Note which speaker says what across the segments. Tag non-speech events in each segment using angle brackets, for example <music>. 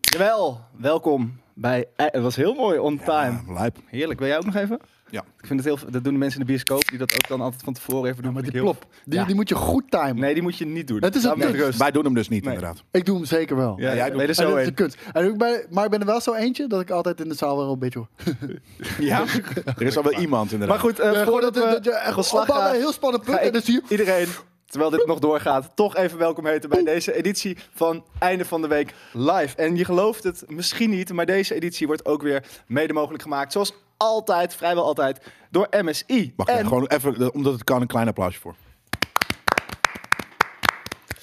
Speaker 1: Jawel, welkom bij... eh, Het was heel mooi, on time.
Speaker 2: Ja, lijp.
Speaker 1: Heerlijk, wil jij ook nog even?
Speaker 2: Ja.
Speaker 1: Ik vind het heel... Dat doen de mensen in de bioscoop, die dat ook dan altijd van tevoren even doen.
Speaker 3: Maar
Speaker 1: Vind
Speaker 3: die
Speaker 1: ik heel-
Speaker 3: plop, die,
Speaker 1: Ja.
Speaker 3: die moet je goed timen.
Speaker 1: Nee, die moet je niet doen.
Speaker 3: Het is een
Speaker 1: Laat me met
Speaker 3: kunst.
Speaker 1: rust.
Speaker 2: Wij doen hem dus niet,
Speaker 1: Nee.
Speaker 2: inderdaad.
Speaker 3: Ik doe hem zeker wel.
Speaker 1: Ja,
Speaker 2: Ja,
Speaker 1: jij
Speaker 2: jij
Speaker 1: doet
Speaker 2: doet-
Speaker 1: er
Speaker 3: En
Speaker 1: zo
Speaker 3: dat is
Speaker 1: een.
Speaker 3: de kunst. En ook bij, maar ik ben er wel zo eentje dat ik altijd in de zaal wel een beetje hoor.
Speaker 1: Ja.
Speaker 2: Er is al wel iemand, inderdaad.
Speaker 1: Maar goed, eh
Speaker 3: Ja, gewoon
Speaker 1: voordat
Speaker 3: dat, dat,
Speaker 1: we
Speaker 3: dat je echt
Speaker 1: van slag
Speaker 3: opbouwt bij
Speaker 1: gaan,
Speaker 3: een heel spannend punt.
Speaker 1: ga
Speaker 3: En dan zie je...
Speaker 1: ik iedereen, terwijl dit nog doorgaat, toch even welkom heten bij deze editie van Einde van de Week Live. En je gelooft het misschien niet, maar deze editie wordt ook weer mede mogelijk gemaakt, zoals altijd, vrijwel altijd, door MSI.
Speaker 2: Mag ik
Speaker 1: en,
Speaker 2: gewoon even, eh, omdat het kan, een klein applausje voor.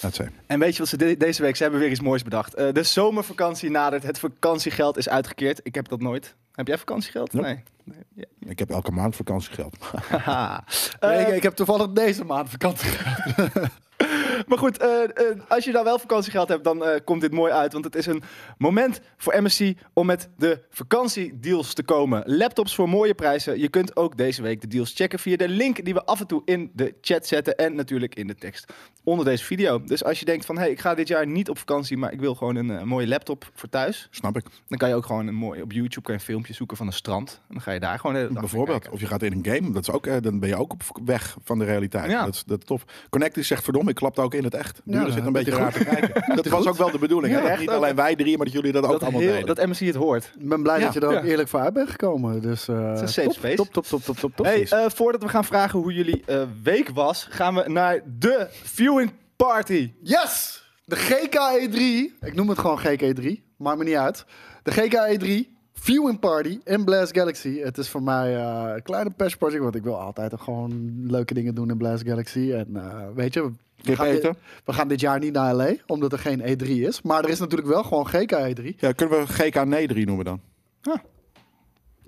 Speaker 2: Dat zijn.
Speaker 1: en weet je wat ze de- deze week, ze hebben weer iets moois bedacht. Eh, de zomervakantie nadert, het vakantiegeld is uitgekeerd. Ik heb dat nooit. Heb jij vakantiegeld?
Speaker 2: Nope.
Speaker 1: Nee. nee. Ja.
Speaker 2: Ik heb elke maand vakantiegeld.
Speaker 1: Haha.
Speaker 3: <laughs> Nee,
Speaker 1: Eh,
Speaker 3: ik, ik heb toevallig deze maand vakantie.
Speaker 1: Maar goed, eh, eh, als je nou wel vakantiegeld hebt, dan eh, komt dit mooi uit. Want het is een moment voor MSC om met de vakantiedeals te komen. Laptops voor mooie prijzen. Je kunt ook deze week de deals checken via de link die we af en toe in de chat zetten. En natuurlijk in de tekst onder deze video. Dus als je denkt van, hé, hey, ik ga dit jaar niet op vakantie, maar ik wil gewoon een eh, mooie laptop voor thuis.
Speaker 2: Snap ik.
Speaker 1: Dan kan je ook gewoon een mooi, op YouTube kan je een filmpje zoeken van een strand. En dan ga je daar gewoon de hele dag naar
Speaker 2: Bijvoorbeeld.
Speaker 1: kijken.
Speaker 2: Of je gaat in een game. Dat is ook, eh, dan ben je ook op weg van de realiteit.
Speaker 1: Ja.
Speaker 2: Dat, is, dat is tof. Connecty zegt, verdomme, ik klapte ook in het echt. Jullie
Speaker 3: dat
Speaker 2: zitten een
Speaker 3: doet
Speaker 2: beetje
Speaker 3: hij
Speaker 2: raar te
Speaker 1: <laughs>
Speaker 2: kijken. Dat was ook wel de bedoeling.
Speaker 1: Ja,
Speaker 2: hè? Dat
Speaker 1: echt
Speaker 2: niet
Speaker 1: ook.
Speaker 2: alleen wij drie, maar dat jullie dat ook
Speaker 1: Dat,
Speaker 2: allemaal
Speaker 1: heel,
Speaker 2: deden.
Speaker 1: dat MSC het hoort.
Speaker 3: Ik ben blij
Speaker 2: Ja,
Speaker 3: dat je er
Speaker 1: ja.
Speaker 3: ook eerlijk voor uit bent gekomen. Dus, eh,
Speaker 1: is een safe
Speaker 3: top,
Speaker 1: space.
Speaker 3: Top, top, top, top, top, top.
Speaker 1: Hey,
Speaker 2: Precies.
Speaker 1: eh, voordat we gaan vragen hoe jullie eh, week was, gaan we naar de viewing party.
Speaker 3: Yes! De GKE3. Ik noem het gewoon GKE3. Maakt me niet uit. De GKE3. Viewing Party in Blast Galaxy. Het is voor mij eh, een kleine passion project. Want ik wil altijd ook gewoon leuke dingen doen in Blast Galaxy. En eh, weet je... We
Speaker 2: Kip
Speaker 3: gaan, dit,
Speaker 2: eten?
Speaker 3: we gaan dit jaar niet naar LA, omdat er geen E3 is. Maar er is natuurlijk wel gewoon E GKE3.
Speaker 2: Ja, kunnen we GK-Nedri noemen dan?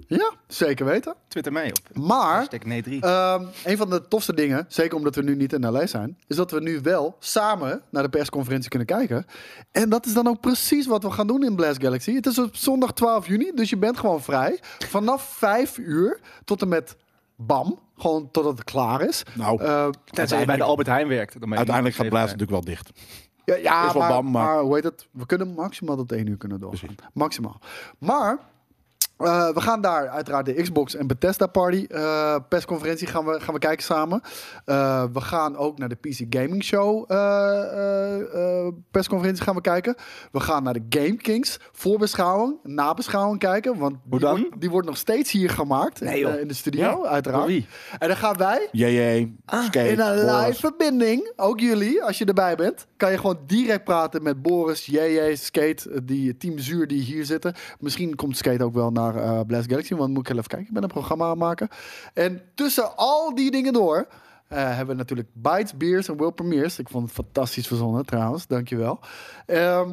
Speaker 3: Ja, zeker weten.
Speaker 1: Twitter mij op. Eh,
Speaker 3: Maar
Speaker 1: Ah? Hashtag nee 3.
Speaker 3: Ehm, een van de tofste dingen, zeker omdat we nu niet in LA zijn, is dat we nu wel samen naar de persconferentie kunnen kijken. En dat is dan ook precies wat we gaan doen in Blast Galaxy. Het is op zondag 12 juni, dus je bent gewoon vrij. Vanaf 5 uur tot en met bam, gewoon totdat het klaar is.
Speaker 2: Nou,
Speaker 3: Eh,
Speaker 1: Tenzij je bij de Albert Heijn werkt. Dan ben je
Speaker 2: uiteindelijk gaat
Speaker 1: niet
Speaker 2: Blaas
Speaker 1: per se
Speaker 2: natuurlijk wel dicht.
Speaker 3: Ja, ja
Speaker 2: Is wel
Speaker 3: maar,
Speaker 2: bam, maar-
Speaker 3: maar hoe heet het? We kunnen maximaal tot één uur kunnen doorgaan. Maximaal. Maar eh, we gaan daar uiteraard de Xbox en Bethesda Party eh, persconferentie gaan we, gaan we kijken samen. Eh, we gaan ook naar de PC Gaming Show eh, eh, eh, persconferentie gaan we kijken. We gaan naar de Game Kings voorbeschouwing, nabeschouwing kijken. Want die,
Speaker 1: dan?
Speaker 3: Wordt, die wordt nog steeds hier gemaakt
Speaker 1: Nee, joh.
Speaker 3: eh, in de studio, uiteraard.
Speaker 1: Door wie?
Speaker 3: En dan gaan wij
Speaker 1: Ah,
Speaker 2: JJ, Skate,
Speaker 3: in een
Speaker 2: Boris.
Speaker 3: live verbinding, ook jullie, als je erbij bent, kan je gewoon direct praten met Boris, JJ, Skate, die team Zuur die hier zitten. Misschien komt Skate ook wel naar eh Blast Galaxy, want moet ik heel even kijken. Ik ben een programma aan het maken. En tussen al die dingen door eh, hebben we natuurlijk Bites, Beers en World Premiers. Ik vond het fantastisch verzonnen trouwens, dankjewel. Ehm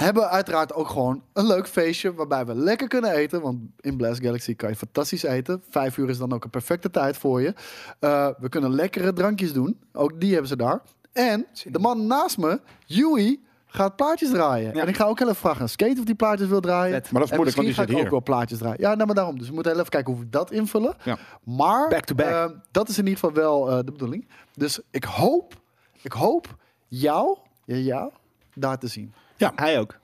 Speaker 3: hebben we uiteraard ook gewoon een leuk feestje waarbij we lekker kunnen eten. Want in Blast Galaxy kan je fantastisch eten. Vijf uur is dan ook een perfecte tijd voor je. Eh, we kunnen lekkere drankjes doen. Ook die hebben ze daar. En de man naast me, Yui, gaat plaatjes draaien.
Speaker 1: Ja.
Speaker 3: En ik ga ook heel even vragen aan Skate of die plaatjes wil draaien.
Speaker 1: Vet.
Speaker 2: Maar dat is
Speaker 3: En
Speaker 2: moeilijk, want die
Speaker 3: misschien
Speaker 2: zit
Speaker 3: ga ik
Speaker 2: hier.
Speaker 3: ook wel plaatjes draaien. Ja, nou maar daarom. Dus we moeten heel even kijken hoe we dat invullen.
Speaker 2: Ja.
Speaker 3: Maar
Speaker 1: Back to back.
Speaker 3: eh, dat is in ieder geval wel eh, de bedoeling. Dus ik hoop, ik hoop jou, ja, jou daar te zien.
Speaker 1: zijn. Hij ook. Ik,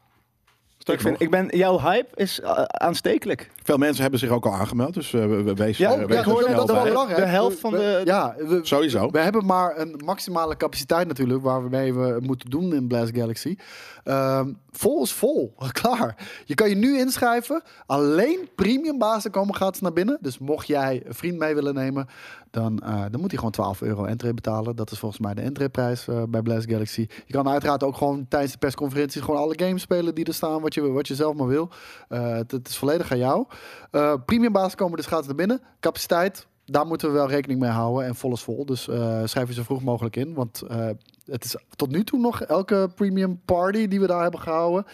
Speaker 2: Sterker
Speaker 1: vind, ik ben, jouw hype is eh, aanstekelijk.
Speaker 2: Veel mensen hebben zich ook al aangemeld, dus eh, we- we- wees,
Speaker 1: Ja,
Speaker 2: eh,
Speaker 1: ja,
Speaker 2: wees
Speaker 1: ik
Speaker 2: er
Speaker 1: hoorde
Speaker 2: snel
Speaker 1: dat
Speaker 2: bij.
Speaker 1: wel belangrijk. de helft
Speaker 3: We-
Speaker 1: van
Speaker 3: we-
Speaker 1: de-
Speaker 3: Ja, we,
Speaker 2: Sowieso.
Speaker 3: we hebben maar een maximale capaciteit natuurlijk, waarmee we het moeten doen in Blast Galaxy. Ehm, vol is vol, <laughs> klaar. Je kan je nu inschrijven. Alleen premium bazen komen gratis naar binnen. Dus mocht jij een vriend mee willen nemen, dan, eh, dan moet hij gewoon 12 euro entree betalen. Dat is volgens mij de entreeprijs eh, bij Blast Galaxy. Je kan uiteraard ook gewoon tijdens de persconferenties gewoon alle games spelen die er staan, wat je, wat je zelf maar wil. Eh, het, het is volledig aan jou. Eh premium bazen komen dus gratis naar binnen. Capaciteit daar moeten we wel rekening mee houden en vol is vol. Dus eh, schrijf je zo vroeg mogelijk in. Want eh, het is tot nu toe nog elke premium party die we daar hebben gehouden,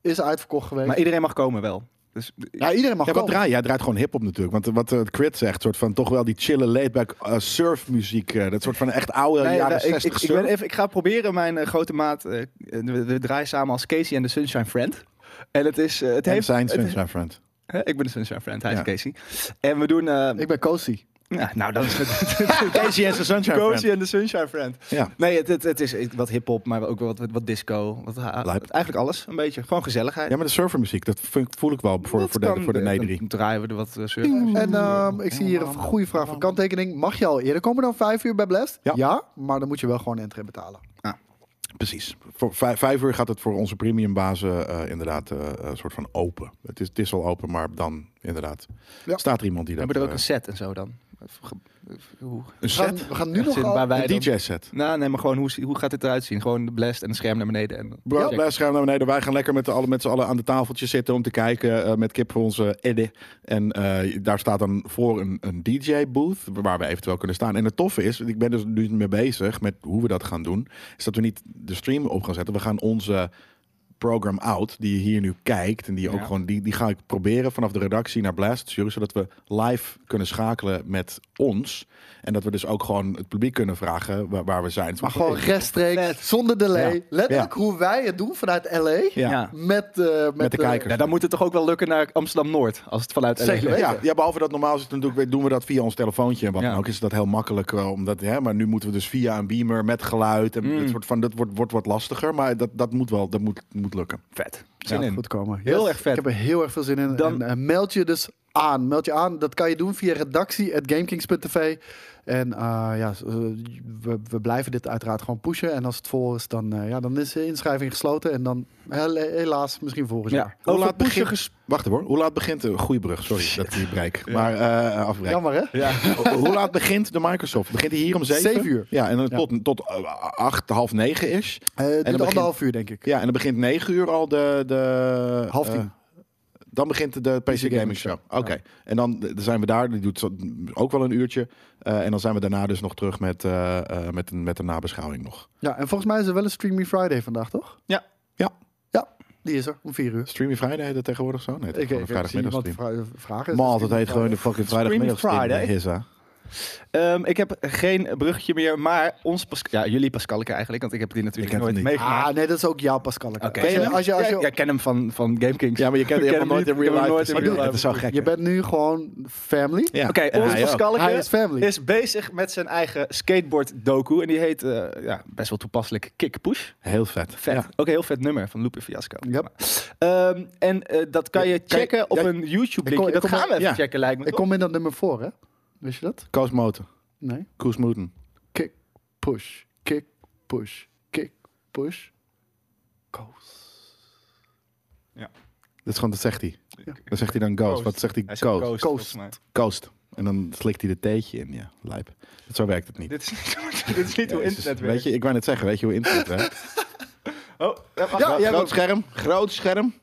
Speaker 3: is uitverkocht geweest.
Speaker 1: Maar iedereen mag komen wel. Dus,
Speaker 3: ja, iedereen mag
Speaker 2: Ja, wat
Speaker 3: komen.
Speaker 2: draai? Jij draait gewoon hip-hop natuurlijk. Want eh, wat eh, Crit zegt, soort van toch wel die chille laidback eh, surfmuziek. eh, dat soort van echt oude
Speaker 1: Nee,
Speaker 2: jaren
Speaker 1: eh, ik,
Speaker 2: 60
Speaker 1: ik, ik,
Speaker 2: surf.
Speaker 1: ben even, ik ga proberen mijn eh, grote maat. eh, eh, we, we draaien samen als Casey en de Sunshine Friend. En het is. eh, het
Speaker 2: en
Speaker 1: heeft,
Speaker 2: zijn
Speaker 1: het is-
Speaker 2: Sunshine Friend.
Speaker 1: hè, ik ben de Sunshine Friend, hij is
Speaker 2: Ja.
Speaker 1: Casey. En we doen. eh,
Speaker 3: Ik ben Cozy.
Speaker 1: Ja, nou, dat is
Speaker 2: <laughs>
Speaker 1: het. <laughs>
Speaker 2: Casey en zijn Sunshine
Speaker 1: Cozy en de Sunshine Friend.
Speaker 2: Ja.
Speaker 1: Nee, het, het, het is wat hip-hop, maar ook wat, wat disco. Wat, ha-
Speaker 2: Lijp.
Speaker 1: eigenlijk alles, een beetje. Gewoon gezelligheid.
Speaker 2: ja, maar de surfermuziek, dat vind ik- voel ik wel voor,
Speaker 1: Dat
Speaker 2: voor, de,
Speaker 1: kan- eh,
Speaker 2: voor de
Speaker 1: dan
Speaker 2: Nederie.
Speaker 1: draaien we er wat eh, surfers.
Speaker 3: En ehm, ik zie hier een goede vraag van kanttekening. Mag je al eerder komen dan vijf uur bij Blast?
Speaker 2: Ja.
Speaker 3: maar dan moet je wel gewoon entry betalen.
Speaker 2: Precies. Voor vijf, vijf uur gaat het voor onze premiumbazen eh inderdaad eh, een soort van open. Het is, het is al open, maar dan inderdaad
Speaker 3: Ja.
Speaker 2: staat er iemand die dat...
Speaker 1: Hebben we er ook
Speaker 2: eh,
Speaker 1: een set en zo dan? Of ge- of Hoe?
Speaker 2: een
Speaker 3: We gaan,
Speaker 2: set?
Speaker 3: we gaan nu nog
Speaker 1: Zin
Speaker 3: al-
Speaker 1: waar wij
Speaker 2: Een
Speaker 1: dan-
Speaker 2: DJ-set.
Speaker 1: Nou, nee, maar gewoon hoe, hoe gaat dit eruit zien? Gewoon de blast en het scherm naar beneden. En
Speaker 2: Bro,
Speaker 1: Check.
Speaker 2: blijf schuim naar beneden. Wij gaan lekker met z'n allen, met z'n allen aan de tafeltje zitten om te kijken eh, met kip voor onze Eddy. En eh, daar staat dan voor een, een DJ-booth waar we eventueel kunnen staan. En het toffe is, ik ben dus nu mee bezig met hoe we dat gaan doen, is dat we niet de stream op gaan zetten. We gaan onze program out, die je hier nu kijkt en die, je ook
Speaker 1: Ja.
Speaker 2: gewoon, die, die ga ik proberen vanaf de redactie naar Blast te sturen, zodat we live kunnen schakelen met ons. En dat we dus ook gewoon het publiek kunnen vragen waar, waar we zijn.
Speaker 3: Maar gewoon rechtstreeks, zonder delay.
Speaker 2: Ja.
Speaker 3: Letterlijk hoe wij het doen vanuit LA.
Speaker 2: Ja.
Speaker 1: Ja.
Speaker 3: Met, eh, met,
Speaker 2: de kijker.
Speaker 1: Ja, dan moet het toch ook wel lukken naar Amsterdam-Noord, als het vanuit LA
Speaker 3: Zeker
Speaker 1: komt.
Speaker 3: weten.
Speaker 2: Ja, ja, behalve dat normaal is het natuurlijk, doen we dat via ons telefoontje en wat
Speaker 1: Ja.
Speaker 2: dan ook. Is dat heel makkelijk, eh, omdat, hè, maar nu moeten we dus via een beamer met geluid.
Speaker 3: Mm.
Speaker 2: En dat, soort van, dat wordt, wordt wat lastiger, maar dat, dat moet wel, dat moet, moet lukken.
Speaker 1: Vet.
Speaker 3: Ja,
Speaker 1: Zin in.
Speaker 3: goed komen.
Speaker 1: Heel erg vet.
Speaker 3: Ik heb er heel erg veel zin in.
Speaker 1: Dan-
Speaker 3: En, eh, meld je dus aan. Meld je aan. Dat kan je doen via redactie.gamekings.tv. En eh, ja, eh, we, we blijven dit uiteraard gewoon pushen. En als het vol is, dan, eh, ja, dan is de inschrijving gesloten. En dan hel- helaas misschien volgend
Speaker 1: Ja.
Speaker 3: jaar.
Speaker 2: Hoe
Speaker 1: Over
Speaker 2: laat
Speaker 1: pushen
Speaker 2: begint...
Speaker 1: ges-
Speaker 2: Wacht hoor, hoe laat begint... eh, Goeie brug, sorry dat ik die breek. Maar eh afbreek.
Speaker 3: Jammer hè?
Speaker 1: Ja.
Speaker 2: Ho- hoe laat begint de Microsoft? Begint hij hier om zeven?
Speaker 3: Zeven uur.
Speaker 2: Ja, en dan tot, tot eh, acht, half negen is.
Speaker 3: Eh, het duurt
Speaker 2: begint-
Speaker 3: anderhalf uur denk ik.
Speaker 2: Ja, en dan begint negen uur al de... de
Speaker 3: Half tien.
Speaker 2: eh, dan begint de PC Gaming Show. Oké. En dan eh, dan zijn we daar. Die doet zo- ook wel een uurtje. Eh, en dan zijn we daarna dus nog terug met, eh, eh, met, een, met een nabeschouwing nog.
Speaker 3: Ja, en volgens mij is er wel een Streamy Friday vandaag, toch?
Speaker 1: Ja.
Speaker 2: Ja.
Speaker 3: Ja, die is er om vier uur.
Speaker 2: Streamy Friday heet dat tegenwoordig zo? Nee, het is
Speaker 3: Ik,
Speaker 2: gewoon een
Speaker 3: ik, ik zie
Speaker 2: vrijdagmiddag
Speaker 3: iemand
Speaker 2: stream.
Speaker 3: vra- vragen.
Speaker 2: Maar dat heet gewoon de fucking vrijdagmiddag
Speaker 1: Friday.
Speaker 2: stream. Hissa.
Speaker 1: Ehm, ik heb geen bruggetje meer, maar ons Pascal... Ja, jullie Pascalke eigenlijk, want ik heb die natuurlijk
Speaker 2: Ik heb
Speaker 1: nooit
Speaker 2: hem niet.
Speaker 1: meegemaakt.
Speaker 3: Ah, nee, dat is ook jouw Pascal.
Speaker 1: Oké.
Speaker 3: Als je, als je, als je,
Speaker 1: Ja, ik ken hem van, van GameKings.
Speaker 2: Ja, maar je kent
Speaker 1: Ik
Speaker 2: je
Speaker 1: ken
Speaker 2: hebt hem nooit
Speaker 1: hem
Speaker 2: in
Speaker 1: niet.
Speaker 2: real life.
Speaker 1: Ik heb hem nooit in
Speaker 2: gezien.
Speaker 1: real life
Speaker 2: Dat Oh, is zo gek.
Speaker 3: je bent nu gewoon family.
Speaker 2: Ja.
Speaker 1: Oké,
Speaker 2: En
Speaker 1: onze
Speaker 2: hij ook.
Speaker 1: Pascalke
Speaker 3: Hij is family.
Speaker 1: is bezig met zijn eigen skateboard doku. En die heet, eh, ja, best wel toepasselijk, Kick Push.
Speaker 2: Heel vet.
Speaker 1: Vet.
Speaker 2: Ja.
Speaker 1: Ook een heel vet nummer van Lupe Fiasco.
Speaker 3: Ja.
Speaker 1: Ehm, en eh, dat kan je
Speaker 2: Kan je-
Speaker 1: checken op
Speaker 2: ja,
Speaker 1: een YouTube
Speaker 3: ik kom-
Speaker 1: linkje.
Speaker 3: ik
Speaker 1: Dat
Speaker 3: kom-
Speaker 1: gaan we even
Speaker 2: ja.
Speaker 1: checken lijkt me.
Speaker 3: Ik
Speaker 1: toch?
Speaker 3: kom in dat nummer voor, hè? Wist je dat?
Speaker 2: Koos Moten.
Speaker 3: Nee.
Speaker 2: Koos Moeten.
Speaker 3: Kick, push, kick, push, kick, push. Koos.
Speaker 2: Dat is gewoon, dat zegt hij.
Speaker 3: Ja.
Speaker 2: Dan zegt hij dan ghost.
Speaker 1: Coast.
Speaker 2: Wat zegt hij?
Speaker 1: Hij zegt
Speaker 2: Ghost.
Speaker 1: coast, volgens mij.
Speaker 2: Coast. En dan slikt hij de theetje in. Ja, lijp. Zo werkt het niet.
Speaker 1: Dit is niet, dit is niet hoe <laughs>
Speaker 2: Jezus,
Speaker 1: internet werkt.
Speaker 2: weet je, ik wou net zeggen, weet je hoe internet werkt?
Speaker 1: Oh, ja, wacht.
Speaker 2: ja,
Speaker 1: <laughs> ja,
Speaker 2: groot scherm, groot scherm.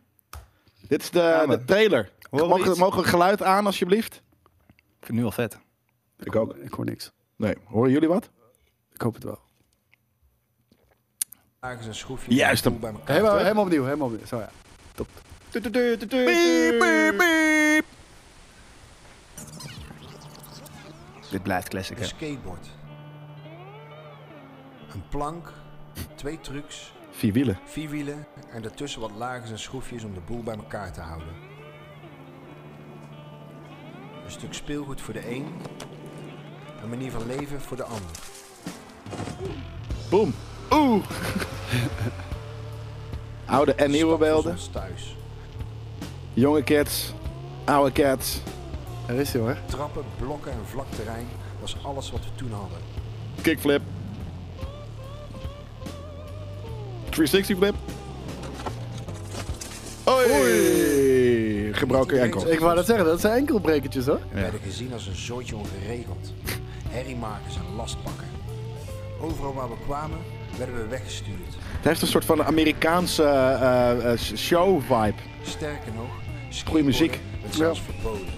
Speaker 2: Dit is de,
Speaker 1: Ja, maar-
Speaker 2: de trailer.
Speaker 1: Horen we
Speaker 2: Mogen,
Speaker 1: iets?
Speaker 2: mogen we geluid aan, alsjeblieft?
Speaker 1: Ik vind het nu al vet.
Speaker 2: Ik ook.
Speaker 3: Ik hoor niks.
Speaker 2: Nee, horen jullie wat?
Speaker 3: Ik hoop het wel.
Speaker 4: ergens een schroefje
Speaker 2: Juist hem.
Speaker 4: bij elkaar.
Speaker 3: Helemaal, helemaal opnieuw, helemaal opnieuw. Zo ja.
Speaker 1: Dit blijft classic,
Speaker 4: Een
Speaker 1: hè?
Speaker 4: skateboard. Een plank, twee trucks,
Speaker 2: Vier wielen.
Speaker 4: vier wielen en daartussen wat lagers en schroefjes om de boel bij elkaar te houden. Een stuk speelgoed voor de een, een manier van leven voor de ander.
Speaker 2: Boom. Oeh.
Speaker 1: <laughs>
Speaker 2: Oude en nieuwe
Speaker 4: Stap voor
Speaker 2: beelden.
Speaker 4: ons thuis.
Speaker 2: Jonge cats. Oude cats.
Speaker 3: Er is hij hoor.
Speaker 4: Trappen, blokken en vlak terrein, dat is alles wat we toen hadden.
Speaker 2: Kickflip. 360 flip. Oei. Gebroken enkel.
Speaker 3: Ik wou dat zeggen, dat zijn enkelbrekertjes hoor.
Speaker 4: We werden gezien als een zooitje ongeregeld. Herriemakers en lastpakken. Overal waar we kwamen, werden we weggestuurd.
Speaker 2: Het heeft een soort van Amerikaanse eh, eh, show vibe.
Speaker 4: Sterker nog,
Speaker 2: Goeie muziek.
Speaker 4: Het zelfs verboden.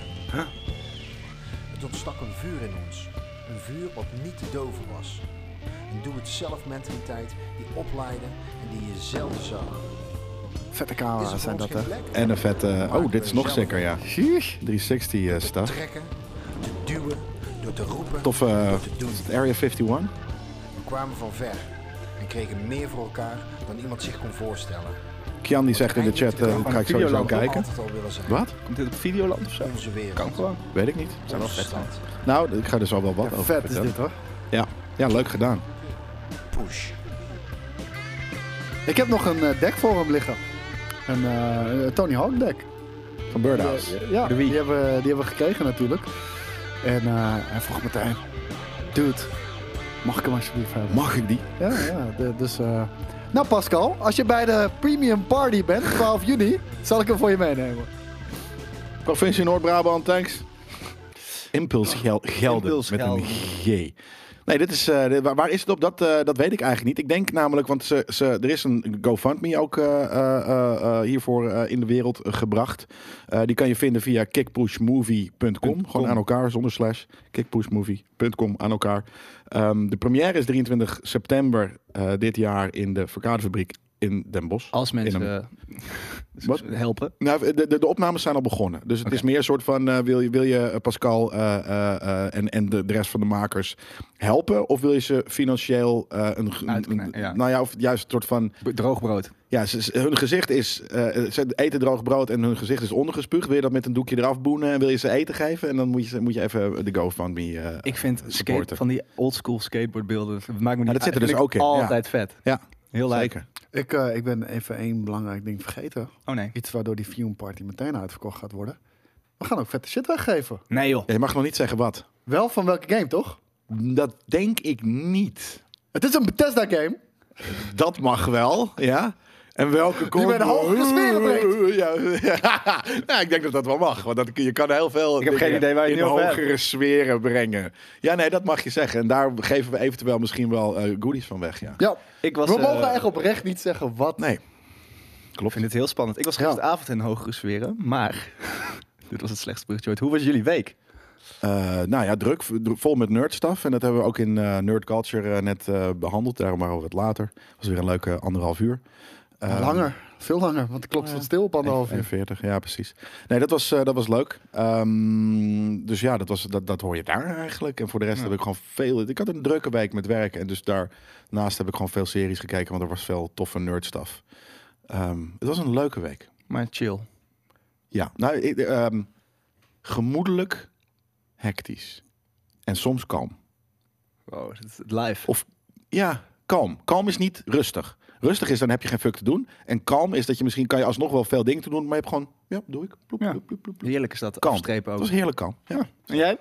Speaker 4: Het ontstak een vuur in ons. Een vuur wat niet te doven was. Een doe-het-zelf mentaliteit die oplaaide en die je zelden
Speaker 2: Ah,
Speaker 4: zag.
Speaker 3: Vette
Speaker 4: Is er
Speaker 3: camera's
Speaker 4: voor
Speaker 3: zijn
Speaker 4: ons
Speaker 3: dat hè.
Speaker 4: geen plek?
Speaker 2: En een vette. oh, dit is nog zeker, ja.
Speaker 3: Sheesh.
Speaker 2: 360 eh, stuff.
Speaker 4: Trekken, te duwen, door te roepen,
Speaker 2: Toffe. eh,
Speaker 4: door te doen.
Speaker 2: is het Area 51.
Speaker 4: We kwamen van ver en kregen meer voor elkaar dan iemand zich kon voorstellen.
Speaker 2: Kian die zegt in de chat, eh,
Speaker 1: van
Speaker 2: ga ik sowieso
Speaker 1: Videoland.
Speaker 2: kijken.
Speaker 4: Altijd al willen zijn.
Speaker 2: Wat?
Speaker 1: Komt dit op Videoland of zo?
Speaker 4: Onze wereld.
Speaker 1: Kan gewoon.
Speaker 2: Weet ik niet.
Speaker 4: Zijn wel vet
Speaker 2: Nou, ik ga er zo wel wat over
Speaker 3: Vet is
Speaker 2: vertellen.
Speaker 3: dit hoor.
Speaker 2: Ja. ja, leuk gedaan.
Speaker 4: Push.
Speaker 3: Ik heb nog een eh, deck voor hem liggen. Een eh, Tony Hawk deck.
Speaker 2: Van Birdhouse.
Speaker 3: Ja,
Speaker 1: De Wii.
Speaker 3: die hebben, die hebben we gekregen natuurlijk. En eh, hij vroeg meteen, dude, mag ik hem alsjeblieft hebben?
Speaker 2: Mag ik die?
Speaker 3: Ja, ja, de- dus... eh, nou Pascal, als je bij de Premium Party bent, 12 juni, zal ik hem voor je meenemen.
Speaker 2: Provincie Noord-Brabant, thanks. Oh, Impuls Gel- Gelden
Speaker 1: Impuls
Speaker 2: met
Speaker 1: Gelden.
Speaker 2: een G. Nee, dit is, eh, dit- waar, waar is het op? Dat, eh, dat weet ik eigenlijk niet. Ik denk namelijk, want ze, ze, er is een GoFundMe ook eh, eh, eh, eh, hiervoor eh, in de wereld eh, gebracht. Eh, die kan je vinden via kickpushmovie.com. Gewoon aan elkaar, zonder slash. Kickpushmovie.com aan elkaar. Ehm, de première is 23 september eh, dit jaar in de Verkadefabriek in Den Bosch.
Speaker 1: Als mensen
Speaker 2: In hem.
Speaker 1: eh,
Speaker 2: <laughs> Wat?
Speaker 1: helpen.
Speaker 2: Nou, de, de, de opnames zijn al begonnen. Dus het is meer een soort van: eh, wil, je, wil je eh, Pascal eh, eh, eh, en, en de, de rest van de makers helpen? Of wil je ze financieel eh, een, ge-
Speaker 1: Uitknijpen,
Speaker 2: een-
Speaker 1: ja.
Speaker 2: Nou ja, of juist een soort van.
Speaker 1: Droogbrood.
Speaker 2: Ja, ze- ze- hun gezicht is. eh, ze eten droog brood en hun gezicht is ondergespuugd. Wil je dat met een doekje eraf boenen en wil je ze eten geven? En dan moet je, ze- moet je even de GoFundMe. eh,
Speaker 1: Ik vind skate,
Speaker 2: supporten.
Speaker 1: van die oldschool skateboardbeelden, dat maakt me niet
Speaker 2: dat
Speaker 1: uit.
Speaker 2: zit er dus
Speaker 1: Vind ik
Speaker 2: ook in, ja.
Speaker 1: Altijd vet.
Speaker 2: ja,
Speaker 1: Heel leuk.
Speaker 2: zeker.
Speaker 3: Ik, eh, ik ben even één belangrijk ding vergeten.
Speaker 1: Oh nee.
Speaker 3: Iets waardoor die Fume Party meteen uitverkocht gaat worden. We gaan ook vette shit weggeven.
Speaker 1: Nee joh.
Speaker 2: Ja, je mag nog niet zeggen wat.
Speaker 3: Wel van welke game, toch?
Speaker 2: Dat denk ik niet.
Speaker 3: Het is een Bethesda game.
Speaker 2: Dat mag wel, ja. En welke combo?
Speaker 3: bij de hogere sferen brengt.
Speaker 2: Ja, <laughs> ja. <laughs> nou, ik denk dat dat wel mag. Want dat, kun- je kan heel veel
Speaker 1: Ik heb
Speaker 2: dingen
Speaker 1: geen idee waar je
Speaker 2: in
Speaker 1: het nu over
Speaker 2: hogere sferen brengen. Ja, nee, dat mag je zeggen. En daar geven we eventueel misschien wel eh, goodies van weg, ja.
Speaker 3: Ja.
Speaker 1: Ik was,
Speaker 3: We
Speaker 1: eh,
Speaker 3: mogen echt oprecht niet zeggen wat.
Speaker 2: Nee.
Speaker 1: Ik vind het heel spannend. Ik was gisteravond in hogere sferen, maar... <laughs> Dit was het slechtste bruggetje ooit. Hoe was jullie week?
Speaker 2: Eh, nou ja, druk, v- dru- vol met nerdstaf. En dat hebben we ook in eh, Nerd Culture eh, net eh, behandeld. Daarom maar over het later. was weer een leuke anderhalf uur.
Speaker 3: ehm,
Speaker 2: Eh,
Speaker 3: Langer. Veel langer. Want de klok staat stil op anderhalf uur.
Speaker 2: 41, ja, precies. Nee, dat was, eh, dat was leuk. Ehm, dus ja, dat, was, dat, dat hoor je daar eigenlijk. En voor de rest heb ik gewoon veel. Ik had een drukke week met werk. En dus daarnaast heb ik gewoon veel series gekeken. Want er was veel toffe nerdstaf. Ehm het was een leuke week.
Speaker 1: Maar chill.
Speaker 2: Ja, nou, ik, ehm, gemoedelijk hectisch. En soms kalm.
Speaker 1: Wow, dit is het live.
Speaker 2: Of ja, kalm. Kalm is niet rustig. Rustig is, dan heb je geen fuck te doen. En kalm is dat je misschien kan je alsnog wel veel dingen te doen. Maar je hebt gewoon, ja, doe ik. Ploep,
Speaker 1: Ja.
Speaker 2: ploep, ploep, ploep.
Speaker 1: Heerlijk is dat,
Speaker 2: Kalm.
Speaker 1: afstrepen
Speaker 2: Het
Speaker 1: ook.
Speaker 2: was heerlijk kalm. Ja.
Speaker 1: En jij?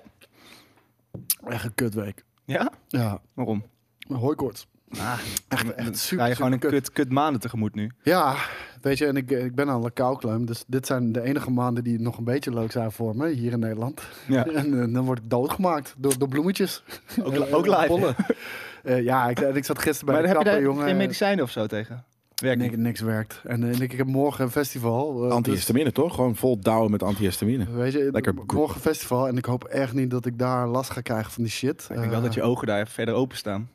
Speaker 3: Echt een kutweek.
Speaker 1: Ja?
Speaker 3: Ja.
Speaker 1: Waarom?
Speaker 3: Hooikoorts.
Speaker 1: Ah,
Speaker 3: Echt, echt super,
Speaker 1: ga je gewoon een
Speaker 3: super
Speaker 1: kut, kut maanden tegemoet nu.
Speaker 3: Ja, weet je, en ik, ik ben aan de koukleum, dus dit zijn de enige maanden die nog een beetje leuk zijn voor me hier in Nederland.
Speaker 1: Ja.
Speaker 3: <laughs> En, eh, dan word ik doodgemaakt door, door bloemetjes.
Speaker 1: Ook,
Speaker 3: En-
Speaker 1: li-
Speaker 3: en
Speaker 1: ook live.
Speaker 3: pollen. Eh, ja, ik, en ik zat gisteren bij
Speaker 1: maar
Speaker 3: de
Speaker 1: heb je
Speaker 3: kapper,
Speaker 1: daar
Speaker 3: jongen.
Speaker 1: geen medicijnen of zo tegen? Werkt
Speaker 3: Niks,
Speaker 1: niet.
Speaker 3: niks werkt. En eh, ik, ik heb morgen een festival. eh, dus,
Speaker 2: Antihistamine, toch? Gewoon vol douwen met antihistamine.
Speaker 3: weet je,
Speaker 2: Lekker
Speaker 3: morgen een festival en ik hoop echt niet dat ik daar last ga krijgen van die shit.
Speaker 1: Ik denk wel
Speaker 3: Eh,
Speaker 1: dat je ogen daar even verder open staan.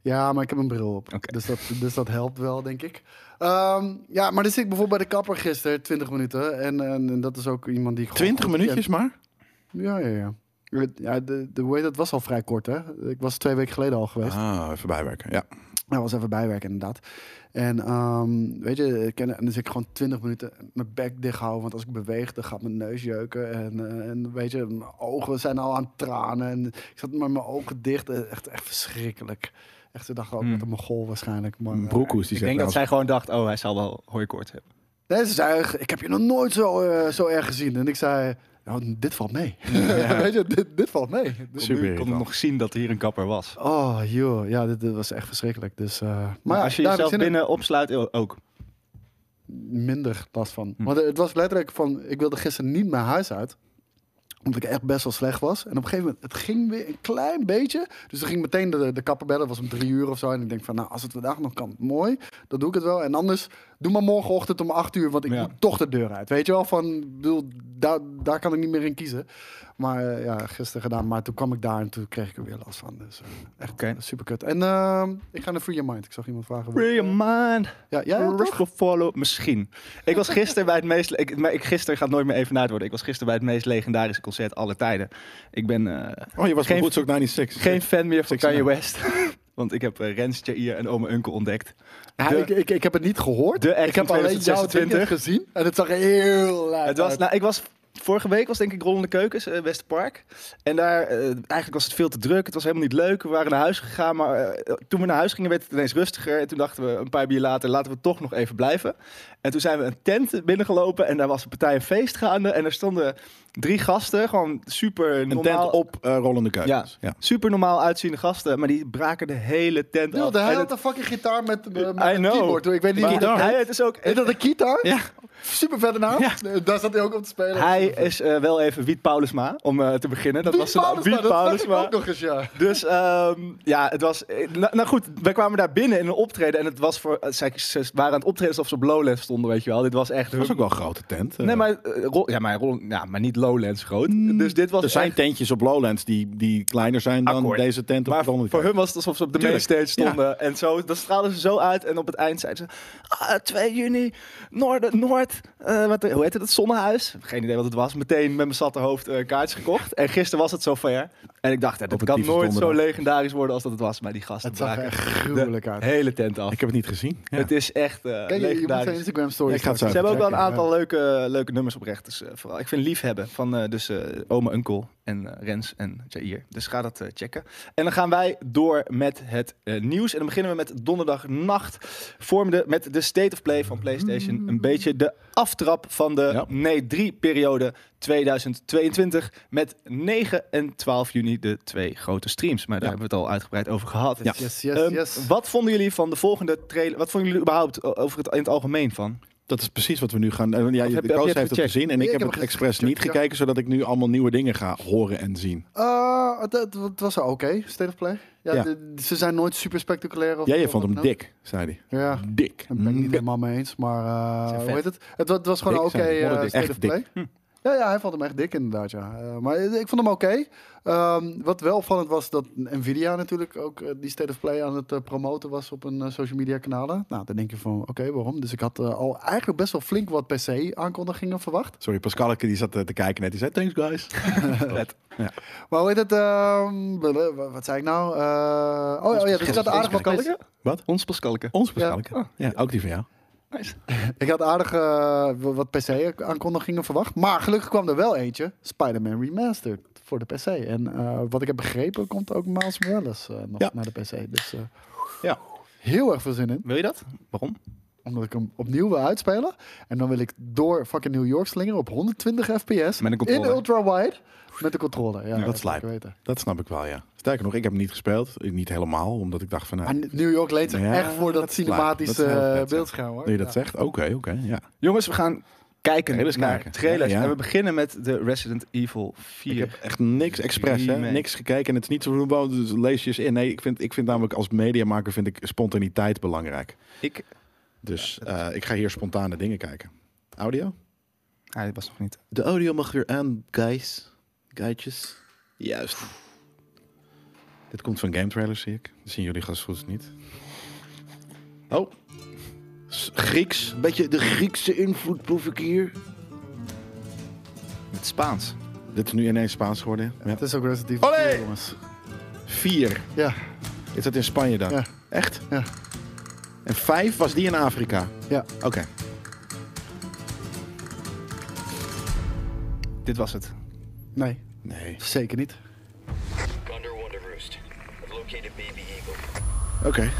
Speaker 3: Ja, maar ik heb een bril op.
Speaker 1: Oké.
Speaker 3: Dus, dat, dus dat helpt wel, denk ik. Ehm, ja, maar dan zit ik bijvoorbeeld bij de kapper gisteren, 20 minuten. En, en, en dat is ook iemand die ik gewoon
Speaker 2: 20
Speaker 3: goed
Speaker 2: minuutjes maar?
Speaker 3: ken. Ja, ja, ja. ja de, de, hoe heet dat was al vrij kort, hè? Ik was twee weken geleden al geweest.
Speaker 2: Ah, even bijwerken. Ja.
Speaker 3: Nou, was even bijwerken, inderdaad. En ehm, weet je, ik ken, en dan zit ik gewoon 20 minuten mijn bek dicht houden. Want als ik beweeg, dan gaat mijn neus jeuken. En, eh, en weet je, mijn ogen zijn al aan tranen. En ik zat met mijn ogen dicht. Eh, Echt, echt verschrikkelijk. Echt, ze dachten ook
Speaker 1: Hmm.
Speaker 3: met een mogol waarschijnlijk. Maar, eh,
Speaker 2: Broekhoes, die
Speaker 1: Ik
Speaker 2: zegt
Speaker 1: denk dat
Speaker 2: trouwens-
Speaker 1: zij gewoon dacht, oh, hij zal wel hooikoorts hebben.
Speaker 3: Nee, ze zei, echt, ik heb je nog nooit zo, eh, zo erg gezien. En ik zei, nou, dit valt
Speaker 1: <laughs>
Speaker 3: mee. Weet je, dit, dit valt mee. Dus-
Speaker 2: Super
Speaker 1: Ik kon
Speaker 2: irritant.
Speaker 1: nog zien dat hier een kapper was.
Speaker 3: Oh, joh. Ja, dit, dit was echt verschrikkelijk. Dus, eh, maar,
Speaker 1: Maar
Speaker 3: ja,
Speaker 1: als je
Speaker 3: daar
Speaker 1: jezelf
Speaker 3: heb ik zin in.
Speaker 1: binnen opsluit, eh, ook.
Speaker 3: Minder last van.
Speaker 1: Hm.
Speaker 3: Want eh, het was letterlijk van, ik wilde gisteren niet mijn huis uit. Omdat ik echt best wel slecht was. En op een gegeven moment, het ging weer een klein beetje. Dus dan ging ik meteen de, de kapper bellen. Het was om drie uur of zo. En ik denk van, nou, als het vandaag nog kan, mooi. Dan doe ik het wel. En anders, doe maar morgenochtend om acht uur. Want ik
Speaker 1: Ja.
Speaker 3: moet toch de deur uit. Weet je wel, van, ik bedoel, daar, daar kan ik niet meer in kiezen. Maar eh, ja, gisteren gedaan. Maar toen kwam ik daar en toen kreeg ik er weer last van. Dus eh, echt
Speaker 1: Oké.
Speaker 3: super kut. En ehm, ik ga naar Free Your Mind. Ik zag iemand vragen.
Speaker 1: Free your mind.
Speaker 3: Ja, jij ook, toch?
Speaker 1: Rush follow. Misschien. Ik was gisteren bij het meest... Ik, maar ik, gisteren gaat nooit meer even worden. Ik was gisteren bij het meest legendarische concert aller tijden. Ik ben eh,
Speaker 2: Oh, je was
Speaker 1: Geen-
Speaker 2: geen goed zoek 96.
Speaker 1: geen fan meer van
Speaker 2: Six
Speaker 1: Kanye West. <laughs> Want ik heb eh, Rens, Jair en oma Unkel ontdekt.
Speaker 3: Nou,
Speaker 1: De-
Speaker 3: ik, ik, ik heb het niet gehoord.
Speaker 1: de
Speaker 3: ik
Speaker 1: act
Speaker 3: heb
Speaker 1: van
Speaker 3: alleen jouw
Speaker 1: 2026.
Speaker 3: Twitter gezien. En het zag er heel luid
Speaker 1: Het was,
Speaker 3: uit.
Speaker 1: nou, ik was, vorige week was denk ik Rollende Keukens, eh, Westerpark. En daar, eh, eigenlijk was het veel te druk. Het was helemaal niet leuk. We waren naar huis gegaan. Maar eh, toen we naar huis gingen werd het ineens rustiger. En toen dachten we een paar bier later, laten we toch nog even blijven. En toen zijn we een tent binnengelopen. En daar was een partij een feest gaande. En er stonden drie gasten, gewoon super
Speaker 2: Een
Speaker 1: normaal.
Speaker 2: tent op eh, rollende
Speaker 1: Ja,
Speaker 2: keukens. Ja.
Speaker 1: super normaal uitziende gasten. Maar die braken de hele tent
Speaker 3: Dude,
Speaker 1: af.
Speaker 3: hij
Speaker 1: En
Speaker 3: had
Speaker 1: het-
Speaker 3: een fucking gitaar met, eh, met
Speaker 1: I
Speaker 3: een
Speaker 1: know.
Speaker 3: keyboard. hoor. Ik weet niet
Speaker 1: maar
Speaker 3: wie dat
Speaker 1: hij, het is ook,
Speaker 3: Is dat een gitaar?
Speaker 2: Ja.
Speaker 3: Super verder naam. Daar zat hij ook op te spelen.
Speaker 1: hij is eh, wel even Wiet Paulusma, om eh, te beginnen. Dat
Speaker 3: Piet
Speaker 1: was zijn naam.
Speaker 3: Paulusma,
Speaker 1: Wiet
Speaker 3: dat zag ik
Speaker 1: Paulusma.
Speaker 3: ook nog eens, ja.
Speaker 1: Dus ehm, ja, het was. eh, Nou, nou goed, wij kwamen daar binnen in een optreden. En het was voor. eh, zij- Ze waren aan het optreden alsof ze op Lowlands stonden, weet je wel. Dit was echt.
Speaker 2: Dat was ook wel een grote tent. eh.
Speaker 1: Nee, maar, eh, Ro- ja, maar, Ro- ja, maar niet Lowlands groot. dus dit was.
Speaker 2: Mm. er zijn
Speaker 1: echt-
Speaker 2: tentjes op Lowlands die, die kleiner zijn dan
Speaker 1: Akkoord.
Speaker 2: deze tent op
Speaker 1: maar
Speaker 2: de rollende
Speaker 1: voor
Speaker 2: keukens.
Speaker 1: hun was het alsof ze op de
Speaker 2: Tuurlijk,
Speaker 1: mainstage stonden. En zo, dat straalden ze zo uit. En op het eind zeiden ze... "Ah, 2 juni, Noord... Noord eh, wat, hoe heette dat? Zonnehuis? Geen idee wat het was. Meteen met mijn zatte hoofd eh, kaartjes gekocht. En gisteren was het zover. En ik dacht, ja, dat
Speaker 2: Op een
Speaker 1: kan
Speaker 2: diepe
Speaker 1: nooit zo
Speaker 2: donderdag.
Speaker 1: legendarisch worden als dat het was. Maar die gasten
Speaker 3: Het zag er
Speaker 1: braken
Speaker 3: echt gruwelijk uit.
Speaker 1: de hele tent af.
Speaker 2: Ik heb het niet gezien. Ja.
Speaker 1: Het is echt eh,
Speaker 3: Kijk, je, je moet zijn
Speaker 1: legendarisch.
Speaker 3: Instagram story.
Speaker 2: Ik ga het zo
Speaker 1: Ze
Speaker 2: even
Speaker 1: hebben ook wel een
Speaker 2: checken,
Speaker 1: aantal leuke, leuke nummers oprecht. Dus eh, vooral, ik vind liefhebben van eh, dus, eh oma, unkel en eh, Rens en Jair. Dus ga dat eh, checken. En dan gaan wij door met het eh, nieuws. En dan beginnen we met donderdagnacht. Vormde met de State of Play van PlayStation een beetje de aftrap van de
Speaker 2: Ja.
Speaker 1: nee 3 periode 2022. Met 9 en 12 juni de twee grote streams. Maar daar
Speaker 2: Ja.
Speaker 1: hebben we het al uitgebreid over gehad.
Speaker 2: Ja.
Speaker 3: Yes, yes,
Speaker 1: Ehm,
Speaker 3: yes.
Speaker 1: Wat vonden jullie van de volgende trailer? Wat vonden jullie überhaupt o- over het, in het algemeen van?
Speaker 2: Dat is precies wat we nu gaan. eh, Ja,
Speaker 1: heb-
Speaker 2: je-
Speaker 1: heb
Speaker 2: de
Speaker 1: je
Speaker 2: Koos
Speaker 1: het
Speaker 2: heeft het
Speaker 1: gecheckt?
Speaker 2: gezien en
Speaker 3: Nee,
Speaker 2: ik
Speaker 3: ik
Speaker 2: heb het
Speaker 3: heb het
Speaker 2: expres niet
Speaker 3: gecheckt, ja.
Speaker 2: gekeken, zodat ik nu allemaal nieuwe dingen ga horen en zien.
Speaker 3: Eh, het, het- het was wel oké, State of Play. Ja,
Speaker 2: Ja.
Speaker 3: de- ze zijn nooit super spectaculair. Of
Speaker 2: Jij je
Speaker 3: of
Speaker 2: vond
Speaker 3: wat
Speaker 2: hem
Speaker 3: dan
Speaker 2: dik, zei hij.
Speaker 3: ook. Ja,
Speaker 2: Dik.
Speaker 3: daar ben ik niet
Speaker 2: Mm,
Speaker 3: helemaal mee eens. Maar eh,
Speaker 1: vet.
Speaker 3: hoe heet het? Het, wa- het was gewoon
Speaker 2: Dik
Speaker 3: een oké
Speaker 2: zijn.
Speaker 3: eh,
Speaker 2: Modderdik.
Speaker 3: State
Speaker 2: Echt
Speaker 3: of Play. Ja, ja, hij vond hem echt dik inderdaad, ja. Eh, maar ik ik vond hem oké. Ehm, wat wel opvallend was dat Nvidia natuurlijk ook eh, die State of Play aan het eh, promoten was op hun eh, social media kanalen. Nou, dan denk je van, oké, waarom? Dus ik had eh, al eigenlijk best wel flink wat PC-aankondigingen verwacht.
Speaker 2: Sorry, Pascalke die zat eh, te kijken net. Die zei, thanks guys.
Speaker 3: Maar hoe heet het? ehm, blub, wat- wat zei ik nou? Eh, oh, ja, oh ja, dus ik had aardig wat
Speaker 1: Pascalke?
Speaker 2: Wat?
Speaker 1: Ons Pascalke.
Speaker 2: Ons Pascalke.
Speaker 3: Ah.
Speaker 2: Ja. ook die van jou.
Speaker 3: Ik had aardig eh, w- wat PC-aankondigingen verwacht. Maar gelukkig kwam er wel eentje. Spider-Man Remastered voor de PC. En eh, wat ik heb begrepen, komt ook Miles Morales eh, nog
Speaker 2: Ja.
Speaker 3: naar de PC. Dus eh,
Speaker 2: Ja.
Speaker 3: heel erg veel zin in.
Speaker 1: Wil je dat? Waarom?
Speaker 3: Omdat ik hem opnieuw wil uitspelen. En dan wil ik door fucking New York slingeren op 120
Speaker 1: Met
Speaker 3: fps.
Speaker 1: een
Speaker 3: in
Speaker 1: controller.
Speaker 3: ultra-wide. Met de controller. Ja,
Speaker 2: dat is
Speaker 3: zeker
Speaker 2: lijp.
Speaker 3: weten.
Speaker 2: Dat snap ik wel, ja. Sterker nog, ik heb hem niet gespeeld. Eh, Niet helemaal, omdat ik dacht van... Nou,
Speaker 3: Maar New York leent zich
Speaker 2: Ja,
Speaker 3: echt voor dat,
Speaker 2: dat is lijp.
Speaker 3: cinematische
Speaker 2: Dat is heel
Speaker 3: eh,
Speaker 2: vet, ja.
Speaker 3: beeldscherm. Hoor.
Speaker 2: nu je dat
Speaker 3: Ja.
Speaker 2: zegt, oké, oké, ja.
Speaker 1: Jongens, we gaan kijken
Speaker 2: Trailers
Speaker 1: naar
Speaker 2: kijken.
Speaker 1: trailers.
Speaker 2: Ja, ja.
Speaker 1: En we beginnen met de Resident Evil 4.
Speaker 2: Ik heb echt niks expres, hè?
Speaker 1: Remake.
Speaker 2: niks gekeken. En het is niet zo van, dus lees je eens in. Nee, ik vind, ik vind namelijk als mediamaker vind ik spontaniteit belangrijk.
Speaker 1: Ik-
Speaker 2: Dus eh, ik ga hier spontane dingen kijken. Audio?
Speaker 1: Ah, dit was nog niet.
Speaker 2: De audio mag weer aan, guys. Guidjes. Juist. Dit komt van game trailers, zie ik. Dat zien jullie gast goed niet. Oh. S- Grieks. Een beetje de Griekse invloed proef ik hier.
Speaker 1: Met Spaans.
Speaker 2: Dit is nu ineens Spaans geworden. hè? Ja.
Speaker 3: Het is ook Resident Evil
Speaker 2: Olé!
Speaker 3: 4, jongens.
Speaker 2: Vier.
Speaker 3: Ja,
Speaker 2: Is dat in Spanje dan?
Speaker 3: Ja.
Speaker 2: Echt?
Speaker 3: Ja.
Speaker 2: En vijf was die in Afrika?
Speaker 3: ja.
Speaker 2: Oké.
Speaker 1: Dit was het.
Speaker 3: Nee,
Speaker 2: Nee.
Speaker 3: zeker niet.
Speaker 5: Gunder Wonder Roost. I've located Baby Eagle.
Speaker 2: Oké.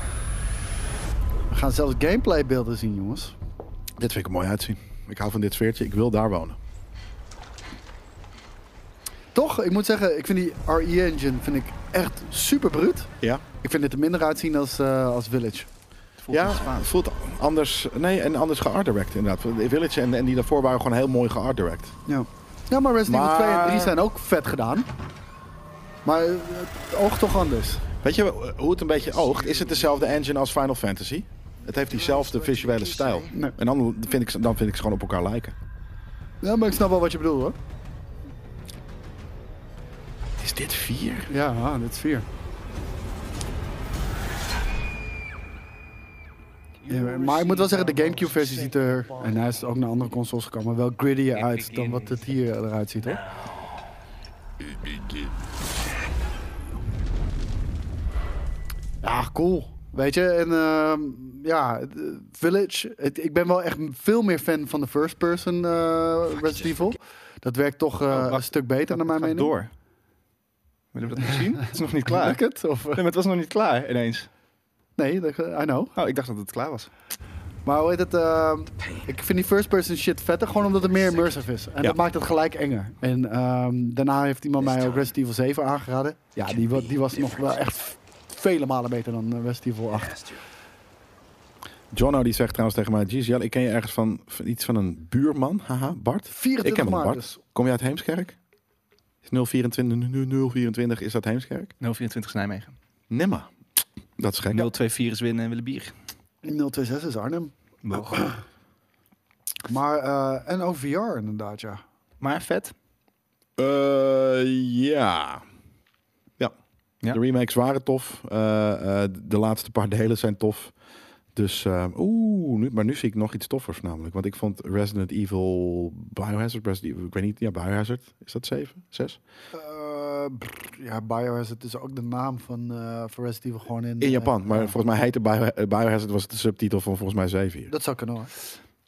Speaker 3: We gaan zelfs gameplaybeelden zien, jongens.
Speaker 2: Dit vind ik er mooi uitzien. Ik hou van dit sfeertje. Ik wil daar wonen.
Speaker 3: Toch, ik moet zeggen, ik vind die RE-engine vind ik echt super bruut.
Speaker 2: Ja.
Speaker 3: Ik vind het er minder uitzien als, eh, als Village.
Speaker 1: Voelt
Speaker 2: ja,
Speaker 1: als Spaans.
Speaker 2: voelt anders. Nee, en anders geartdirect inderdaad. De Village en, en die daarvoor waren gewoon heel mooi geartdirect.
Speaker 3: Ja, ja maar Resident
Speaker 2: Maar-
Speaker 3: Evil 2 en 3 zijn ook vet gedaan. Maar eh, het oogt toch anders.
Speaker 2: Weet je eh, hoe het een beetje oogt? Is het dezelfde engine als Final Fantasy? Het heeft diezelfde visuele stijl.
Speaker 3: Nee.
Speaker 2: En dan vind, ik, ze- dan vind ik ze gewoon op elkaar lijken.
Speaker 3: Ja, maar ik snap wel wat je bedoelt, hoor.
Speaker 2: Is dit vier?
Speaker 3: Ja, ah, dit is 4. maar ik moet wel zeggen, de Gamecube-versie ziet er, en hij is ook naar andere consoles gekomen, wel grittier uit dan wat het hier eruit ziet, hoor. Ja, Ah, cool. Weet je, en ehm, ja, eh, Village. het- ik ben wel echt veel meer fan van de first person eh, Resident Evil. Dat werkt toch eh,
Speaker 1: Oh, wacht.
Speaker 3: een stuk beter, naar mijn
Speaker 1: Gaat
Speaker 3: mening.
Speaker 1: door. Willen we dat nog zien? Het is nog niet klaar.
Speaker 3: Lukt het? Of, eh?
Speaker 1: Nee, maar het was nog niet klaar ineens.
Speaker 3: nee, dat- eh, I know.
Speaker 1: Oh, ik dacht dat het klaar was.
Speaker 3: Maar hoe heet het? ehm, ik vind die first person shit vetter, gewoon omdat het meer immersive is. En
Speaker 1: Ja.
Speaker 3: dat maakt het gelijk enger. En ehm, daarna heeft iemand mij ook Resident Evil 7 aangeraden. Ja, die, wa- die was nog wel echt vele malen beter dan eh, Resident Evil 8.
Speaker 2: Jono die zegt trouwens tegen mij, Jeez, Jelle, ik ken je ergens van, van iets van een buurman. Haha, Bart.
Speaker 3: 24
Speaker 2: ik ken wel een
Speaker 3: maart
Speaker 2: Bart.
Speaker 3: dus.
Speaker 2: Kom je uit Heemskerk? Is 024, 024 is dat Heemskerk?
Speaker 1: 024 is Nijmegen.
Speaker 2: Nemma. Dat is gek.
Speaker 1: 024 is winnen en willen bier.
Speaker 3: 026 is Arnhem. Oh. Maar, eh, en ook VR inderdaad, ja.
Speaker 1: Maar vet.
Speaker 2: Eh, ja. ja.
Speaker 1: Ja.
Speaker 2: De remakes waren tof. Eh, eh, de laatste paar <laughs> delen zijn tof. Dus, eh, oeh, nu, maar nu zie ik nog iets toffers namelijk. Want ik vond Resident Evil, Biohazard, Resident Evil, ik weet niet, ja, Biohazard, is dat 7, 6?
Speaker 3: Eh, brr, ja, Biohazard is ook de naam van eh van Resident Evil gewoon in...
Speaker 2: In Japan,
Speaker 3: eh,
Speaker 2: maar
Speaker 3: ja.
Speaker 2: volgens mij heette Bio- eh, Biohazard, was de subtitel van volgens mij 7 hier.
Speaker 3: Dat zou kunnen hoor.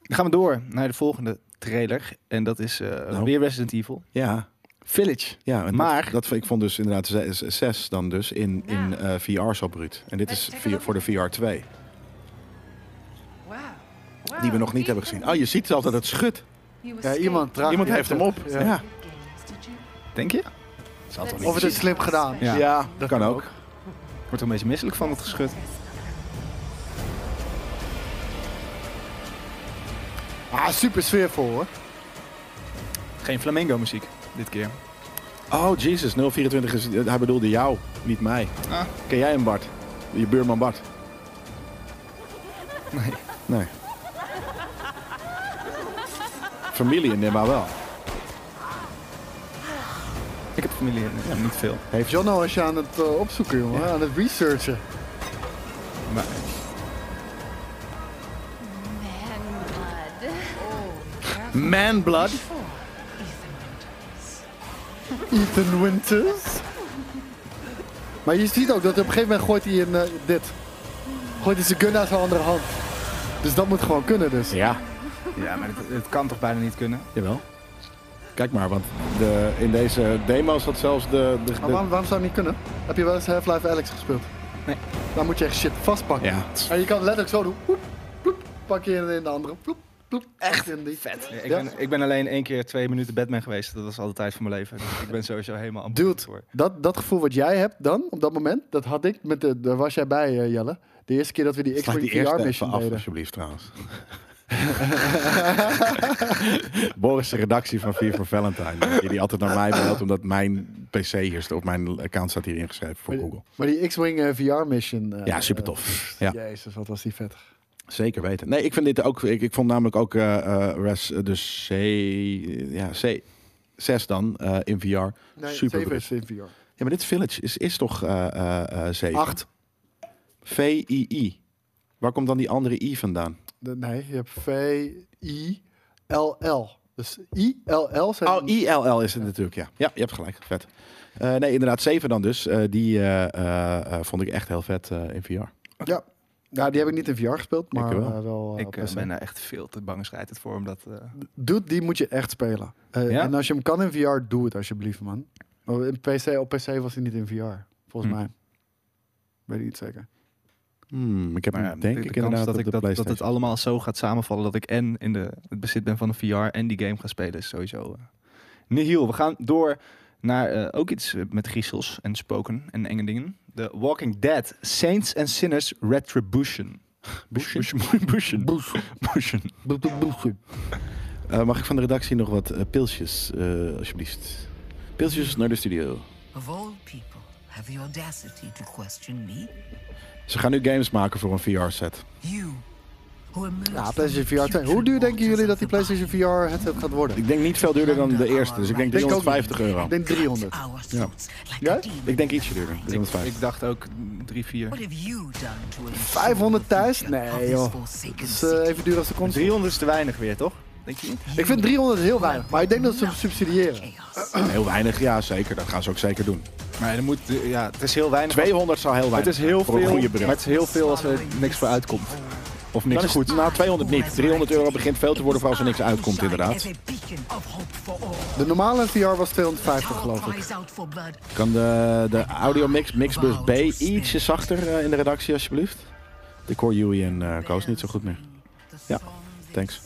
Speaker 1: Dan gaan we door naar de volgende trailer. En dat is eh,
Speaker 2: Nou.
Speaker 1: weer Resident Evil.
Speaker 2: Ja,
Speaker 1: Village.
Speaker 2: ja en
Speaker 1: Maar-
Speaker 2: dat, dat, vond- ik vond dus inderdaad 6 dan dus in, in eh, VR zo bruut. En dit is via- voor de VR 2, die we nog niet hebben gezien. Oh, je ziet zelf dat het schudt.
Speaker 3: Ja, iemand draagt
Speaker 2: Iemand
Speaker 3: die
Speaker 2: heeft hem op.
Speaker 3: headset. Ja.
Speaker 2: Ja.
Speaker 1: Denk je?
Speaker 2: Zal toch
Speaker 3: Of het is slim gedaan.
Speaker 1: Ja.
Speaker 2: dat kan ook.
Speaker 1: Wordt er een beetje misselijk van het geschut.
Speaker 3: Ah, super sfeervol hoor.
Speaker 1: Geen flamingo muziek dit keer.
Speaker 2: Oh, Jesus, 024 is... eh, Hij bedoelde jou, niet mij.
Speaker 1: Ah.
Speaker 2: Ken jij hem, Bart? Je buurman Bart?
Speaker 1: Nee.
Speaker 2: Nee. Familie in Nimba wel.
Speaker 1: Ik heb familie in, ja, niet veel.
Speaker 2: Heeft John...
Speaker 3: Jono was je aan het eh, opzoeken jongen, aan het researchen.
Speaker 1: Maar
Speaker 6: Man
Speaker 2: Manblood?
Speaker 6: blood.
Speaker 3: Ethan Winters. Maar je ziet ook dat op een gegeven moment gooit hij een eh, dit. Gooit hij zijn gun naar zijn andere hand. Dus dat moet gewoon kunnen dus.
Speaker 2: Ja,
Speaker 1: ja, maar het, het kan toch bijna niet kunnen?
Speaker 2: jawel. Kijk maar, want de, in deze demo zat zelfs de... de,
Speaker 3: Maar
Speaker 2: de-
Speaker 3: waarom, waarom zou het niet kunnen? Heb je wel eens Half-Life Alex gespeeld?
Speaker 1: Nee.
Speaker 3: Dan moet je echt shit vastpakken.
Speaker 2: Ja.
Speaker 3: En je kan letterlijk zo doen. Ploep, ploep, pak je in de andere. Ploep, ploep, echt in die.
Speaker 1: Vet. ik,
Speaker 3: Ja.
Speaker 1: ben, ik ben alleen één keer twee minuten Batman geweest. Dat was al de tijd van mijn leven. Dus ik ben sowieso helemaal amper
Speaker 3: Dude,
Speaker 1: voor.
Speaker 3: dat, dat gevoel wat jij hebt dan, op dat moment, dat had ik, met de, daar was jij bij eh, Jelle. De eerste keer dat we die
Speaker 2: Slaat
Speaker 3: X-Wing
Speaker 2: die eerste
Speaker 3: VR
Speaker 2: even
Speaker 3: mission
Speaker 2: af,
Speaker 3: deden.
Speaker 2: alsjeblieft, trouwens. <laughs> Boris, de redactie van 4 voor Valentine. Die, die altijd naar mij mailt, omdat mijn PC hier staat, of mijn account staat hier ingeschreven voor Google.
Speaker 3: Maar die X-Wing eh, VR mission. eh,
Speaker 2: Ja, super tof. Ja,
Speaker 3: Jezus, wat was die vet.
Speaker 2: zeker weten. Nee, ik vind dit ook. Ik, ik vond namelijk ook eh eh, Res, eh, dus C, ja, C, 6 dan eh, in VR.
Speaker 3: Nee,
Speaker 2: super.
Speaker 3: zeven
Speaker 2: bruut.
Speaker 3: is in VR.
Speaker 2: Ja, maar dit Village is, is toch eh eh, eh, 7?
Speaker 3: 8.
Speaker 2: V-I-I. Waar komt dan die andere I vandaan?
Speaker 3: Nee, je hebt V-I-L-L. Dus I-L-L zijn...
Speaker 2: Oh, ILL is het natuurlijk, ja. Ja, je hebt gelijk. Vet. Eh, nee, inderdaad, 7 dan dus. Eh, die eh, eh, eh, vond ik echt heel vet eh, in VR.
Speaker 3: ja. ja, die heb ik niet in VR gespeeld, maar
Speaker 2: wel.
Speaker 3: wel. wel eh,
Speaker 1: Ik
Speaker 3: op
Speaker 1: eh,
Speaker 3: PC.
Speaker 1: ben daar echt veel te bang schrijft het voor. Omdat, eh,
Speaker 3: Dude, die moet je echt spelen. Eh,
Speaker 1: Ja?
Speaker 3: En als je hem kan in VR, doe het alsjeblieft, man. Maar in PC, op PC was hij niet in VR, volgens
Speaker 1: Hm.
Speaker 3: mij. Weet ik niet zeker.
Speaker 2: Hmm, ik heb
Speaker 1: maar Nou ja,
Speaker 2: hem denk
Speaker 1: de- de
Speaker 2: ik
Speaker 1: kans
Speaker 2: inderdaad
Speaker 1: dat,
Speaker 2: op
Speaker 1: ik,
Speaker 2: de
Speaker 1: dat, dat
Speaker 2: PlayStation.
Speaker 1: het allemaal zo gaat samenvallen dat ik en in de, het bezit ben van een VR en die game ga spelen is sowieso eh nihil. We gaan door naar eh, ook iets eh, met griezels en spoken en enge dingen. De Walking Dead Saints and Sinners Retribution. <laughs> Bushen. Bushen. Bushen.
Speaker 2: Eh, mag ik van de redactie nog wat eh, pilsjes, eh, alsjeblieft? Pilsjes naar de studio.
Speaker 7: Of all people have the audacity to question me,
Speaker 2: Ze gaan nu games maken voor een VR-set.
Speaker 7: you who emerged
Speaker 3: Ja,
Speaker 7: from the
Speaker 3: PlayStation VR 2. Hoe
Speaker 7: putrid
Speaker 3: duur denken
Speaker 7: waters
Speaker 3: jullie dat
Speaker 7: of
Speaker 3: die
Speaker 7: the body.
Speaker 3: PlayStation VR headset gaat worden?
Speaker 2: Ik denk niet veel duurder dan de eerste, dus ik denk
Speaker 7: Denk
Speaker 3: ook niet.
Speaker 2: 350 euro.
Speaker 3: Ik denk 300.
Speaker 7: Our thoughts like
Speaker 3: Ja?
Speaker 7: a demon
Speaker 2: Ik denk ietsje
Speaker 7: inside.
Speaker 2: duurder,
Speaker 1: Ik
Speaker 2: 350.
Speaker 1: dacht ook mm, drie, vier.
Speaker 7: What have you done to ensure
Speaker 3: 500
Speaker 7: the
Speaker 3: thuis?
Speaker 7: future
Speaker 3: Nee,
Speaker 7: of this
Speaker 3: joh.
Speaker 7: forsaken
Speaker 3: Dat is
Speaker 7: city?
Speaker 3: eh, even duur als de console.
Speaker 1: 300 is te weinig weer, toch? Denk je niet?
Speaker 3: Ik vind 300 heel weinig, maar ik denk dat ze hem
Speaker 7: Nothing but
Speaker 3: subsidiëren.
Speaker 7: chaos.
Speaker 2: Heel weinig, ja zeker. Dat gaan ze ook zeker doen.
Speaker 1: Maar dan moet, eh, ja, het is heel weinig.
Speaker 2: 200 zou heel weinig
Speaker 1: Het is
Speaker 2: zijn
Speaker 1: heel
Speaker 2: voor een
Speaker 1: veel,
Speaker 2: goede bril.
Speaker 1: maar het is heel veel als er niks voor uitkomt. Of
Speaker 2: Dan
Speaker 1: niks
Speaker 2: is
Speaker 1: goed.
Speaker 2: het na 200 niet. 300 euro begint veel te worden voor als er niks uitkomt, inderdaad.
Speaker 3: De normale VR was 250, geloof ik.
Speaker 2: Kan de, de audiomix, mixbus B, ietsje zachter eh, in de redactie, alsjeblieft? Ik hoor Yui en eh Koos niet zo goed meer. Ja, thanks.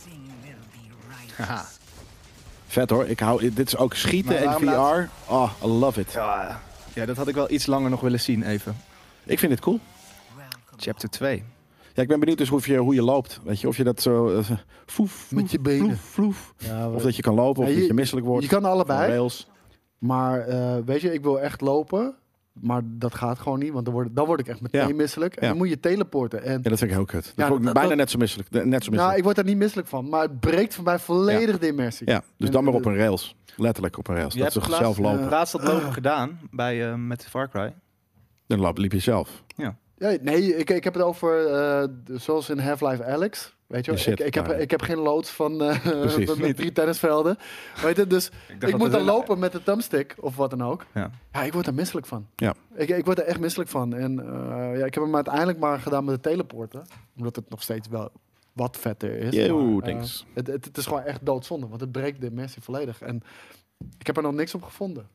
Speaker 2: Vet hoor, ik hou, dit is ook schieten
Speaker 1: Maar
Speaker 2: en VR.
Speaker 1: waarom
Speaker 2: Oh, I love it.
Speaker 1: Ja, ja, dat had ik wel iets langer nog willen zien even.
Speaker 2: Ik vind dit cool.
Speaker 1: Chapter 2.
Speaker 2: Ja, ik ben benieuwd dus hoe je, hoe je loopt. Weet je, of je dat zo... eh, foef,
Speaker 3: Met je
Speaker 2: vloef,
Speaker 3: benen.
Speaker 2: vloef, vloef.
Speaker 3: Ja,
Speaker 2: Of dat je kan lopen, of
Speaker 3: Ja, je-
Speaker 2: dat je misselijk wordt.
Speaker 3: je kan allebei.
Speaker 2: Van rails.
Speaker 3: Maar eh, weet je, ik wil echt lopen. Maar dat gaat gewoon niet, want dan word, dan word ik echt meteen
Speaker 2: Ja.
Speaker 3: misselijk. En
Speaker 2: Ja.
Speaker 3: dan moet je teleporten. En,
Speaker 2: Ja, dat vind ik heel kut. Dat
Speaker 3: Ja,
Speaker 2: vond ik
Speaker 3: dat-
Speaker 2: bijna
Speaker 3: dat-
Speaker 2: net zo misselijk. de- Net zo misselijk.
Speaker 3: nou, ik word er niet misselijk van, maar het breekt voor mij volledig de immersie.
Speaker 2: Ja, dus
Speaker 3: En-
Speaker 2: dan maar op een rails. Letterlijk op een rails. dat ze zelf lopen.
Speaker 3: eh,
Speaker 1: laatst dat lopen gedaan bij, eh, met Far Cry.
Speaker 2: Dan loop, liep je zelf.
Speaker 3: Ja, nee, ik, ik heb het over, eh, de- zoals in Half-Life Alex. Weet je wel,
Speaker 2: Je zit
Speaker 3: ik, ik, heb,
Speaker 2: daar.
Speaker 3: ik heb geen loods van eh,
Speaker 2: Precies.
Speaker 3: met-
Speaker 2: Niet.
Speaker 3: met drie tennisvelden. Weet je, dus ik,
Speaker 1: dat
Speaker 3: moet
Speaker 1: het
Speaker 3: dan
Speaker 1: een-
Speaker 3: lopen met de thumbstick of wat dan ook.
Speaker 1: Ja.
Speaker 3: Ja, ik word er misselijk van.
Speaker 2: Ja.
Speaker 3: Ik, ik word er echt misselijk van. En eh, ja, ik heb hem uiteindelijk maar gedaan met de teleporten. Omdat het nog steeds wel wat vetter is.
Speaker 2: Yo,
Speaker 3: Maar, eh,
Speaker 2: thanks.
Speaker 3: het, het, het is gewoon echt doodzonde, want het breekt de immersie volledig. En ik heb er nog niks op gevonden.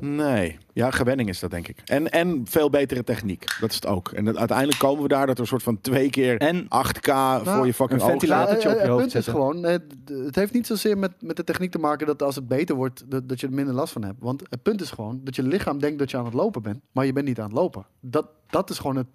Speaker 2: Nee. Ja, gewenning is dat, denk ik. En, en veel betere techniek. Dat is het ook. En dat- uiteindelijk komen we daar dat we een soort van twee keer
Speaker 1: En-
Speaker 2: 8K voor
Speaker 3: Nou,
Speaker 2: je fucking
Speaker 1: een
Speaker 2: oog
Speaker 1: ventilator. latertje
Speaker 2: zetten.
Speaker 1: op je
Speaker 3: het
Speaker 1: hoofd
Speaker 3: eh, punt is
Speaker 1: zetten.
Speaker 3: gewoon, eh, d- het heeft niet zozeer met, met de techniek te maken dat als het beter wordt, dat, dat je er minder last van hebt. Want het punt is gewoon dat je lichaam denkt dat je aan het lopen bent, maar je bent niet aan het lopen. Dat, dat is gewoon het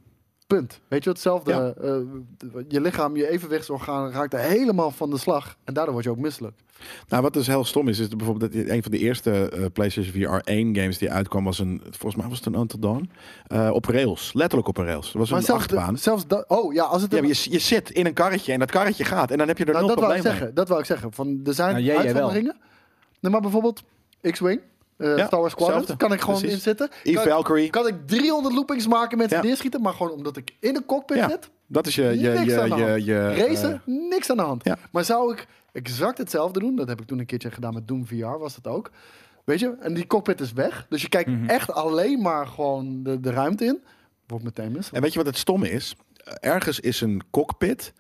Speaker 3: punt. Weet je, hetzelfde.
Speaker 2: Ja.
Speaker 3: eh, d- je lichaam, je evenwichtsorgaan raakt er helemaal van de slag en daardoor word je ook misselijk.
Speaker 2: Nou, wat dus heel stom is, is dat bijvoorbeeld dat een van de eerste eh, PlayStation VR 1 games die uitkwam was een, volgens mij was het een Until Dawn, eh, op rails. Letterlijk op een rails. Dat was
Speaker 3: Maar
Speaker 2: een
Speaker 3: zelfs,
Speaker 2: achtbaan.
Speaker 3: zelfs dat, oh ja, als het
Speaker 2: Ja, maar je, je zit in een karretje en dat karretje gaat en dan heb je er
Speaker 3: Nou,
Speaker 2: nul
Speaker 3: dat wil ik
Speaker 2: probleem mee.
Speaker 3: zeggen. Dat wil ik zeggen. Van, er zijn
Speaker 1: Nou, jij- jij wel.
Speaker 3: uitzonderingen. Nee, maar bijvoorbeeld X-Wing, eh
Speaker 2: Ja,
Speaker 3: Star Wars Squadron,
Speaker 2: hetzelfde.
Speaker 3: kan ik gewoon
Speaker 2: Precies.
Speaker 3: inzitten.
Speaker 2: Eve
Speaker 3: Kan ik-
Speaker 2: Valkyrie.
Speaker 3: Kan ik 300 loopings maken met
Speaker 2: Ja.
Speaker 3: neerschieten, maar gewoon omdat ik in de cockpit
Speaker 2: Ja,
Speaker 3: zit,
Speaker 2: dat is je... je,
Speaker 3: niks
Speaker 2: je,
Speaker 3: aan de
Speaker 2: je,
Speaker 3: hand.
Speaker 2: je, eh,
Speaker 3: Racen, niks aan de hand.
Speaker 2: ja.
Speaker 3: Maar zou ik exact hetzelfde doen? Dat heb ik toen een keertje gedaan met Doom VR, was dat ook. Weet je, en die cockpit is weg. Dus je kijkt
Speaker 2: Mhm.
Speaker 3: echt alleen maar gewoon de, de ruimte in. Wordt meteen mis.
Speaker 2: En weet je wat het stomme is? Ergens is een cockpit.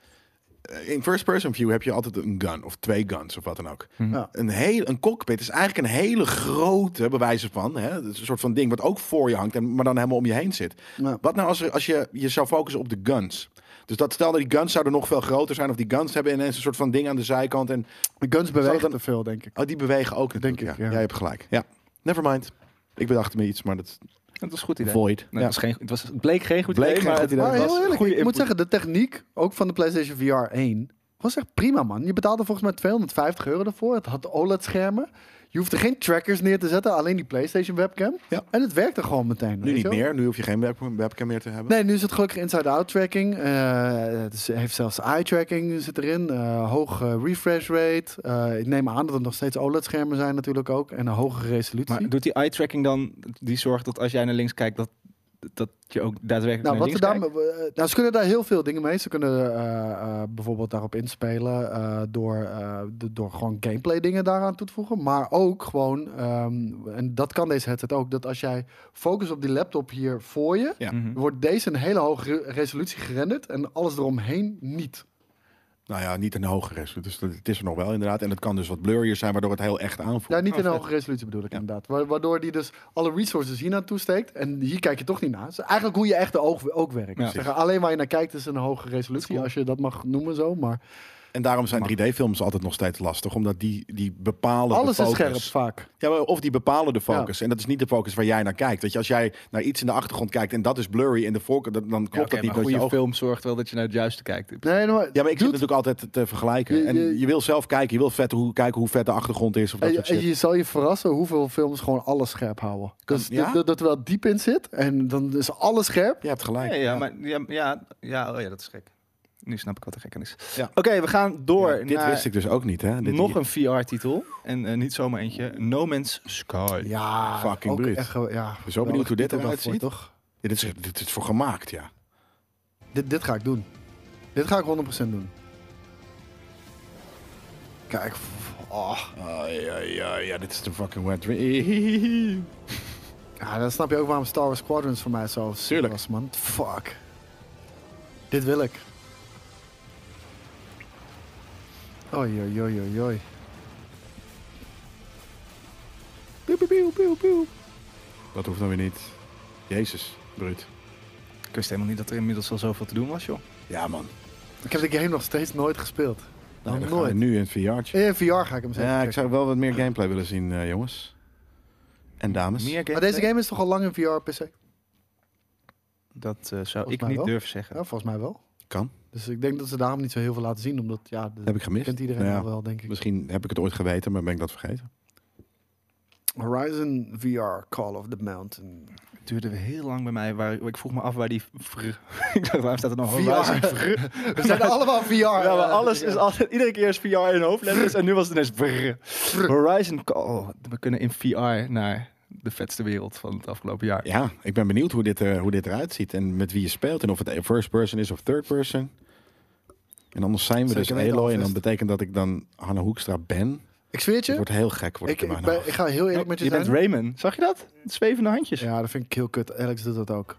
Speaker 2: eh, In first-person view heb je altijd een gun of twee guns of wat dan ook.
Speaker 3: Ja.
Speaker 2: Een, heel, een cockpit is eigenlijk een hele grote bewijzen van. Hè? Dat is een soort van ding wat ook voor je hangt, en, maar dan helemaal om je heen zit.
Speaker 3: Ja.
Speaker 2: Wat nou als, er, als je je zou focussen op de guns? Dus dat stel dat die guns zouden nog veel groter zijn, of die guns hebben ineens een soort van ding aan de zijkant. En
Speaker 3: De guns
Speaker 2: Zou
Speaker 3: bewegen
Speaker 2: dat-
Speaker 3: te veel, denk ik.
Speaker 2: oh, die bewegen ook natuurlijk.
Speaker 3: Denk ik,
Speaker 2: ja.
Speaker 3: ja.
Speaker 2: Jij hebt gelijk. Ja, never mind. Ik bedacht me iets, maar dat
Speaker 1: Dat was een goed idee.
Speaker 2: void.
Speaker 1: Nee,
Speaker 2: ja.
Speaker 1: het, was geen, het, was, het bleek geen goed
Speaker 2: Bleek
Speaker 1: idee,
Speaker 2: geen
Speaker 1: maar
Speaker 2: goed
Speaker 1: het
Speaker 2: idee.
Speaker 1: was
Speaker 3: Maar heel eerlijk,
Speaker 1: goede
Speaker 3: ik moet
Speaker 1: input.
Speaker 3: zeggen, de techniek, ook van de PlayStation VR 1, was echt prima, man. Je betaalde volgens mij 250 euro ervoor. Het had OLED-schermen. Je hoefde geen trackers neer te zetten, alleen die PlayStation webcam.
Speaker 2: Ja.
Speaker 3: En het werkte gewoon meteen. weet
Speaker 2: Nu
Speaker 3: je
Speaker 2: niet
Speaker 3: wel.
Speaker 2: meer. Nu hoef je geen web- webcam meer te hebben.
Speaker 3: Nee, nu is het gelukkig inside-out tracking. Eh, het is- heeft zelfs eye-tracking zit erin. Eh hoge refresh rate. Eh, ik neem aan dat het nog steeds OLED-schermen zijn natuurlijk ook. En een hogere resolutie.
Speaker 1: Maar doet die eye-tracking dan, die zorgt dat als jij naar links kijkt, dat, dat je ook daadwerkelijk
Speaker 3: Nou,
Speaker 1: naar
Speaker 3: wat ze,
Speaker 1: links
Speaker 3: daar,
Speaker 1: kijkt?
Speaker 3: eh, nou, ze kunnen daar heel veel dingen mee. Ze kunnen eh, eh, bijvoorbeeld daarop inspelen eh, door, eh, de- door gewoon gameplay dingen daaraan toe te voegen. Maar ook gewoon, ehm, en dat kan deze headset ook, dat als jij focus op die laptop hier voor je,
Speaker 2: Ja.
Speaker 3: wordt deze een hele hoge re- resolutie gerenderd en alles eromheen niet.
Speaker 2: Nou ja, niet een hoge resolutie. Dus dat- het is er nog wel inderdaad. En het kan dus wat blurrier zijn, waardoor het heel echt aanvoelt.
Speaker 3: Ja, niet in een hoge resolutie bedoel ik inderdaad. Wa- Waardoor die dus alle resources hier naartoe steekt en hier kijk je toch niet naar. Dus eigenlijk hoe je echte oog ook werkt.
Speaker 1: Ja.
Speaker 3: Zeg, alleen waar je naar kijkt is een hoge resolutie,
Speaker 1: cool.
Speaker 3: als je dat mag noemen zo, maar...
Speaker 2: En daarom zijn 3D-films altijd nog steeds lastig. Omdat die, die bepalen
Speaker 3: Alles
Speaker 2: de
Speaker 3: is
Speaker 2: focus.
Speaker 3: scherp vaak.
Speaker 2: Ja, maar of die bepalen de focus. En dat is niet de focus waar jij naar kijkt. Weet je, als jij naar iets in de achtergrond kijkt en dat is blurry in de voorkant, dan dan klopt
Speaker 1: Ja, oké,
Speaker 2: dat niet
Speaker 1: maar
Speaker 2: met je
Speaker 1: goede
Speaker 2: oog.
Speaker 1: film zorgt wel dat je naar het juiste kijkt.
Speaker 3: Nee, nee, maar,
Speaker 2: Ja, maar ik zit
Speaker 3: Dude,
Speaker 2: natuurlijk altijd te vergelijken.
Speaker 3: Je-
Speaker 2: en
Speaker 3: je-
Speaker 2: je wil zelf kijken, je wil vet hoe, kijken hoe vet de achtergrond is. Of dat
Speaker 3: en je,
Speaker 2: soort shit.
Speaker 3: en eh, je zal je verrassen hoeveel films gewoon alles scherp houden. Dus
Speaker 2: Ja?
Speaker 3: dat- dat- dat er wel diep in zit en dan is alles scherp.
Speaker 2: Je hebt gelijk.
Speaker 1: Ja, ja, maar ja, ja, ja, oh ja, dat is gek. Nu snap ik wat er gek aan is.
Speaker 2: Ja.
Speaker 1: Oké, we gaan door
Speaker 2: Ja, dit
Speaker 1: naar
Speaker 2: wist ik dus ook niet, hè? Dit
Speaker 1: nog een VR-titel. En eh, niet zomaar eentje. No Man's Sky.
Speaker 3: Ja,
Speaker 2: Fucking
Speaker 3: ook
Speaker 2: bruut.
Speaker 3: echt ge- ja,
Speaker 2: Zo benieuwd hoe dit
Speaker 3: geweldig
Speaker 2: eruit
Speaker 3: voor,
Speaker 2: ziet.
Speaker 3: Toch?
Speaker 2: Ja, dit, is, dit is voor gemaakt, ja.
Speaker 3: Dit, dit ga ik doen. Dit ga ik 100% doen. Kijk, f- oh,
Speaker 2: Ah, ja, ja, ja, dit is de fucking wet dream.
Speaker 3: Ja, dan snap je ook waarom Star Wars Squadrons voor mij zo super
Speaker 2: Tuurlijk.
Speaker 3: was, man. Fuck. Dit wil ik. Oei, oei, oei, oei, oei. Piu, piu, piu, piu, piu.
Speaker 2: Dat hoeft dan weer niet. Jezus, bruut.
Speaker 1: Ik wist helemaal niet dat er inmiddels al zoveel te doen was, joh.
Speaker 2: Ja, man.
Speaker 3: Ik heb de game nog steeds nooit gespeeld.
Speaker 2: Nou, dan
Speaker 3: nog
Speaker 2: gaan we
Speaker 3: nooit.
Speaker 2: nu in het VR'tje.
Speaker 3: In VR ga ik hem zeker
Speaker 2: Ja, ik
Speaker 3: checken.
Speaker 2: zou wel wat meer gameplay willen zien, eh, jongens. En dames.
Speaker 1: Meer
Speaker 3: Maar deze game is toch al lang in VR PC?
Speaker 1: Dat eh, zou ik
Speaker 3: mij
Speaker 1: niet
Speaker 3: wel.
Speaker 1: durven zeggen.
Speaker 3: Ja, volgens mij wel.
Speaker 2: Kan.
Speaker 3: Dus ik denk dat ze daarom niet zo heel veel laten zien, omdat ja, dat
Speaker 2: Heb ik gemist.
Speaker 3: kent iedereen
Speaker 2: Nou ja,
Speaker 3: al wel, denk ik.
Speaker 2: Misschien heb ik het ooit geweten, maar ben ik dat vergeten.
Speaker 3: Horizon VR Call of the Mountain.
Speaker 1: Het duurde heel lang bij mij. Waar, ik vroeg me af waar die... vr- <laughs> ik dacht, waarom staat er
Speaker 2: Oh,
Speaker 1: nog
Speaker 3: VR.
Speaker 1: Horizon vr?
Speaker 3: <laughs> We zijn allemaal VR.
Speaker 1: Ja, maar alles is altijd, <laughs> iedere keer is VR in hoofdletters en nu was het ineens brrr. Horizon Call. Oh, We kunnen in VR naar de vetste wereld van het afgelopen jaar.
Speaker 2: Ja, ik ben benieuwd hoe dit, eh, hoe dit eruit ziet en met wie je speelt. En of het first person is of third person. En anders zijn we
Speaker 3: Zeker
Speaker 2: dus
Speaker 3: weten,
Speaker 2: Eloy. En
Speaker 3: Alvest.
Speaker 2: dan betekent dat ik dan Hanna Hoekstra ben.
Speaker 3: Ik zweer het
Speaker 2: Het
Speaker 3: je,
Speaker 2: wordt heel gek. Wordt
Speaker 3: ik,
Speaker 2: het in
Speaker 3: ik,
Speaker 2: mijn
Speaker 3: ben-
Speaker 2: hoofd.
Speaker 3: ik ga heel eerlijk met je,
Speaker 1: Oh, je
Speaker 3: zijn.
Speaker 1: bent Raymond. Zag je dat? Het zwevende handjes.
Speaker 3: ja, dat vind ik heel kut. Alex doet dat ook.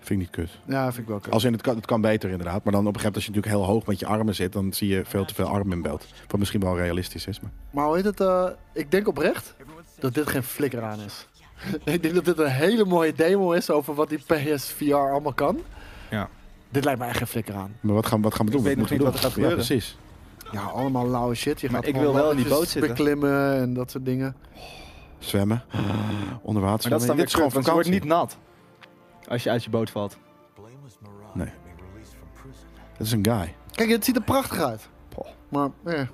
Speaker 2: Vind ik niet kut.
Speaker 3: Ja, dat vind ik wel kut.
Speaker 2: Als in, het, kan, het kan beter inderdaad. Maar dan op een gegeven moment als je natuurlijk heel hoog met je armen zit... dan zie je veel te veel armen in beeld. Wat misschien wel realistisch is. Maar...
Speaker 3: Maar hoe heet het? eh, ik denk oprecht dat dit geen flikker aan is. <laughs> ik denk dat dit een hele mooie demo is over wat die PSVR allemaal kan.
Speaker 1: Ja.
Speaker 3: Dit lijkt mij echt geen flikker aan.
Speaker 2: Maar wat gaan, wat gaan we doen?
Speaker 1: Ik weet nog
Speaker 2: moeten we
Speaker 1: niet
Speaker 2: doen?
Speaker 1: wat er gaat gebeuren.
Speaker 2: Ja, precies.
Speaker 3: Ja, allemaal lauwe shit. Je
Speaker 1: Maar
Speaker 3: gaat
Speaker 1: ik
Speaker 3: gewoon
Speaker 1: wil wel in die
Speaker 3: walletjes
Speaker 1: boot zitten.
Speaker 3: beklimmen en dat soort dingen.
Speaker 2: Zwemmen. Onder water
Speaker 1: Ah. Maar dat is dan
Speaker 2: zwemmen.
Speaker 1: weer
Speaker 2: Dit is gewoon
Speaker 1: kut, want je wordt
Speaker 2: vakantie.
Speaker 1: niet nat. Als je uit je boot valt.
Speaker 2: Nee. Dat is een guy.
Speaker 3: Kijk, het ziet er prachtig uit. Maar, eh. Ik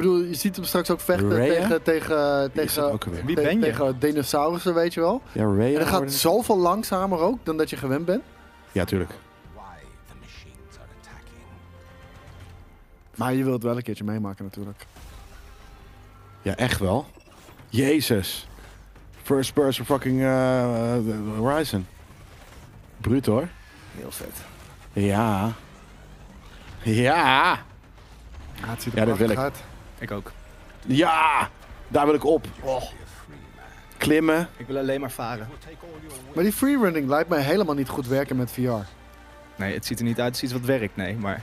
Speaker 3: bedoel, je ziet hem straks ook vechten
Speaker 2: Raya?
Speaker 3: tegen, tegen,
Speaker 2: Wie is dat
Speaker 3: tegen,
Speaker 2: ook alweer?
Speaker 1: Wie
Speaker 3: te-
Speaker 1: ben je?
Speaker 3: tegen dinosaurussen, weet je wel.
Speaker 2: Ja, Ray.
Speaker 3: En dat gaat zoveel langzamer ook dan dat je gewend bent.
Speaker 2: Ja, tuurlijk.
Speaker 3: Maar je wilt wel een keertje meemaken natuurlijk.
Speaker 2: Ja, echt wel. Jezus. First person fucking eh, eh, Horizon. Bruut hoor.
Speaker 1: Heel vet.
Speaker 2: Ja. Ja.
Speaker 3: Ja, het ziet er
Speaker 2: Ja, dat wil
Speaker 3: prachtig
Speaker 2: ik.
Speaker 3: uit.
Speaker 1: Ik ook.
Speaker 2: Ja. Daar wil ik op. Klimmen.
Speaker 1: Ik wil alleen maar varen.
Speaker 3: Maar die freerunning lijkt mij helemaal niet goed werken met VR.
Speaker 1: Nee, het ziet er niet uit als iets wat werkt, nee. Maar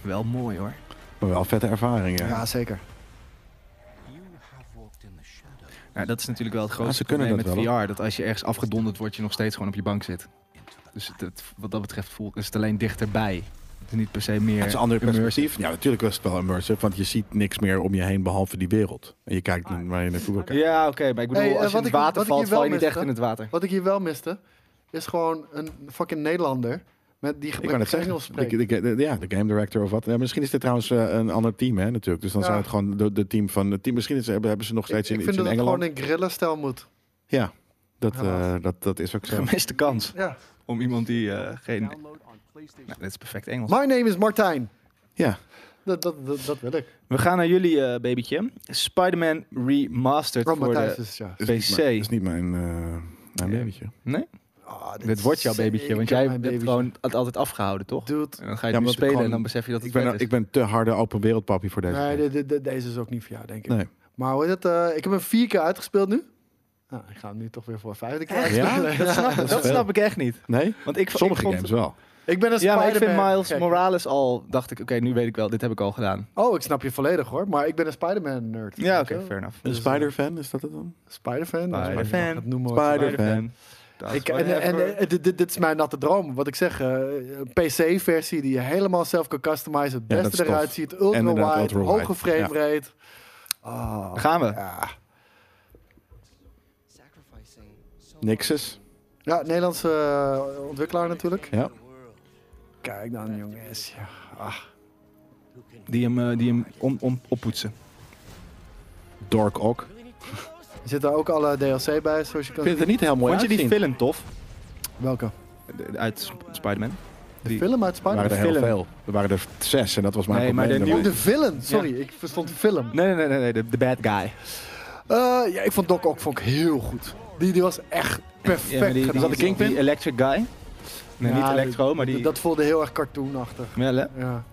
Speaker 1: wel mooi hoor.
Speaker 2: Maar wel vette ervaringen.
Speaker 3: Ja, zeker.
Speaker 1: Nou, dat is natuurlijk wel het
Speaker 2: Ja,
Speaker 1: grootste
Speaker 2: ze kunnen
Speaker 1: probleem met
Speaker 2: dat wel,
Speaker 1: VR. Dat als je ergens afgedonderd wordt, je nog steeds gewoon op je bank zit. Dus het, het- wat dat betreft voelt, is het alleen dichterbij. Het is niet per se meer
Speaker 2: Het is een ander
Speaker 1: immersive.
Speaker 2: perspectief. Ja, natuurlijk was het wel immersive, want je ziet niks meer om je heen behalve die wereld. En je kijkt
Speaker 3: Ah.
Speaker 2: naar waar je naartoe wil kijken.
Speaker 1: Ja, oké. maar ik bedoel,
Speaker 3: Hey, eh,
Speaker 1: als je
Speaker 3: wat
Speaker 1: in het
Speaker 3: ik-
Speaker 1: water
Speaker 3: wat ik
Speaker 1: valt,
Speaker 3: hier wel
Speaker 1: val je niet echt
Speaker 3: miste-
Speaker 1: in het water. <laughs>
Speaker 3: Wat ik hier wel miste, is gewoon een fucking Nederlander met die
Speaker 2: Ik kan
Speaker 3: met
Speaker 2: het
Speaker 3: Engels
Speaker 2: zeggen.
Speaker 3: spreekt.
Speaker 2: Ik- ik- de- ja, de game director of wat. Ja, misschien is dit trouwens eh, een ander team, hè, natuurlijk. Dus dan
Speaker 3: Ja.
Speaker 2: zou het gewoon de, de team van het team. Misschien is, hebben, hebben ze nog
Speaker 3: Ik
Speaker 2: steeds in,
Speaker 3: vind
Speaker 2: iets
Speaker 3: dat
Speaker 2: in
Speaker 3: het
Speaker 2: Engeland.
Speaker 3: gewoon een grillenstijl moet.
Speaker 2: Ja, dat,
Speaker 3: Helaas.
Speaker 2: eh, dat, dat is ook zo.
Speaker 1: Gemiste kans
Speaker 3: Ja.
Speaker 1: om iemand die eh, geen... Nou, dit is perfect Engels.
Speaker 3: My name is Martijn.
Speaker 2: Ja,
Speaker 3: Dat, dat, dat, dat wil ik.
Speaker 1: We gaan naar jullie, eh, babytje. Spider-Man Remastered
Speaker 3: Roma
Speaker 1: voor
Speaker 3: Matthijs
Speaker 1: de...
Speaker 3: is ja.
Speaker 2: is niet
Speaker 1: PC.
Speaker 2: mijn- is niet mijn, eh mijn babytje.
Speaker 1: Nee?
Speaker 3: Ah,
Speaker 1: Dit,
Speaker 3: is
Speaker 1: wordt jouw babytje, want
Speaker 3: zeker
Speaker 1: jij
Speaker 3: mijn
Speaker 1: hebt
Speaker 3: babytje.
Speaker 1: gewoon het altijd afgehouden, toch?
Speaker 3: Dude.
Speaker 1: En dan ga je
Speaker 2: Ja,
Speaker 1: het nu
Speaker 2: omdat ik
Speaker 1: spelen en
Speaker 2: gewoon-
Speaker 1: dan besef je dat het
Speaker 2: Ik ben, nou-
Speaker 1: vet is.
Speaker 2: ik ben te harde open wereldpapi voor deze.
Speaker 3: Nee,
Speaker 2: game.
Speaker 3: de, de, de- deze is ook niet voor jou, denk ik.
Speaker 2: Nee.
Speaker 3: Maar hoe is het? eh, ik heb hem vier keer uitgespeeld nu. Nou, ik ga hem nu toch weer voor een vijfde keer
Speaker 1: Echt?
Speaker 3: uitspelen.
Speaker 2: Ja?
Speaker 1: Dat snap, dat
Speaker 2: veel.
Speaker 1: snap ik echt niet.
Speaker 2: Nee?
Speaker 1: Want ik,
Speaker 2: Sommige
Speaker 1: ik vond-
Speaker 2: games wel.
Speaker 3: <laughs> Ik ben een
Speaker 1: Ja, maar ik vind
Speaker 3: Spider-Man
Speaker 1: Miles
Speaker 3: gek.
Speaker 1: Morales al... Dacht ik, oké, nu weet ik wel. Dit heb ik al gedaan.
Speaker 3: Oh, ik snap je volledig hoor. Maar ik ben een Spider-Man nerd.
Speaker 1: Ja,
Speaker 3: weet
Speaker 1: oké,
Speaker 3: je wel.
Speaker 1: fair enough. Dus
Speaker 2: Een Spider-fan,
Speaker 1: eh,
Speaker 2: is dat het dan?
Speaker 3: Spider-Fan.
Speaker 1: Spider-Fan.
Speaker 3: Dat noem maar
Speaker 2: Spider-
Speaker 3: Ik, en en eh, dit, dit- dit is mijn natte droom. Wat ik zeg, eh, een PC-versie die je helemaal zelf kan customizen. Het
Speaker 2: Ja, dat
Speaker 3: beste
Speaker 2: is tof.
Speaker 3: eruit ziet.
Speaker 2: En inderdaad,
Speaker 3: Ultra-wide,
Speaker 2: ultra-wide.
Speaker 3: hoge frame rate. Ah,
Speaker 1: Gaan we.
Speaker 3: ja.
Speaker 2: Nixus.
Speaker 3: Ja, Nederlandse eh, ontwikkelaar natuurlijk.
Speaker 2: Ja.
Speaker 3: Kijk dan, jongens. Ja.
Speaker 1: Die hem, eh, die hem om, om, oppoetsen.
Speaker 2: Dork ook.
Speaker 3: Er zitten ook alle DLC bij, zoals je
Speaker 2: Ik vind
Speaker 3: kan zien.
Speaker 2: het er niet heel mooi
Speaker 1: Vond je die
Speaker 2: uitzien.
Speaker 1: film tof?
Speaker 3: Welke?
Speaker 1: De- Uit Sp- Spider-Man? Die-
Speaker 3: Film uit
Speaker 2: Er waren
Speaker 3: Spanje?
Speaker 2: er heel veel. Er waren er zes en dat was mijn
Speaker 1: Nee, maar
Speaker 2: probleem.
Speaker 1: de
Speaker 3: Oh,
Speaker 1: nieuwe-
Speaker 3: de villain. Sorry, ik verstond film.
Speaker 1: Nee, nee, nee, nee, nee, de, de bad guy.
Speaker 3: Eh, ja, ik vond Doc ook vond ik heel goed. Die, die was echt perfect
Speaker 1: Ja, maar die,
Speaker 3: gedaan.
Speaker 1: die, die, die electric guy. Nee,
Speaker 3: Ja,
Speaker 1: niet electro, maar die...
Speaker 3: Dat voelde heel erg cartoonachtig.
Speaker 1: Ja, hè?
Speaker 3: Ja.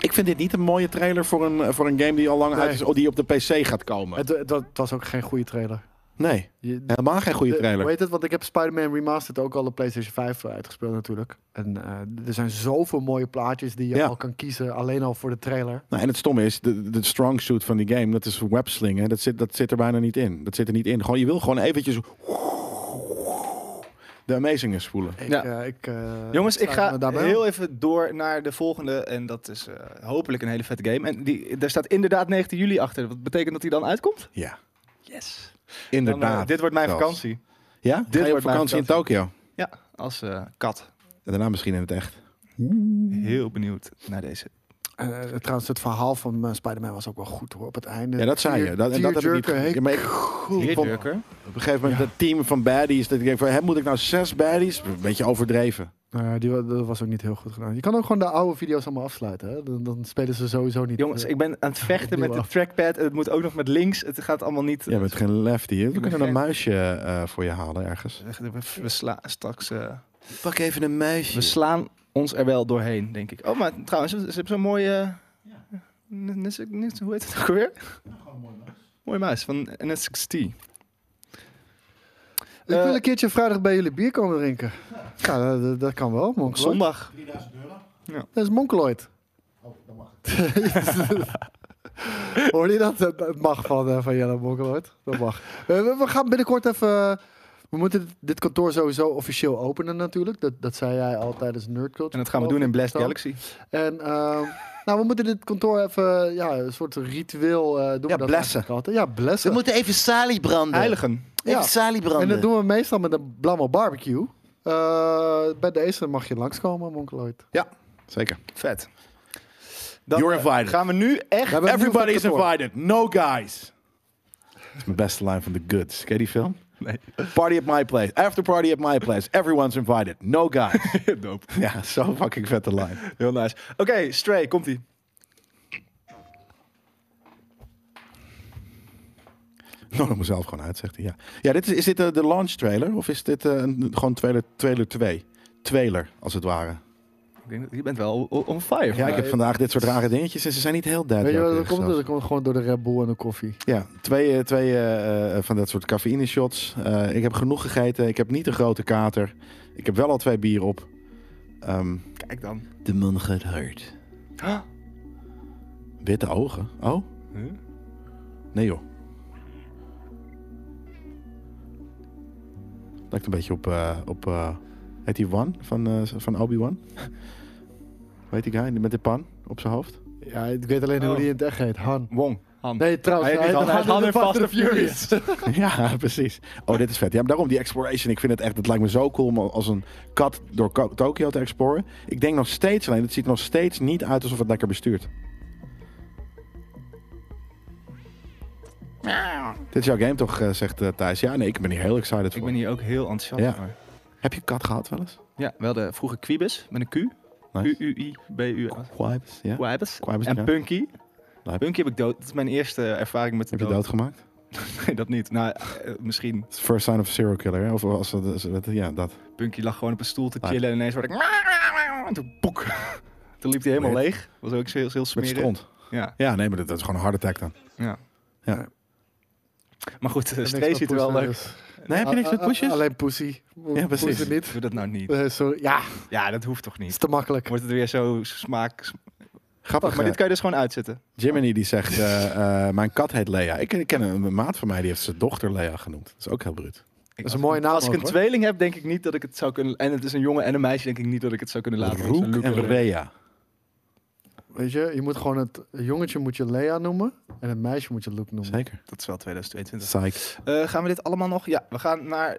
Speaker 2: Ik vind dit niet een mooie trailer voor een, eh, voor een game die al lang
Speaker 3: Nee.
Speaker 2: uit is, of die op de PC gaat komen.
Speaker 3: Het, het- dat was ook geen goede trailer.
Speaker 2: nee,
Speaker 3: Je-
Speaker 2: helemaal geen goede
Speaker 3: de-
Speaker 2: trailer.
Speaker 3: Hoe heet het? Want ik heb Spider-Man Remastered ook al op PlayStation 5 uitgespeeld natuurlijk. En eh, er zijn zoveel mooie plaatjes die je
Speaker 2: Ja.
Speaker 3: al kan kiezen. Alleen al voor de trailer.
Speaker 2: Nou, en het stomme is, de, de strong suit van die game, dat is webslingen. Dat zit, dat zit er bijna niet in. Dat zit er niet in. Gewoon, je wil gewoon eventjes... De Amazing spoelen.
Speaker 3: Ik,
Speaker 1: Ja.
Speaker 3: eh, ik, eh,
Speaker 1: Jongens, ik
Speaker 3: sluit
Speaker 1: ga
Speaker 3: me daarbij
Speaker 1: heel
Speaker 3: aan.
Speaker 1: even door naar de volgende. En dat is eh, hopelijk een hele vette game. En die, daar staat inderdaad 19 juli achter. Wat betekent dat die dan uitkomt?
Speaker 2: Ja,
Speaker 1: Yes.
Speaker 2: inderdaad.
Speaker 1: eh, Nou, dit wordt mijn
Speaker 2: zelfs.
Speaker 1: vakantie.
Speaker 2: Ja? Dit
Speaker 1: wordt
Speaker 2: op
Speaker 1: mijn
Speaker 2: vakantie in
Speaker 1: vakantie.
Speaker 2: Tokio.
Speaker 1: Ja, als eh, kat.
Speaker 2: En daarna misschien in het echt.
Speaker 1: Heel benieuwd naar deze.
Speaker 3: Eh, trouwens, het verhaal van eh, Spider-Man was ook wel goed hoor. Op het einde.
Speaker 2: Ja, dat zei je. Dat, en dat heb ik niet...
Speaker 3: Tearjerker,
Speaker 2: Ja,
Speaker 3: hey,
Speaker 2: maar ik, ik vond op
Speaker 1: Tearjerker?
Speaker 2: een gegeven moment dat team van baddies... Dat ik denk van, hè, moet ik nou zes baddies? Een beetje overdreven.
Speaker 3: Nou, die, wa- dat was ook niet heel goed gedaan. Je kan ook gewoon de oude video's allemaal afsluiten. Hè? Dan, dan spelen ze sowieso niet.
Speaker 1: Jongens,
Speaker 3: eh,
Speaker 1: ik ben aan het vechten met de trackpad. en Het moet ook nog met links. Het gaat allemaal niet.
Speaker 2: Je bent geen lefty. hè? We
Speaker 1: ben
Speaker 2: kunnen een
Speaker 1: geen-
Speaker 2: muisje eh, voor je halen ergens.
Speaker 1: We, we slaan straks. eh,
Speaker 2: Eh, Pak even een muisje.
Speaker 1: we slaan ons er wel doorheen, denk ik. Oh, maar trouwens, ze ze hebben zo'n mooie. eh, N- N- N- Hoe heet het ook weer? Mooi muis van NSXT.
Speaker 3: Ik
Speaker 1: eh,
Speaker 3: wil een keertje vrijdag bij jullie bier komen drinken. Ja, dat- dat, dat kan wel.
Speaker 1: Op
Speaker 3: Monkeloid.
Speaker 1: zondag.
Speaker 3: Dat is
Speaker 1: <laughs>
Speaker 3: Monkeloid. <laughs> Oh, dat mag. Hoor je dat? Dat- Dat mag van, eh, van Jelle Monkeloid. Dat mag. Eh, we, we gaan binnenkort even... We moeten dit- dit kantoor sowieso officieel openen natuurlijk. Dat, dat zei jij al tijdens Nerd Culture.
Speaker 1: En dat gaan we doen in Blast
Speaker 3: Zo.
Speaker 1: Galaxy.
Speaker 3: En ehm, <laughs> nou, we moeten dit kantoor even, ja, een soort ritueel eh, doen. we
Speaker 2: Ja,
Speaker 3: dat
Speaker 2: blessen.
Speaker 3: eigenlijk altijd. Ja, blessen.
Speaker 8: moeten even salie branden.
Speaker 1: Heiligen.
Speaker 8: Even
Speaker 3: Ja.
Speaker 8: salie branden.
Speaker 3: En dat doen we meestal met een blammo barbecue. Eh, bij deze mag je langskomen, Monkeloid.
Speaker 2: Zeker.
Speaker 1: Vet. Dan
Speaker 2: You're
Speaker 1: eh,
Speaker 2: invited.
Speaker 1: gaan we nu echt.
Speaker 3: hebben een
Speaker 2: Everybody
Speaker 3: nieuw
Speaker 2: is
Speaker 3: kantoor.
Speaker 2: invited. No guys. Dat is mijn beste line van The Goods. Ken je die film?
Speaker 1: Nee.
Speaker 2: Party at my place. After party at my place. Everyone's invited. No guys.
Speaker 1: <laughs> Dope.
Speaker 2: ja, zo fucking vette line.
Speaker 1: Heel nice. Oké, Stray, komt-ie.
Speaker 2: Nou, dat moet zelf gewoon uit, zegt hij. Ja, ja dit is, is dit eh, de launch trailer? Of is dit eh, een, gewoon trailer, trailer 2? Trailer, als het ware.
Speaker 1: Ik denk dat- Je bent wel o- on fire.
Speaker 2: Ja, ik heb vandaag dit soort rare dingetjes en ze zijn niet heel
Speaker 3: Eh, Weet
Speaker 2: duidelijk.
Speaker 3: je wat, dat
Speaker 2: eerlijk
Speaker 3: komt,
Speaker 2: gezegd.
Speaker 3: dat komt gewoon door de Red Bull en de koffie.
Speaker 2: Ja, twee, eh, twee eh, eh, van dat soort cafeïne shots. Eh, ik heb genoeg gegeten. Ik heb niet een grote kater. Ik heb wel al twee bier op. Ehm,
Speaker 1: Kijk dan.
Speaker 8: De man gaat hard.
Speaker 1: Huh?
Speaker 2: witte ogen. Oh?
Speaker 1: Huh?
Speaker 2: Nee joh. Lijkt een beetje op... eh, op eh, heet die One van, eh, van Obi-Wan? Weet die guy met de pan op zijn hoofd?
Speaker 3: Ja, ik weet alleen hoe
Speaker 1: Oh.
Speaker 3: die in het echt heet. Han.
Speaker 1: Wong. Han.
Speaker 3: Nee, trouwens.
Speaker 1: hij heeft niet Han, hij heeft Han in Fast and Furious.
Speaker 2: <laughs> Ja, precies. Oh, dit is vet. Ja, maar daarom die exploration. Ik vind het echt, het lijkt me zo cool om als een kat door Ko- Tokio te exploren. Ik denk nog steeds, alleen het ziet er nog steeds niet uit alsof het lekker bestuurt. Dit is jouw game toch, eh, zegt eh, Thijs. Ja, nee, ik ben hier heel excited voor.
Speaker 1: Ik ben hier ook heel enthousiast
Speaker 2: Ja.
Speaker 1: over.
Speaker 2: Heb je kat gehad wel eens?
Speaker 1: Ja, we hadden vroeger Quibus met een Q.
Speaker 2: Nice.
Speaker 1: U-U-I-B-U.
Speaker 2: Wipes, ja.
Speaker 1: Quibus.
Speaker 2: Quibus,
Speaker 1: En
Speaker 2: ja.
Speaker 1: Punky.
Speaker 2: Lijp.
Speaker 1: Punky heb ik dood. Dat is mijn eerste ervaring met de
Speaker 2: Heb je
Speaker 1: dood.
Speaker 2: doodgemaakt?
Speaker 1: <laughs> Nee, dat niet. Nou, eh, misschien.
Speaker 2: First sign of a serial killer, hè? Of als dat, als dat- ja, dat.
Speaker 1: Punky lag gewoon op een stoel te
Speaker 2: Ah.
Speaker 1: chillen en ineens werd ik... En toen boek. Toen liep hij helemaal
Speaker 2: Weird.
Speaker 1: leeg. Was ook heel, heel
Speaker 2: Met
Speaker 1: smerig.
Speaker 2: stront.
Speaker 1: Ja,
Speaker 2: Ja, nee, maar dat, dat is gewoon een hard attack dan.
Speaker 1: ja.
Speaker 2: Ja.
Speaker 1: Maar goed, de Stray ziet er wel leuk.
Speaker 2: Nee, heb je
Speaker 1: Eh,
Speaker 2: niks met pushes?
Speaker 3: Ah, Alleen pussy.
Speaker 2: Ja, precies.
Speaker 3: Poezen niet.
Speaker 1: Doe dat nou niet.
Speaker 3: Eh, sorry. Ja,
Speaker 1: Ja, dat hoeft toch
Speaker 3: is
Speaker 1: niet.
Speaker 3: te makkelijk.
Speaker 1: Wordt het weer zo smaak... smaak-
Speaker 2: Grappig.
Speaker 1: Maar
Speaker 2: eh,
Speaker 1: dit kan je dus gewoon uitzetten.
Speaker 2: Jiminy die zegt, eh, eh, mijn kat heet Lea. Ik ken- ik ken een, een maat van mij, die heeft zijn dochter Lea genoemd. Dat is ook heel bruut.
Speaker 1: Ik-
Speaker 3: is een mooie naam
Speaker 1: Als ik
Speaker 3: ook,
Speaker 1: een
Speaker 3: hoor.
Speaker 1: tweeling heb, denk ik niet dat ik het zou kunnen... En het is een jongen en een meisje, denk ik niet dat ik het zou kunnen laten.
Speaker 2: Roek
Speaker 1: Zo'n Luke
Speaker 2: en Rea.
Speaker 3: Weet je, je moet gewoon het jongetje moet je Lea noemen. En het meisje moet je Luke noemen.
Speaker 2: Zeker.
Speaker 1: Dat is wel 2022.
Speaker 2: Psych.
Speaker 1: Eh, gaan we dit allemaal nog? Ja, we gaan naar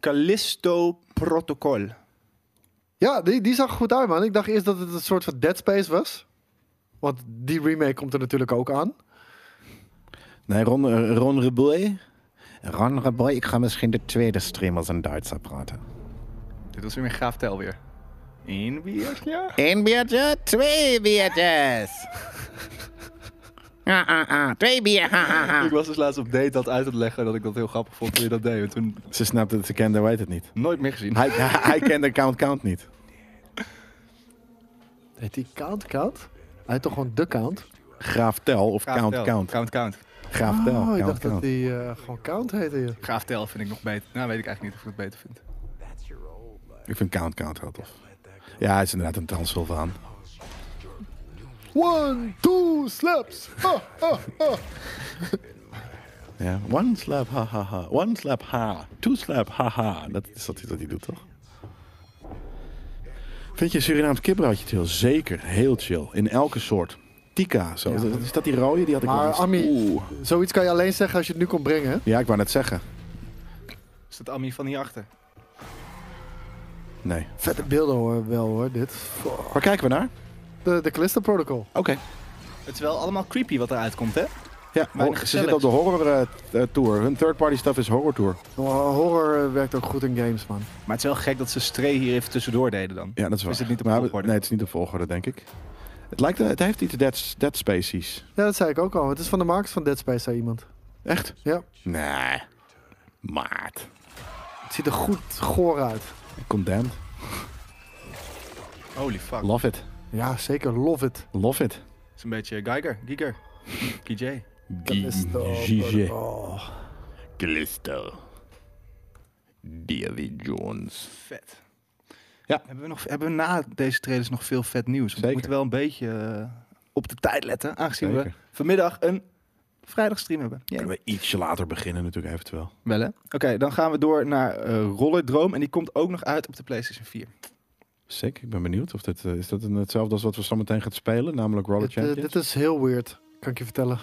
Speaker 1: Callisto Protocol.
Speaker 3: Ja, die, die zag er goed uit, man. Ik dacht eerst dat het een soort van Dead Space was. Want die remake komt er natuurlijk ook aan.
Speaker 2: Nee, Ron, eh, Ron Reboy. Ron Reboy, ik ga misschien de tweede stream als een Duitser praten.
Speaker 1: Dit was weer een gaaf tel weer. Eén bier, ja.
Speaker 8: Eén biertje, twee
Speaker 2: <laughs>
Speaker 8: biertjes. ah, ah, ah. Twee bier, ha, ha, ha.
Speaker 1: <laughs> Ik was dus laatst op date dat uit te leggen dat ik dat heel grappig vond toen je dat deed. En toen
Speaker 2: Ze snapt het, ze kende, weet het niet.
Speaker 1: nooit meer gezien.
Speaker 2: Hij, hij, hij kent de count count niet.
Speaker 3: Heet die Count Count? Hij had toch gewoon de count?
Speaker 2: Graaf Tel of
Speaker 1: Graaf
Speaker 2: Count
Speaker 1: Tel.
Speaker 2: Count.
Speaker 1: Count, count.
Speaker 2: Graaf Tel.
Speaker 3: Oh, ik
Speaker 2: Count
Speaker 3: dacht dat
Speaker 2: Count.
Speaker 3: hij eh, gewoon count heette hier.
Speaker 1: Graaf Tel vind ik nog beter. Nou, weet ik eigenlijk niet of ik het beter vind.
Speaker 2: Ik vind Count Count heel tof. Ja, hij is inderdaad een Transylvaan.
Speaker 3: One, two, slaps. Ha, ha, ha.
Speaker 2: Ja. One slap, ha, ha, ha. One slap, ha. Two slap, ha, ha. Dat is dat hij dat hij doet, toch? Vind je Surinaams kipbroodje chill? Zeker, heel chill. In elke soort. Tika, zo. Is dat- Is dat die rode? Die had ik wel
Speaker 3: Maar
Speaker 2: eens.
Speaker 3: Ami,
Speaker 2: Oeh.
Speaker 3: zoiets kan je alleen zeggen als je het nu kon brengen. hè?
Speaker 2: Ja, ik wou net zeggen.
Speaker 1: Is dat Ami van hierachter?
Speaker 2: Nee.
Speaker 3: Vette beelden hoor, wel hoor, dit. Fuck.
Speaker 2: Waar kijken we naar?
Speaker 3: De, de Callisto Protocol.
Speaker 2: Oké.
Speaker 1: Het is wel allemaal creepy wat eruit komt, hè?
Speaker 2: Ja,
Speaker 1: Weinig
Speaker 2: hor- ze
Speaker 1: gezellig.
Speaker 2: zitten op de horror eh, t- eh, tour. Hun third party stuff is horror tour.
Speaker 3: Oh, Horror eh, werkt ook goed in games, man.
Speaker 1: Maar het is wel gek dat ze Stray hier even tussendoor deden dan.
Speaker 2: Ja, dat is waar.
Speaker 1: Is het niet op
Speaker 2: Maar we-
Speaker 1: volgorde?
Speaker 2: Nee, het is niet op volgorde, denk ik. Het, lijkt, eh, het heeft iets Dead, dead Spaces.
Speaker 3: Ja, dat zei ik ook al. Het is van de makers van Dead Space, zei iemand.
Speaker 2: Echt?
Speaker 3: Ja,
Speaker 2: Nee. Maat.
Speaker 3: het ziet er goed goor uit.
Speaker 2: Condemned.
Speaker 1: Holy fuck.
Speaker 2: Love it.
Speaker 3: Ja, zeker. Love it.
Speaker 2: Love it.
Speaker 1: Het is een beetje eh, Geiger, <laughs> Giger, KJ.
Speaker 3: Callisto
Speaker 2: Gigi.
Speaker 3: Protocol.
Speaker 2: Callisto. Davy Jones.
Speaker 1: Vet.
Speaker 2: Ja.
Speaker 1: Hebben we, nog, hebben we na deze trailers nog veel vet nieuws? Want We
Speaker 2: Zeker.
Speaker 1: moeten wel een beetje eh, op de tijd letten, aangezien we
Speaker 2: Zeker.
Speaker 1: vanmiddag een vrijdagstream hebben. Yay.
Speaker 2: Kunnen we ietsje later beginnen natuurlijk eventueel.
Speaker 1: Wel hè? Oké, dan gaan we door naar eh Rollerdroom en die komt ook nog uit op de PlayStation 4.
Speaker 2: Sick, ik ben benieuwd of dit... eh, is dat een- hetzelfde als wat we zometeen gaan spelen? Namelijk Roller
Speaker 3: Dit, eh,
Speaker 2: Champions?
Speaker 3: dit is heel weird, kan ik je vertellen.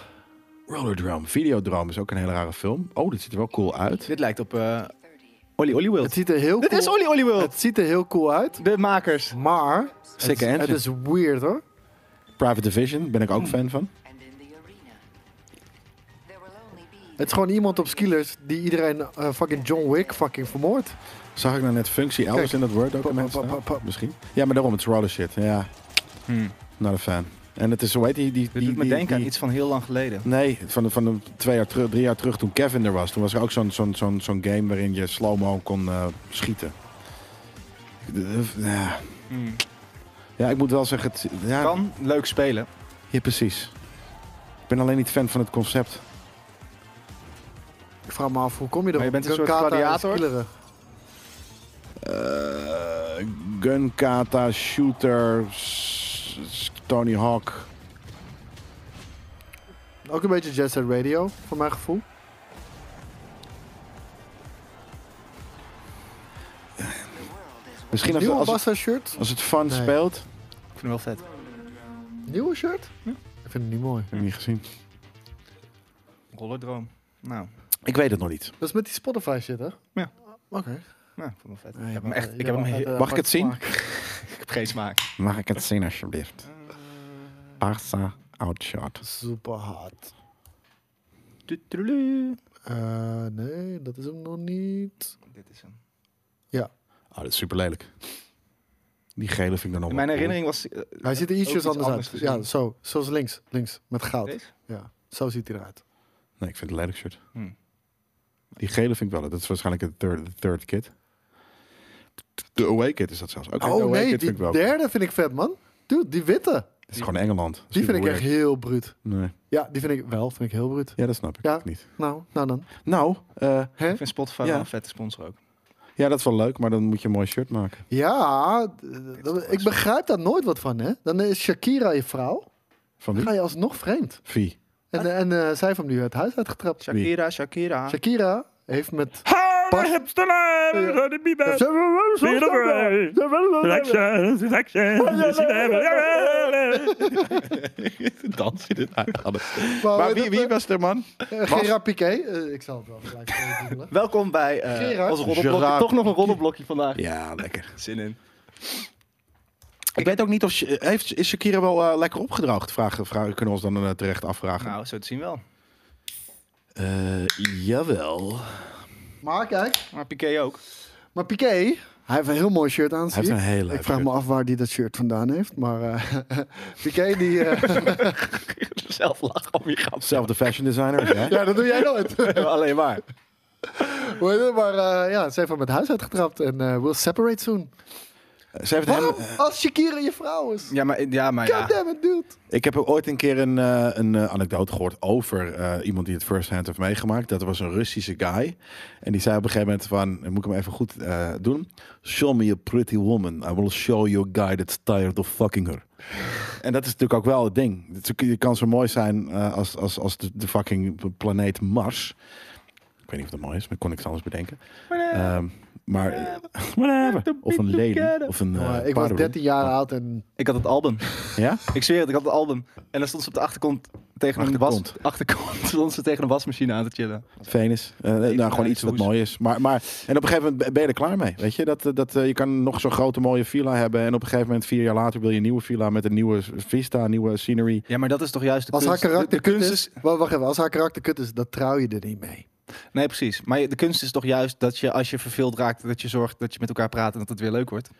Speaker 2: Rollerdrome. Videodrome is ook een hele rare film. Oh, dit ziet er wel cool uit.
Speaker 1: Dit lijkt op eh Olly Olly World.
Speaker 3: Het ziet er heel
Speaker 1: Dit
Speaker 3: cool
Speaker 1: is Olly Olly World!
Speaker 3: Het ziet er heel cool uit,
Speaker 1: De makers.
Speaker 3: maar het
Speaker 2: Sikke
Speaker 3: is- het
Speaker 2: engine.
Speaker 3: is weird hoor.
Speaker 2: Private Division, ben ik ook fan van.
Speaker 7: And in the arena, there will only be
Speaker 3: Het is gewoon iemand op skillers die iedereen eh, fucking John Wick fucking vermoordt.
Speaker 2: Zag ik nou net functie elders
Speaker 3: Kijk.
Speaker 2: in dat Word document
Speaker 3: Pa, pa, pa,
Speaker 2: staan?
Speaker 3: pa, pa.
Speaker 2: Misschien. Ja, maar daarom, het is roller shit. Ja, not a fan. En het is, hoe heet die... die,
Speaker 1: Dit
Speaker 2: die
Speaker 1: doet Hm. me
Speaker 2: die-
Speaker 1: denken aan
Speaker 2: die-
Speaker 1: iets van heel lang geleden.
Speaker 2: Nee, van, de, van de twee jaar terug, drie jaar terug toen Kevin er was. Toen was er ook zo'n zo'n zo'n zo'n game waarin je slow-mo kon eh, schieten. Ja. ja, ik moet wel zeggen... Het, ja,
Speaker 1: Kan leuk spelen.
Speaker 2: Ja, precies. Ik ben alleen niet fan van het concept.
Speaker 3: Ik vraag me af, hoe kom je erop?
Speaker 1: Maar je bent een soort
Speaker 3: Gunkata en
Speaker 1: gladiator?
Speaker 3: skilleren.
Speaker 2: Eh gun, kata, shooter, s- s- Tony Hawk.
Speaker 3: Ook een beetje Jet Set Radio, voor mijn gevoel.
Speaker 2: Misschien als,
Speaker 3: Nieuwe
Speaker 2: als,
Speaker 3: Bassa
Speaker 1: Oh.
Speaker 3: shirt.
Speaker 2: als het fun
Speaker 3: Nee.
Speaker 2: speelt.
Speaker 1: Ik vind hem wel vet.
Speaker 3: Nieuwe shirt? Ik vind het niet mooi.
Speaker 2: Heb ik niet gezien.
Speaker 1: Rollerdroom. Nou,
Speaker 2: Ik weet het nog niet.
Speaker 3: Dat is met die Spotify shit, hè?
Speaker 1: Ja.
Speaker 3: Oké.
Speaker 1: nou ik vond hem wel vet.
Speaker 3: Nee,
Speaker 1: ik heb hem
Speaker 3: maar,
Speaker 1: echt,
Speaker 3: eh,
Speaker 1: ik heb hem
Speaker 3: je
Speaker 1: heel- <laughs>
Speaker 3: hebt altijd,
Speaker 2: Mag
Speaker 3: eh,
Speaker 2: ik het zien?
Speaker 3: smaak.
Speaker 1: ik heb geen smaak.
Speaker 2: Mag ik het zien alsjeblieft? Arsa Outshot.
Speaker 3: Super hard.
Speaker 1: Tudeludu.
Speaker 3: Eh, nee, dat is hem nog niet.
Speaker 1: Dit is hem.
Speaker 3: Ja.
Speaker 2: Oh, dat is super lelijk. Die gele vind ik dan nog
Speaker 1: In
Speaker 2: wel
Speaker 1: mijn
Speaker 2: cool.
Speaker 1: herinnering was... eh,
Speaker 3: Hij ziet er
Speaker 1: ook
Speaker 3: ietsjes
Speaker 1: iets
Speaker 3: anders,
Speaker 1: anders
Speaker 3: uit.
Speaker 1: gezien.
Speaker 3: Ja, zo. Zoals links. Links. Met goud.
Speaker 1: Deze?
Speaker 3: Ja. Zo ziet hij eruit.
Speaker 2: Nee, ik vind het een lelijk shirt.
Speaker 1: Hmm.
Speaker 2: Die gele vind ik wel. leuk. Dat is waarschijnlijk de third, de third kit. De away kit is dat zelfs. Oké, de
Speaker 3: oh
Speaker 2: away
Speaker 3: nee,
Speaker 2: kit
Speaker 3: die
Speaker 2: vind ik wel. cool.
Speaker 3: derde vind ik vet, man. Dude, die witte.
Speaker 2: Het is gewoon Engeland. Dat is
Speaker 3: Die vind
Speaker 2: super
Speaker 3: ik echt
Speaker 2: weird.
Speaker 3: heel bruut.
Speaker 2: Nee.
Speaker 3: Ja, die vind ik wel. Vind ik heel bruut.
Speaker 2: Ja, dat snap ik
Speaker 3: Ja.
Speaker 2: niet.
Speaker 3: Nou, nou dan.
Speaker 2: Nou, eh,
Speaker 1: Ik vind Spotify
Speaker 2: Ja.
Speaker 1: wel een vette sponsor ook.
Speaker 2: ja, dat is wel leuk, maar dan moet je een mooi shirt maken.
Speaker 3: Ja, d- d-
Speaker 1: toch wel
Speaker 3: ik begrijp daar nooit wat van, hè? Dan is Shakira je vrouw.
Speaker 2: Van
Speaker 3: Dan
Speaker 2: wie?
Speaker 3: ga je alsnog vreemd.
Speaker 2: Vie.
Speaker 3: En, en eh, zij heeft hem nu het huis uitgetrapt.
Speaker 1: Shakira,
Speaker 3: <laughs>
Speaker 1: Shakira.
Speaker 3: Shakira heeft met. Pas-
Speaker 2: Dans in het
Speaker 3: Maar
Speaker 2: Maar
Speaker 3: wie-
Speaker 2: wie,
Speaker 3: wie
Speaker 2: was er, man?
Speaker 3: Gerard Piqué. eh, ik zal het wel gelijk even <laughs> googlen.
Speaker 1: <laughs> Welkom bij eh,
Speaker 3: Gerard.
Speaker 1: ons roddelblokje.
Speaker 2: Gerard.
Speaker 1: Toch nog een roddelblokje vandaag.
Speaker 2: Ja, lekker.
Speaker 1: Zin in.
Speaker 2: Ik weet ook niet of... Sh- Heeft, is Shakira wel eh, lekker opgedroogd? Vragen, vragen kunnen we ons dan eh, terecht afvragen.
Speaker 1: Nou, zo te zien wel.
Speaker 2: Eh, jawel.
Speaker 3: Maar kijk,
Speaker 1: Maar Piqué ook.
Speaker 3: maar Piqué. Hij heeft een heel mooi shirt aan.
Speaker 2: Hij
Speaker 3: zie
Speaker 2: heeft
Speaker 3: ik.
Speaker 2: een heel leuk
Speaker 3: Ik vraag me af waar hij dat shirt vandaan heeft. Maar eh, <laughs> Piqué, die. eh,
Speaker 1: Zelf lachen om je grap.
Speaker 2: Zelfde fashion designer als jij.
Speaker 3: <laughs> ja, dat doe jij <laughs> nooit.
Speaker 1: Alleen maar.
Speaker 3: Hoe heet het? maar eh, ja, ze heeft hem het huis uitgetrapt. En eh we'll separate soon.
Speaker 2: Ze heeft hem,
Speaker 3: Waarom? Als Shakira je vrouw is.
Speaker 1: Ja, maar ja, maar ja.
Speaker 3: God damn it, dude.
Speaker 2: ik heb ook ooit een keer een, eh, een eh, anekdote gehoord over eh, iemand die het first hand heeft meegemaakt. Dat was een Russische guy. En die zei op een gegeven moment van, dan moet ik hem even goed eh, doen. Show me a pretty woman. I will show you a guy that's tired of fucking her. En dat is natuurlijk ook wel het ding. Het is- Je kan zo mooi zijn eh, als, als, als de, de fucking planeet Mars. Ik weet niet of dat mooi is, maar kon ik het anders bedenken. Ehm, maar, <laughs> whatever. Of een lady. Of een, eh,
Speaker 3: Oh, ik was
Speaker 2: paardenroe.
Speaker 3: 13 jaar oud en
Speaker 1: Ik had het album.
Speaker 2: Ja?
Speaker 1: Ik zweer het, ik had het album. En dan stond ze op de achterkant tegen een was...
Speaker 2: Achterkant.
Speaker 1: Achterkant <laughs> stond ze tegen een wasmachine aan te chillen.
Speaker 2: Venus. Eh, nou, gewoon iets wat
Speaker 1: hoes.
Speaker 2: mooi is. Maar, maar, en op een gegeven moment ben je er klaar mee. Weet je, dat, eh, dat, eh, je kan nog zo'n grote mooie villa hebben. En op een gegeven moment, vier jaar later, wil je een nieuwe villa met een nieuwe vista, een nieuwe scenery.
Speaker 1: Ja, maar dat is toch juist de
Speaker 3: als haar
Speaker 1: kunst.
Speaker 3: karakter
Speaker 1: de, de
Speaker 3: kut
Speaker 1: kunst
Speaker 3: is... Wa- Wacht even, als haar karakter kut is, dan trouw je er niet mee.
Speaker 1: Nee, precies. Maar de kunst is toch juist dat je als je verveeld raakt, dat je zorgt dat je met elkaar praat en dat het weer leuk wordt.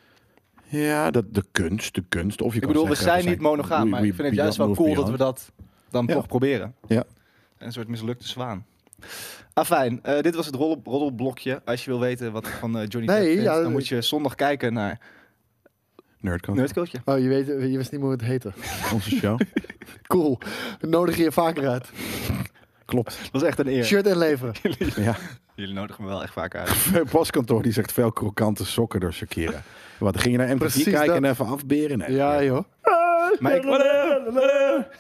Speaker 2: Ja, dat, de kunst, de kunst. Of je
Speaker 1: ik
Speaker 2: kan
Speaker 1: bedoel, we
Speaker 2: zeggen,
Speaker 1: zijn niet monogaam,
Speaker 2: Oh, we-
Speaker 1: maar
Speaker 2: we
Speaker 1: ik vind het
Speaker 2: be-
Speaker 1: juist wel
Speaker 2: move
Speaker 1: cool dat
Speaker 2: beyond.
Speaker 1: we dat dan
Speaker 2: Ja.
Speaker 1: toch proberen.
Speaker 2: Ja.
Speaker 1: Een soort mislukte zwaan. Afijn, eh, dit was het roddel- roddelblokje. Als je wil weten wat ik van eh, Johnny
Speaker 3: Nee,
Speaker 1: Depp vind,
Speaker 3: ja,
Speaker 1: dan moet je zondag kijken naar
Speaker 2: Nerdcast,
Speaker 1: Nerdcoachje.
Speaker 3: Oh, je, weet, je wist niet meer hoe het <laughs> heette.
Speaker 2: <laughs> onze
Speaker 1: <laughs>
Speaker 2: show.
Speaker 3: Cool. Nodig je je vaker uit.
Speaker 2: Klopt.
Speaker 1: Dat was echt een eer.
Speaker 3: Shirt en <laughs> leveren.
Speaker 2: Ja.
Speaker 1: Jullie nodigen me wel echt vaak uit. <laughs>
Speaker 2: <laughs> Postkantoor die zegt veel krokante sokken door Shakira. Wat, ging je naar MTV
Speaker 3: Precies
Speaker 2: kijken en
Speaker 3: dat.
Speaker 2: even afberen? Nee.
Speaker 3: Ja, joh.
Speaker 1: Maar ik-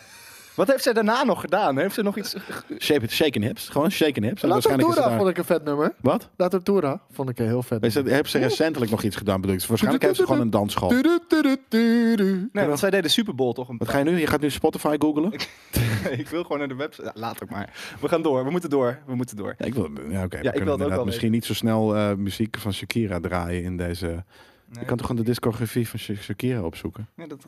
Speaker 1: Wat heeft zij daarna nog gedaan? Heeft ze nog iets...
Speaker 2: Shape it, shaken hips. Gewoon shaken hips. En
Speaker 3: La
Speaker 2: waarschijnlijk is het
Speaker 3: Tortura
Speaker 2: daar-
Speaker 3: vond ik een vet nummer.
Speaker 2: Wat?
Speaker 3: La Tortura vond ik een heel vet
Speaker 2: Is dat,
Speaker 3: nummer.
Speaker 2: heb ze recentelijk nog iets gedaan? Bedoel ik? Waarschijnlijk heeft ze gewoon een dansschool.
Speaker 3: Tudu, tudu, tudu.
Speaker 1: Nee, want zij deed de Super Bowl toch? Een
Speaker 2: Wat ga je nu? Je gaat nu Spotify googelen?
Speaker 1: <laughs> ik wil gewoon naar de website. Ja, laat ook maar. We gaan door. We moeten door. We moeten door.
Speaker 2: Ja, ik wil, ja, oké.
Speaker 1: wil
Speaker 2: we
Speaker 1: het ook
Speaker 2: kunnen inderdaad
Speaker 1: wel
Speaker 2: misschien niet zo snel eh, muziek van Shakira draaien in deze... Je kan toch gewoon de discografie van Sha- Shakira opzoeken?
Speaker 1: Nee, dat...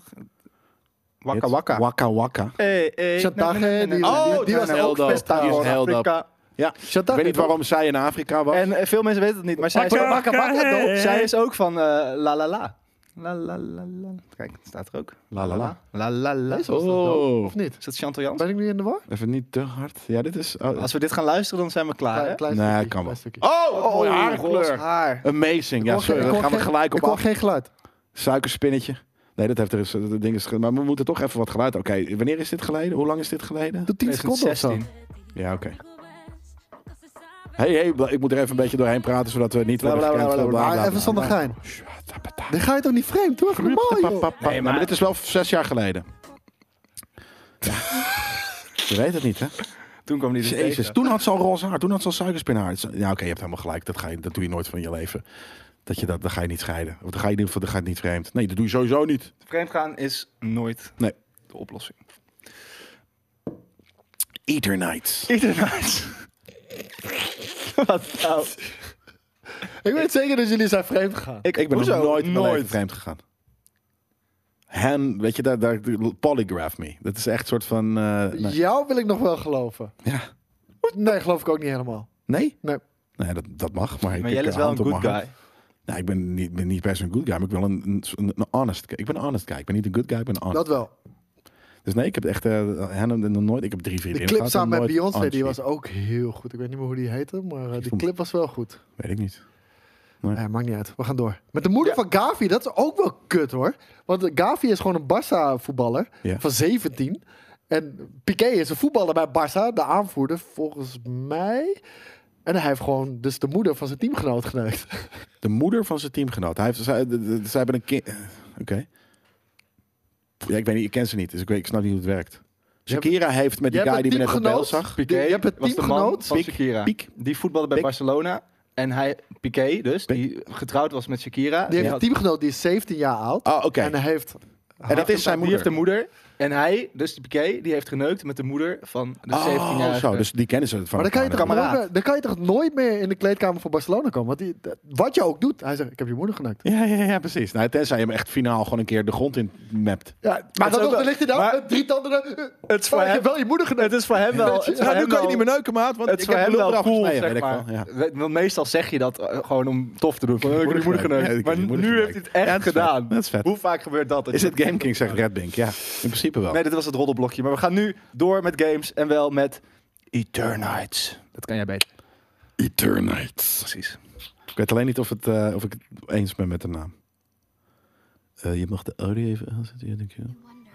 Speaker 1: Wakka
Speaker 2: Hits?
Speaker 1: wakka.
Speaker 2: Waka Waka.
Speaker 1: Hey, hey,
Speaker 3: Chantage,
Speaker 1: nee, nee, nee, nee.
Speaker 3: die-
Speaker 1: Oh,
Speaker 3: die- die was
Speaker 1: was
Speaker 2: heel
Speaker 1: ook
Speaker 2: dope.
Speaker 1: best aan
Speaker 2: Die is
Speaker 1: voor
Speaker 2: heel dope.
Speaker 1: Afrika.
Speaker 2: Ja,
Speaker 3: Shut
Speaker 2: ik
Speaker 3: up,
Speaker 2: weet niet
Speaker 3: joh.
Speaker 2: waarom zij in Afrika was.
Speaker 1: En eh, veel mensen weten het niet, maar zij is,
Speaker 3: Wakka, wakka, wakka, dope.
Speaker 1: zij is ook van eh, La La La. La La La La. Kijk, het staat er ook.
Speaker 2: La La La.
Speaker 1: La La La. Is
Speaker 2: Oh,
Speaker 3: Of niet?
Speaker 1: dat Chantal Jans?
Speaker 3: Ben ik nu in de war?
Speaker 2: even niet te hard. Ja, dit is... oh,
Speaker 1: Als we dit gaan luisteren, dan zijn we klaar. hè?
Speaker 3: Klein- klein
Speaker 2: Nee,
Speaker 3: stukje,
Speaker 2: kan wel.
Speaker 3: klein stukje.
Speaker 1: Oh,
Speaker 2: Wat mooie haarkleur.
Speaker 1: roze haar.
Speaker 2: Amazing. Ja,
Speaker 3: hoor geen-
Speaker 2: sorry, daar
Speaker 3: hoor
Speaker 2: gaan we
Speaker 3: geen-
Speaker 2: gelijk
Speaker 3: Ik
Speaker 2: op
Speaker 3: hoor
Speaker 2: af.
Speaker 3: geen geluid.
Speaker 2: Suikerspinnetje. Nee, dat heeft er is, dat ding is. ge- Maar we moeten toch even wat geluid. Oké, wanneer is dit geleden? Hoe lang is dit geleden?
Speaker 3: Doe 10 seconden of zo.
Speaker 2: Ah,
Speaker 1: 2016.
Speaker 2: Ja, oké. Hey, hey, bla- ik moet er even een beetje doorheen praten zodat we niet worden
Speaker 1: Blablabla,
Speaker 2: gekend.
Speaker 1: blablabla.
Speaker 3: Maar even zonder gein. Dan ga je toch niet vreemd? Doe even normaal, joh.
Speaker 2: Nee, maar dit is wel zes jaar geleden. <laughs> Je weet het niet, hè?
Speaker 1: Toen kwam die dus
Speaker 2: Jezus,
Speaker 1: tegen.
Speaker 2: toen had ze al roze haar, toen had ze al suikerspinhaar. Het is- Ja, oké, je hebt helemaal gelijk. Dat, ga je, dat doe je nooit van je leven. Dat je dat, dan ga je niet scheiden. Of dan ga je in ieder geval dan ga je het niet vreemd. Nee, dat doe je sowieso niet.
Speaker 1: Vreemd gaan is nooit
Speaker 2: Nee.
Speaker 1: de oplossing.
Speaker 2: Eater nights.
Speaker 1: Ethernight. <laughs> Wat nou?
Speaker 3: Ik weet zeker dat jullie zijn vreemd gegaan.
Speaker 2: Ik, ben
Speaker 1: Hoezo?
Speaker 2: nog nooit in mijn
Speaker 1: Nooit.
Speaker 2: leven vreemd gegaan. Hen, weet je, daar, daar polygraph me. Dat is echt een soort van... eh, nee.
Speaker 3: Jou wil ik nog wel geloven.
Speaker 2: Ja.
Speaker 3: Nee, geloof ik ook niet helemaal.
Speaker 2: Nee?
Speaker 3: Nee.
Speaker 2: Nee, dat, dat mag. Maar, ik-
Speaker 1: Maar
Speaker 2: ik,
Speaker 1: jij is
Speaker 2: eh,
Speaker 1: wel een
Speaker 2: hand op
Speaker 1: good
Speaker 2: mijn hart.
Speaker 1: guy.
Speaker 2: Nee, ik ben niet, ben niet best een good guy, maar ik ben wel een, een, een honest guy. Ik ben een honest guy. Ik ben niet een good guy, ik ben een honest.
Speaker 3: Dat wel.
Speaker 2: Dus nee, ik heb echt eh hen nog nooit... Ik heb drie
Speaker 3: De
Speaker 2: vrienden
Speaker 3: clip samen met Beyoncé, die was ook heel goed. Ik weet niet meer hoe die heette, maar eh, die
Speaker 2: vond-
Speaker 3: clip was wel goed.
Speaker 2: Weet ik niet.
Speaker 3: Eh, maakt niet uit. We gaan door. Met de moeder van Gavi, dat is ook wel kut hoor. Want Gavi is gewoon een Barça-voetballer
Speaker 2: Ja.
Speaker 3: van 17. En Piqué is een voetballer bij Barça, de aanvoerder volgens mij. En hij heeft gewoon dus de moeder van zijn teamgenoot geneukt. <laughs>
Speaker 2: De moeder van zijn teamgenoot. Hij heeft, zij, de- de- zij hebben een kind... eh, Oké. Ja, ik weet niet, ik ken ze niet, dus ik, weet, ik snap niet hoe het werkt. Shakira heeft met die
Speaker 3: jij
Speaker 2: guy
Speaker 3: hebt
Speaker 2: die we
Speaker 3: een
Speaker 2: net op
Speaker 3: teamgenoot.
Speaker 2: beeld zag...
Speaker 1: Piqué
Speaker 3: Je hebt het
Speaker 1: was de man
Speaker 3: teamgenoot.
Speaker 1: van
Speaker 2: Piek,
Speaker 1: Shakira.
Speaker 2: Piek.
Speaker 1: Die voetbalde bij
Speaker 2: Piek.
Speaker 1: Barcelona. En hij, Piqué dus,
Speaker 2: Piek.
Speaker 1: die getrouwd was met Shakira.
Speaker 3: Die heeft
Speaker 1: had-
Speaker 3: een teamgenoot die is 17 jaar oud.
Speaker 1: Oh,
Speaker 2: Ah, oké.
Speaker 3: En hij heeft...
Speaker 2: En dat is zijn
Speaker 1: die heeft
Speaker 2: moeder.
Speaker 1: een moeder. En hij, dus die Piqué, die heeft geneukt met de moeder van de 17-jarige.
Speaker 2: Oh, zo, dus die kennen ze van
Speaker 3: Maar dan kan, je toch
Speaker 2: elkaar
Speaker 1: Kameraad.
Speaker 3: nooit meer, dan kan je toch nooit meer in de kleedkamer van Barcelona komen? Want die, dat- wat je ook doet, hij zegt, ik heb je moeder geneukt.
Speaker 2: Ja, ja, ja, precies. Nou, tenzij je hem echt finaal gewoon een keer de grond in mapt.
Speaker 3: Ja, maar
Speaker 1: is
Speaker 3: dan
Speaker 1: ook
Speaker 3: nog,
Speaker 1: wel-
Speaker 3: dan ligt hij daar
Speaker 1: maar-
Speaker 3: met drie tanden. eh,
Speaker 1: Het is voor
Speaker 2: Oh,
Speaker 3: maar
Speaker 1: hem-
Speaker 3: ik heb wel je moeder geneukt.
Speaker 1: het is voor hem wel... Het is voor hem wel-
Speaker 2: neuken, maat, want
Speaker 1: Het is voor hem wel cool,
Speaker 2: weet
Speaker 1: zeg
Speaker 2: ik
Speaker 1: maar.
Speaker 2: wel. Ja.
Speaker 1: We- Want meestal zeg je dat eh, gewoon om tof te <laughs> doen. Van, eh, ik heb je moeder
Speaker 2: moeder
Speaker 1: geneukt.
Speaker 2: geneukt. Ja,
Speaker 1: maar
Speaker 2: ik heb je
Speaker 1: nu
Speaker 2: moeder
Speaker 1: heeft hij
Speaker 2: geneukt.
Speaker 1: het echt
Speaker 2: Ja, dat is vet.
Speaker 1: gedaan.
Speaker 2: Dat is vet.
Speaker 1: Hoe vaak gebeurt dat? dat
Speaker 2: Is
Speaker 1: je-
Speaker 2: het Game King, zegt Red Bank. Ja, in principe wel.
Speaker 1: Nee, dit was het roddelblokje. Maar we gaan nu door met games en wel met Eternites. Dat kan jij beter.
Speaker 2: Eternites.
Speaker 1: Precies.
Speaker 2: Ik weet alleen niet of, het, eh, of ik het eens ben met de naam. Eh, je mag de audio even aanzetten, ja, dankjewel.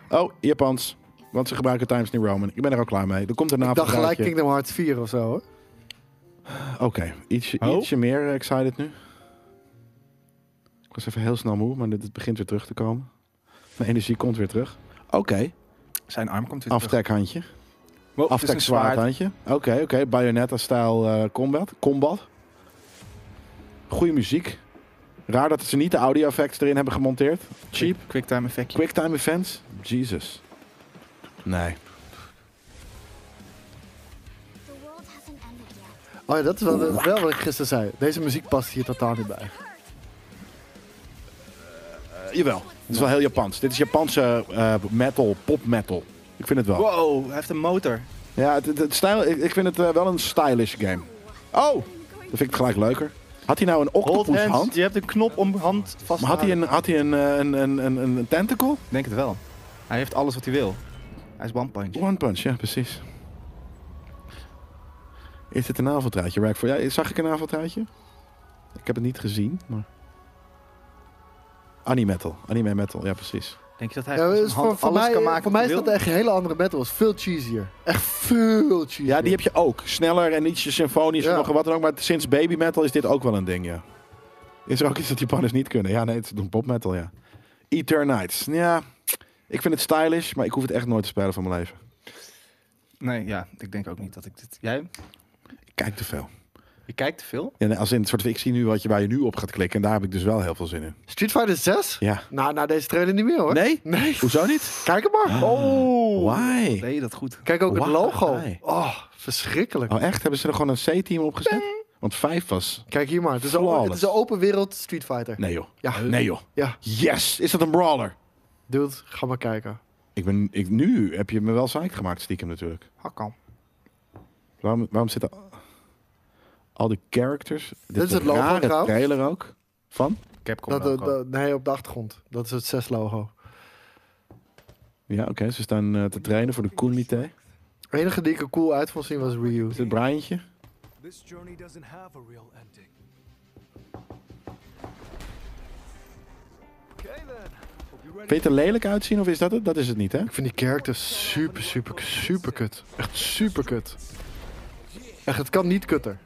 Speaker 2: Oh, Japans. Want ze gebruiken Times New Roman. Ik ben er al klaar mee. Er komt daarna
Speaker 3: Ik dacht
Speaker 2: een
Speaker 3: gelijk
Speaker 2: verhaaltje.
Speaker 3: Kingdom Hearts 4 of zo, hoor.
Speaker 2: Oké, ietsje,
Speaker 1: Oh.
Speaker 2: ietsje meer eh, excited nu. Ik was even heel snel moe, maar dit, het begint weer terug te komen. Mijn energie komt weer terug. Oké,
Speaker 1: Zijn arm komt weer terug.
Speaker 2: aftrekhandje.
Speaker 1: Wow, het is een zwaard.
Speaker 2: Aftrekszwaardhandje. Oké, oké. Bayonetta-stijl eh, combat. combat. Goeie muziek. Raar dat ze niet de audio effects erin hebben gemonteerd. Cheap.
Speaker 1: Quicktime effectje.
Speaker 2: Quicktime events. Jesus. Nee.
Speaker 6: The world hasn't ended yet.
Speaker 3: Oh ja, dat is wel, dat is wel wat ik gisteren zei. Deze muziek past hier totaal niet bij.
Speaker 2: Eh, jawel. Het is wel heel Japans. Dit is Japanse eh, metal, pop metal. Ik vind het wel.
Speaker 1: Wow, hij heeft een motor.
Speaker 2: Ja, het, het, het stijl, ik, ik vind het eh, wel een stylish game. Oh! Dat vind ik het gelijk leuker. Had hij nou een
Speaker 1: Hold
Speaker 2: octopus
Speaker 1: hands.
Speaker 2: hand?
Speaker 1: Je hebt een knop om hand vast te
Speaker 2: Maar had hij
Speaker 1: houden.
Speaker 2: een, had hij een, eh, een, een, een, een tentacle?
Speaker 1: Ik denk het wel. Hij heeft alles wat hij wil. Hij is one punch.
Speaker 2: One Punch, ja, precies. Is dit een avondruitje? Rack voor ja, Zag ik een avondruitje? Ik heb het niet gezien, maar. Animetal. Anime metal, ja, precies.
Speaker 1: Denk je dat hij
Speaker 3: Ja,
Speaker 1: met zijn
Speaker 3: dus
Speaker 1: hand
Speaker 3: voor, voor
Speaker 1: alles
Speaker 3: mij,
Speaker 1: kan maken
Speaker 3: voor
Speaker 1: wat
Speaker 3: mij is
Speaker 1: hij
Speaker 3: dat
Speaker 1: wil?
Speaker 3: echt een hele andere battles. Veel cheesier. Echt veel cheesier.
Speaker 2: Ja, die heb je ook. Sneller en ietsje symfonisch en
Speaker 3: Ja.
Speaker 2: nog wat dan ook. Maar sinds baby metal is dit ook wel een ding, ja. Is er ook iets dat Japanners niet kunnen? Ja, nee, het is een pop metal, ja. Eternites. Ja, ik vind het stylish, maar ik hoef het echt nooit te spelen van mijn leven.
Speaker 1: Nee, ja, ik denk ook niet dat ik dit... Jij?
Speaker 2: Ik kijk te veel.
Speaker 1: Je kijkt te veel?
Speaker 2: Ja, nee, als in het soort van, ik zie nu wat je, waar je nu op gaat klikken. En daar heb ik dus wel heel veel zin in.
Speaker 3: Street Fighter 6?
Speaker 2: Ja.
Speaker 3: Nou, nou, deze trailer niet meer hoor.
Speaker 2: Nee?
Speaker 3: Nee.
Speaker 2: Hoezo niet? Ah.
Speaker 3: Kijk hem maar.
Speaker 1: Oh!
Speaker 2: Why?
Speaker 1: Nee, dat goed.
Speaker 3: Kijk ook
Speaker 2: Why?
Speaker 3: het logo. Oh, verschrikkelijk.
Speaker 2: Oh, echt? Hebben ze er gewoon een C-team op gezet? Want vijf was...
Speaker 3: Kijk hier maar. Het is, een,
Speaker 2: Flawless.
Speaker 3: het is een open wereld Street Fighter.
Speaker 2: Nee joh.
Speaker 3: Ja.
Speaker 2: Nee joh.
Speaker 3: Ja,
Speaker 2: Yes! Is dat een brawler?
Speaker 3: dude, ga maar kijken.
Speaker 2: Ik ben... Ik, nu heb je me wel psyched gemaakt, stiekem natuurlijk.
Speaker 1: Hakkan.
Speaker 2: Waarom, waarom zitten al die characters... Dit,
Speaker 3: is het logo
Speaker 2: rare
Speaker 3: trouwens.
Speaker 2: trailer ook. Van?
Speaker 1: Capcom
Speaker 3: Dat,
Speaker 1: dat,
Speaker 3: eh, dat- nee, op de achtergrond. Dat is het 6 logo.
Speaker 2: Ja, oké. Ze staan eh, te trainen voor de Kunmite.
Speaker 3: Het enige die ik er cool uit vond zien was Ryu.
Speaker 2: Is dit Briantje?
Speaker 9: This journey doesn't have a real ending. Okay then. Hope you're
Speaker 2: Vind je het er lelijk uitzien of is dat het? Dat is het niet, hè?
Speaker 3: Ik vind die character super, super, super kut. Echt super kut. Echt, het kan niet kutter.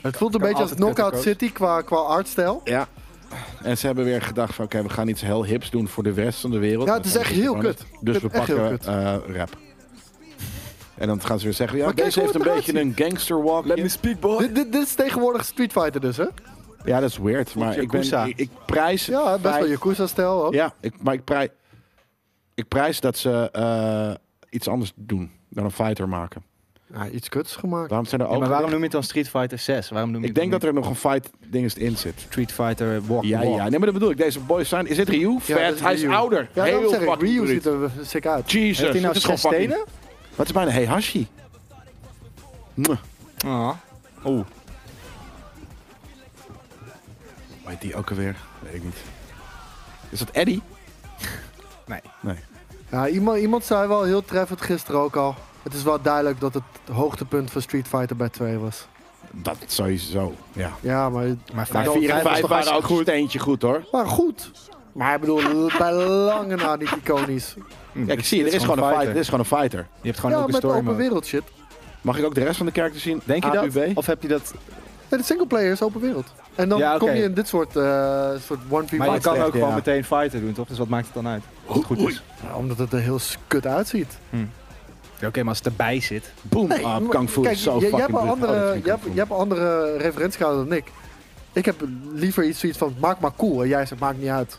Speaker 3: Het voelt een beetje als
Speaker 1: altijd
Speaker 3: Knockout
Speaker 1: kutter,
Speaker 3: City qua, qua artstijl.
Speaker 2: Ja. En ze hebben weer gedacht van... Oké, we gaan iets heel hips doen voor de rest van de wereld.
Speaker 3: Ja, het is
Speaker 2: Dat
Speaker 3: echt
Speaker 2: gaan we
Speaker 3: heel
Speaker 2: gewoon
Speaker 3: kut.
Speaker 2: eens- Dus
Speaker 3: Het
Speaker 2: we
Speaker 3: is echt heel
Speaker 2: pakken
Speaker 3: kut.
Speaker 2: eh rap. En dan gaan ze weer zeggen... Ja,
Speaker 3: Maar kijk
Speaker 2: deze
Speaker 3: hoe
Speaker 2: heeft een
Speaker 3: het eruit
Speaker 2: beetje een gangster walk.
Speaker 1: Let me speak, boy!
Speaker 3: Dit, dit, dit is tegenwoordig Street Fighter dus, hè?
Speaker 2: Ja, dat is weird. Maar ik, ben,
Speaker 1: Yakuza.
Speaker 2: ik, ik prijs... het
Speaker 3: Ja, best wel
Speaker 2: feit-
Speaker 3: Yakuza-stijl ook.
Speaker 2: Ja, ik, maar ik prijs, ik prijs dat ze eh, iets anders doen dan een fighter maken.
Speaker 3: Ja, iets kuts gemaakt.
Speaker 2: Waarom zijn er ook...
Speaker 1: maar waarom noem je het dan Street Fighter 6? Waarom noem je
Speaker 2: ik denk dat er nog een fight ding in zit.
Speaker 1: Street Fighter Walk
Speaker 2: Ja, ja. Nee, maar dat bedoel ik. Deze boys zijn... Is dit Ryu?
Speaker 3: Ja,
Speaker 2: Vet.
Speaker 3: dat is
Speaker 2: Hij is
Speaker 3: Ryu.
Speaker 2: ouder.
Speaker 3: Ja,
Speaker 2: heel
Speaker 3: daarom zeg ik,
Speaker 2: fucking
Speaker 3: Ryu
Speaker 2: bruut.
Speaker 3: ziet er sick uit.
Speaker 2: Jesus.
Speaker 1: Heeft hij nou
Speaker 2: dat is gewoon
Speaker 1: zes stenen?
Speaker 2: Wat is bijna Heihashi? Mwah.
Speaker 1: Ah. Oeh.
Speaker 2: Hoe heet die ook alweer? Weet ik niet. Is dat Eddie?
Speaker 1: Nee.
Speaker 2: Nee.
Speaker 3: Ja, iemand, iemand zei wel heel treffend gisteren ook al. Het is wel duidelijk dat het hoogtepunt van Street Fighter bij 2 was.
Speaker 2: Dat sowieso, ja.
Speaker 3: Ja, maar...
Speaker 1: Maar
Speaker 2: Maar
Speaker 1: vijf,
Speaker 2: 4 en
Speaker 1: vijf was
Speaker 2: 5
Speaker 1: toch
Speaker 2: waren ook
Speaker 1: hartstikke
Speaker 2: een steentje goed, hoor.
Speaker 3: Maar goed. Maar ik <laughs> bedoel, bij lange na niet iconisch.
Speaker 1: goed.
Speaker 2: Kijk, zie je, er is gewoon een dus- fighter. Dit is gewoon een fighter.
Speaker 1: Je hebt gewoon
Speaker 3: Ja,
Speaker 1: ook een
Speaker 3: met
Speaker 1: story
Speaker 3: open
Speaker 1: mode.
Speaker 3: wereld shit.
Speaker 2: Mag ik ook de rest van de kerk zien?
Speaker 1: Denk je dat?
Speaker 2: AUB?
Speaker 1: Of heb je dat...
Speaker 3: Nee, de singleplayer is open wereld. En dan
Speaker 1: Ja, oké.
Speaker 3: kom je in dit soort, eh, soort 1v1.
Speaker 1: Maar je kan
Speaker 2: echt,
Speaker 1: ook gewoon
Speaker 2: ja.
Speaker 1: meteen fighter doen, toch? Dus wat maakt het dan uit? Als het goed is.
Speaker 3: Ja, omdat het er heel kut uitziet.
Speaker 1: Ja, Oké, maar als het erbij zit...
Speaker 2: Boom! ah,
Speaker 3: Nee, maar-
Speaker 2: Kung Fu
Speaker 3: Kijk,
Speaker 2: is zo
Speaker 3: je, je
Speaker 2: fucking
Speaker 3: hebt
Speaker 2: bruut.
Speaker 3: een
Speaker 2: Oh, dat
Speaker 3: andere,
Speaker 2: vind ik
Speaker 3: je hebt,
Speaker 2: Kung
Speaker 3: je
Speaker 2: Fu.
Speaker 3: hebt een andere referentiekader dan ik. Ik heb liever iets zoiets van, maak maar cool. En jij zegt, maakt niet uit.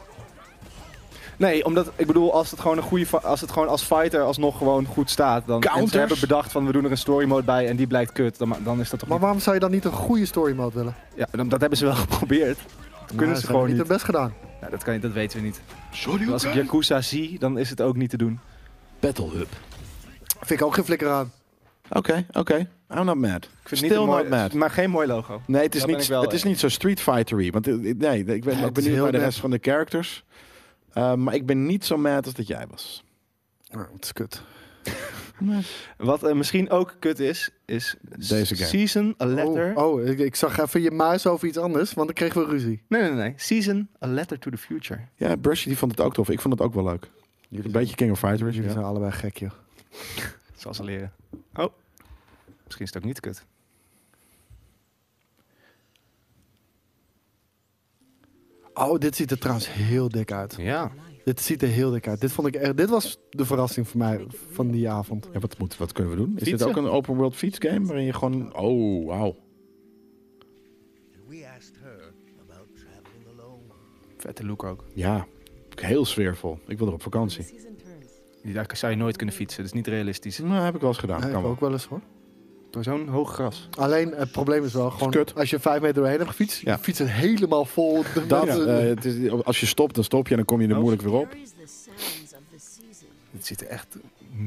Speaker 1: Nee, omdat ik bedoel, als het gewoon een goede, fi- als het gewoon als fighter alsnog gewoon goed staat, dan en
Speaker 2: Counters.
Speaker 1: ze hebben bedacht van we doen er een story mode bij en die blijkt kut, dan, ma- dan is dat toch.
Speaker 3: Maar waarom zou je dan niet een goede story mode willen?
Speaker 1: niet- Ja, dan- dat hebben ze wel <laughs> geprobeerd. Dat kunnen
Speaker 3: Nou,
Speaker 1: ze
Speaker 3: hebben
Speaker 1: gewoon niet.
Speaker 3: niet hun best gedaan.
Speaker 1: Ja, dat kan niet, dat weten we niet.
Speaker 2: Sorry,
Speaker 1: Als ik Yakuza zie, dan is het ook niet te doen.
Speaker 2: Battle Hub.
Speaker 3: Vind ik ook geen flikker aan.
Speaker 2: Oké, oké. I'm not mad.
Speaker 1: Ik vind het
Speaker 2: Still
Speaker 1: niet een mooi-
Speaker 2: not mad.
Speaker 1: Maar geen mooi logo.
Speaker 2: Nee, het is,
Speaker 1: Dat ben
Speaker 2: niet,
Speaker 1: ik wel
Speaker 2: het is
Speaker 1: eens.
Speaker 2: niet zo Street Fightery. Want eh, eh, nee, ik ben
Speaker 3: Nee,
Speaker 2: ook
Speaker 3: het is
Speaker 2: benieuwd
Speaker 3: heel
Speaker 2: naar de
Speaker 3: nep.
Speaker 2: rest van de characters. Eh, maar ik ben niet zo mad als dat jij was.
Speaker 3: Ja, het is kut.
Speaker 1: Wat eh, misschien ook kut is, is
Speaker 2: Deze game.
Speaker 1: Season a Letter.
Speaker 3: Oh, oh, ik, ik zag even je muis over iets anders, want dan kregen we ruzie.
Speaker 1: Nee, nee, nee. Season a Letter to the Future.
Speaker 2: Ja, Brushy die vond het ook tof. Ik vond het ook wel leuk. Een beetje King of Fighters.
Speaker 3: Jullie
Speaker 2: Ja.
Speaker 3: zijn allebei gek, joh.
Speaker 1: Zal ze leren. Oh, misschien is het ook niet kut.
Speaker 3: Oh, dit ziet er trouwens heel dik uit.
Speaker 1: Ja.
Speaker 3: Dit ziet er heel dik uit. Dit, vond ik echt, dit was de verrassing voor mij van die avond.
Speaker 2: Ja, wat, moet, wat kunnen we doen? Is dit
Speaker 1: Fietsen.
Speaker 2: ook een open world fietsgame waarin je gewoon... Oh, wauw.
Speaker 7: We asked her about traveling alone.
Speaker 1: Vette look ook.
Speaker 2: Ja, heel sfeervol. Ik wil er op vakantie.
Speaker 1: Daar zou je nooit kunnen fietsen. Dat is niet realistisch.
Speaker 2: Nou, heb ik wel eens gedaan.
Speaker 3: Ja, ik
Speaker 2: kan wel.
Speaker 3: ook wel eens hoor.
Speaker 1: Door zo'n hoog gras.
Speaker 3: Alleen het probleem is wel gewoon,
Speaker 2: kut.
Speaker 3: als je vijf meter doorheen hebt gefietst,
Speaker 2: Ja.
Speaker 3: je fietst het helemaal
Speaker 2: <laughs>
Speaker 3: vol.
Speaker 2: Dat,
Speaker 3: met-
Speaker 2: eh, het is, als je stopt, dan stop je en dan kom je er moeilijk weer op.
Speaker 1: Het ziet er echt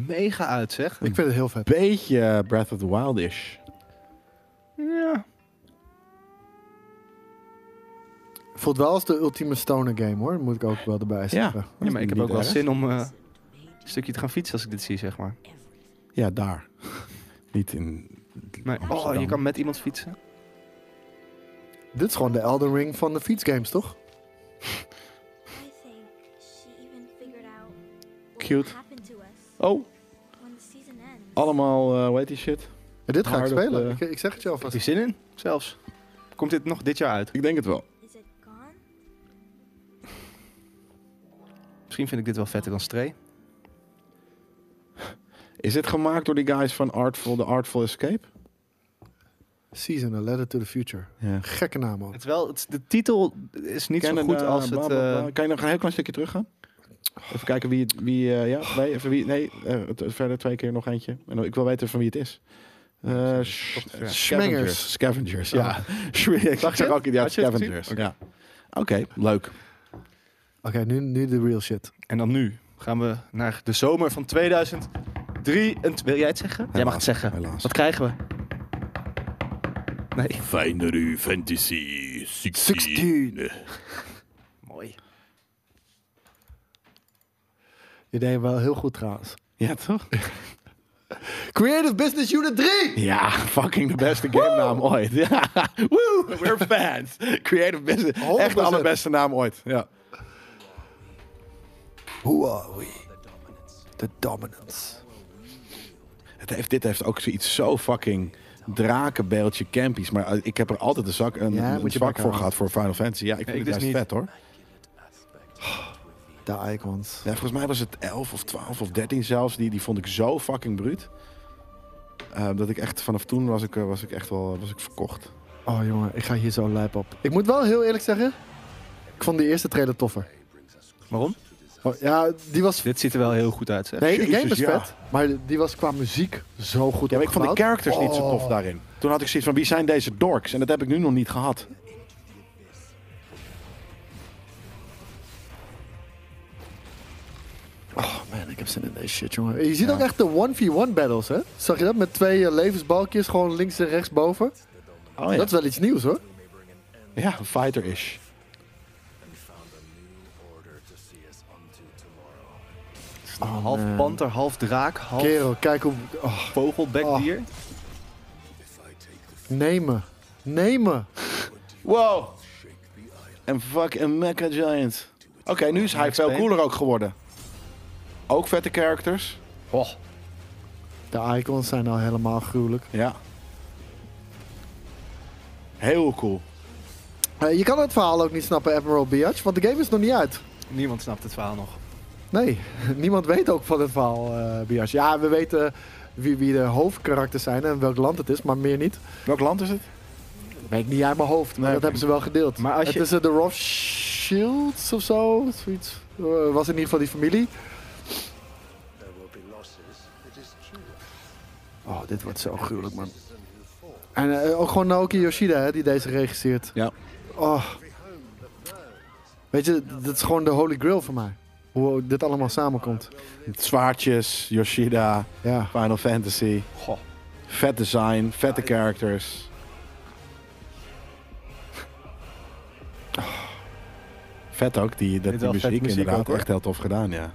Speaker 1: mega uit, zeg.
Speaker 3: ik vind het heel vet.
Speaker 2: Beetje eh, Breath of the Wild-ish.
Speaker 1: Ja.
Speaker 3: Voelt wel als de ultieme stoner game hoor, moet ik ook wel erbij zeggen.
Speaker 1: Ja, maar ik heb ook wel
Speaker 2: erg.
Speaker 1: zin om eh, een stukje te gaan fietsen als ik dit zie, zeg maar.
Speaker 2: Ja, daar. <laughs> Niet in...
Speaker 1: Nee. Oh,
Speaker 2: Amsterdam.
Speaker 1: je kan met iemand fietsen.
Speaker 3: Dit is gewoon de Elden Ring van de fietsgames, toch?
Speaker 6: I think she even figured out what
Speaker 2: Cute.
Speaker 6: happened to us
Speaker 2: Oh,
Speaker 6: when the season ends.
Speaker 2: allemaal, eh hoe heet die shit?
Speaker 3: En dit ga ik
Speaker 2: Maar dat,
Speaker 3: spelen,
Speaker 2: eh,
Speaker 3: ik, ik zeg het je
Speaker 1: Heb
Speaker 3: alvast.
Speaker 1: je zin in? Zelfs. Komt dit nog dit jaar uit?
Speaker 2: Ik denk het wel.
Speaker 6: Is it gone?
Speaker 1: Misschien vind ik dit wel vetter dan Stray.
Speaker 2: Is dit gemaakt door die guys van Artful, The Artful Escape?
Speaker 3: Season, A Letter to the Future.
Speaker 2: Ja.
Speaker 3: Gekke naam ook.
Speaker 1: Het is wel, het, is- de titel is niet zo goed als het... eh,
Speaker 2: Kan je nog een heel klein stukje teruggaan? Even kijken wie... het- wie eh,
Speaker 1: Oh.
Speaker 2: ja, nee, even wie, nee eh, het- verder twee keer nog eentje. En ik wil weten van wie het is. Eh, sh-
Speaker 1: te ver.
Speaker 2: scavengers. Scavengers, ja. <laughs> ik
Speaker 1: Zag je
Speaker 2: zag
Speaker 1: het?
Speaker 2: ook in ja,
Speaker 1: Oh. Had je het gezien?
Speaker 2: Scavengers. Ja. Oké, leuk.
Speaker 3: Oké, nu, nu de real shit.
Speaker 1: En dan nu gaan we naar de zomer van 2003. En wil jij het zeggen? jij mag het zeggen.
Speaker 2: helaas.
Speaker 1: Wat krijgen we? Nee.
Speaker 2: Fijner Fantasy
Speaker 3: 16.
Speaker 1: Mooi.
Speaker 3: Je deed hem wel heel goed trouwens.
Speaker 2: Ja, toch?
Speaker 3: Creative Business Unit 3!
Speaker 2: <laughs> Ja, fucking de beste game naam ooit. <laughs> Ja. Woo, we're fans. Creative Business. Echt de
Speaker 3: 100%.
Speaker 2: allerbeste naam ooit. Ja.
Speaker 3: Who are we? The dominance.
Speaker 2: Het heeft, dit heeft ook zoiets zo fucking drakenbeeldje campies. Maar eh, ik heb er altijd een zak, een,
Speaker 3: Ja,
Speaker 2: een
Speaker 3: moet je
Speaker 2: zwak
Speaker 3: pakken
Speaker 2: voor
Speaker 3: aan.
Speaker 2: gehad voor Final Fantasy. Ja, ik vind
Speaker 1: ik
Speaker 2: het
Speaker 1: dus
Speaker 2: juist
Speaker 1: niet.
Speaker 2: vet hoor.
Speaker 3: De icons.
Speaker 2: Ja, volgens mij was het 11 of 12 of 13 zelfs. Die, die vond ik zo fucking bruut. Eh, dat ik echt vanaf toen was ik, eh, was ik echt wel was ik verkocht.
Speaker 3: Oh jongen, ik ga hier zo lijp op. Ik moet wel heel eerlijk zeggen, ik vond die eerste trailer toffer.
Speaker 1: Waarom?
Speaker 3: Oh, ja, die was...
Speaker 1: Dit ziet er wel heel goed uit, zeg.
Speaker 3: Nee, die game
Speaker 2: Jezus,
Speaker 3: is
Speaker 2: ja.
Speaker 3: vet, maar die was qua muziek zo goed
Speaker 2: Ja, maar ik vond de
Speaker 3: opgebouwd. Oh.
Speaker 2: characters niet zo tof daarin. Toen had ik zoiets van, wie zijn deze dorks? En dat heb ik nu nog niet gehad.
Speaker 3: Oh man, ik heb zin in deze shit, jongen. Je ziet ook echt de 1v1 battles, hè? Zag je dat? Met twee eh, levensbalkjes, gewoon links en rechts boven.
Speaker 2: Oh ja,
Speaker 3: Dat is wel iets nieuws, hoor.
Speaker 2: ja fighter-ish.
Speaker 1: Ah, half panter, half draak, half
Speaker 3: Kerel, kijk hoe... Oh,
Speaker 1: vogelbekdier.
Speaker 2: Ah.
Speaker 3: nemen. Nemen.
Speaker 2: Wow. En fuck een Mecha Giant. Oké, nu is hij
Speaker 1: Max
Speaker 2: veel
Speaker 1: Payne.
Speaker 2: cooler ook geworden. Ook vette characters.
Speaker 1: Oh.
Speaker 3: De icons zijn al helemaal gruwelijk.
Speaker 2: Ja. Heel cool.
Speaker 3: Eh, je kan het verhaal ook niet snappen, Admiral Biatch, want de game is nog niet uit.
Speaker 1: Niemand snapt het verhaal nog.
Speaker 3: Nee, <laughs> niemand weet ook van het verhaal, eh Biatch. Ja, we weten wie, wie de hoofdkarakters zijn en welk land het is, maar meer niet.
Speaker 2: Welk land is het?
Speaker 3: Weet ik niet uit mijn hoofd, maar
Speaker 2: Nee,
Speaker 3: dat
Speaker 2: oké.
Speaker 3: hebben ze wel gedeeld.
Speaker 1: Maar als
Speaker 3: het
Speaker 1: je-
Speaker 3: is eh, de Rothschilds of zo, zoiets. Eh, was in ieder geval die familie. Oh, dit wordt zo gruwelijk, man. En eh, ook gewoon Naoki Yoshida, hè, die deze regisseert.
Speaker 2: Ja.
Speaker 3: Oh. Weet je, dit is gewoon de holy grail voor mij. Hoe dit allemaal samenkomt.
Speaker 2: Zwaardjes, Yoshida,
Speaker 3: Ja.
Speaker 2: Final Fantasy.
Speaker 1: Goh.
Speaker 2: Vet design, vette characters. Vet ook, die, dat,
Speaker 1: Dit
Speaker 2: die
Speaker 1: wel vet
Speaker 2: muziek
Speaker 1: muziek
Speaker 2: inderdaad.
Speaker 1: ook, hoor.
Speaker 2: echt heel tof gedaan, ja.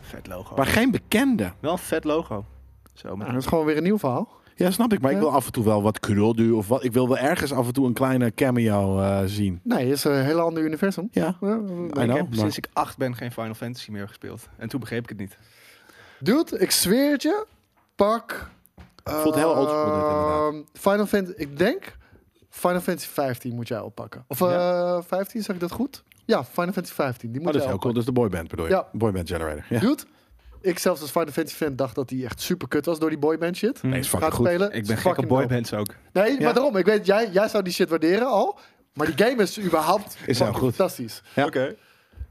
Speaker 1: Vet logo.
Speaker 2: Maar Ah, geen bekende.
Speaker 1: Wel een vet logo. Zo, met
Speaker 3: Dat is gewoon weer een nieuw verhaal.
Speaker 2: Ja, snap ik. Maar ik wil af en toe wel wat Kurodu of wat. Ik wil wel ergens af en toe een kleine cameo eh, zien.
Speaker 3: Nee, het is een heel ander universum.
Speaker 2: Ja.
Speaker 3: Ja,
Speaker 2: I
Speaker 1: ik
Speaker 2: know,
Speaker 1: heb
Speaker 2: maar-
Speaker 1: sinds ik acht ben geen Final Fantasy meer gespeeld. En toen begreep ik het niet.
Speaker 3: Dude, ik zweer het je. Pak.
Speaker 2: Voelt heel oldschool dit, inderdaad.
Speaker 3: ehm, Final Fantasy. Ik denk. Final Fantasy 15 moet jij oppakken. Of eh, 15, zeg ik dat goed? Ja, Final Fantasy 15. Die
Speaker 2: Oh,
Speaker 3: moet
Speaker 2: dat is
Speaker 3: jij
Speaker 2: heel cool. Dat is de boyband bedoel je?
Speaker 3: Ja.
Speaker 2: Boyband Generator. Ja.
Speaker 3: oppakken. Dude, ik zelfs als Final Fantasy fan dacht dat hij echt super kut was door die boyband shit.
Speaker 1: Hmm.
Speaker 2: Nee, is fucking
Speaker 3: Gaat
Speaker 2: goed.
Speaker 3: spelen.
Speaker 1: Ik
Speaker 3: is
Speaker 1: ben gek op
Speaker 3: fucking dope.
Speaker 1: boybands ook.
Speaker 3: Nee, maar daarom. Ik weet, jij, jij zou die shit waarderen al. Maar die game is überhaupt
Speaker 2: <laughs> Is heel
Speaker 3: fucking
Speaker 2: goed.
Speaker 3: fantastisch.
Speaker 2: Ja.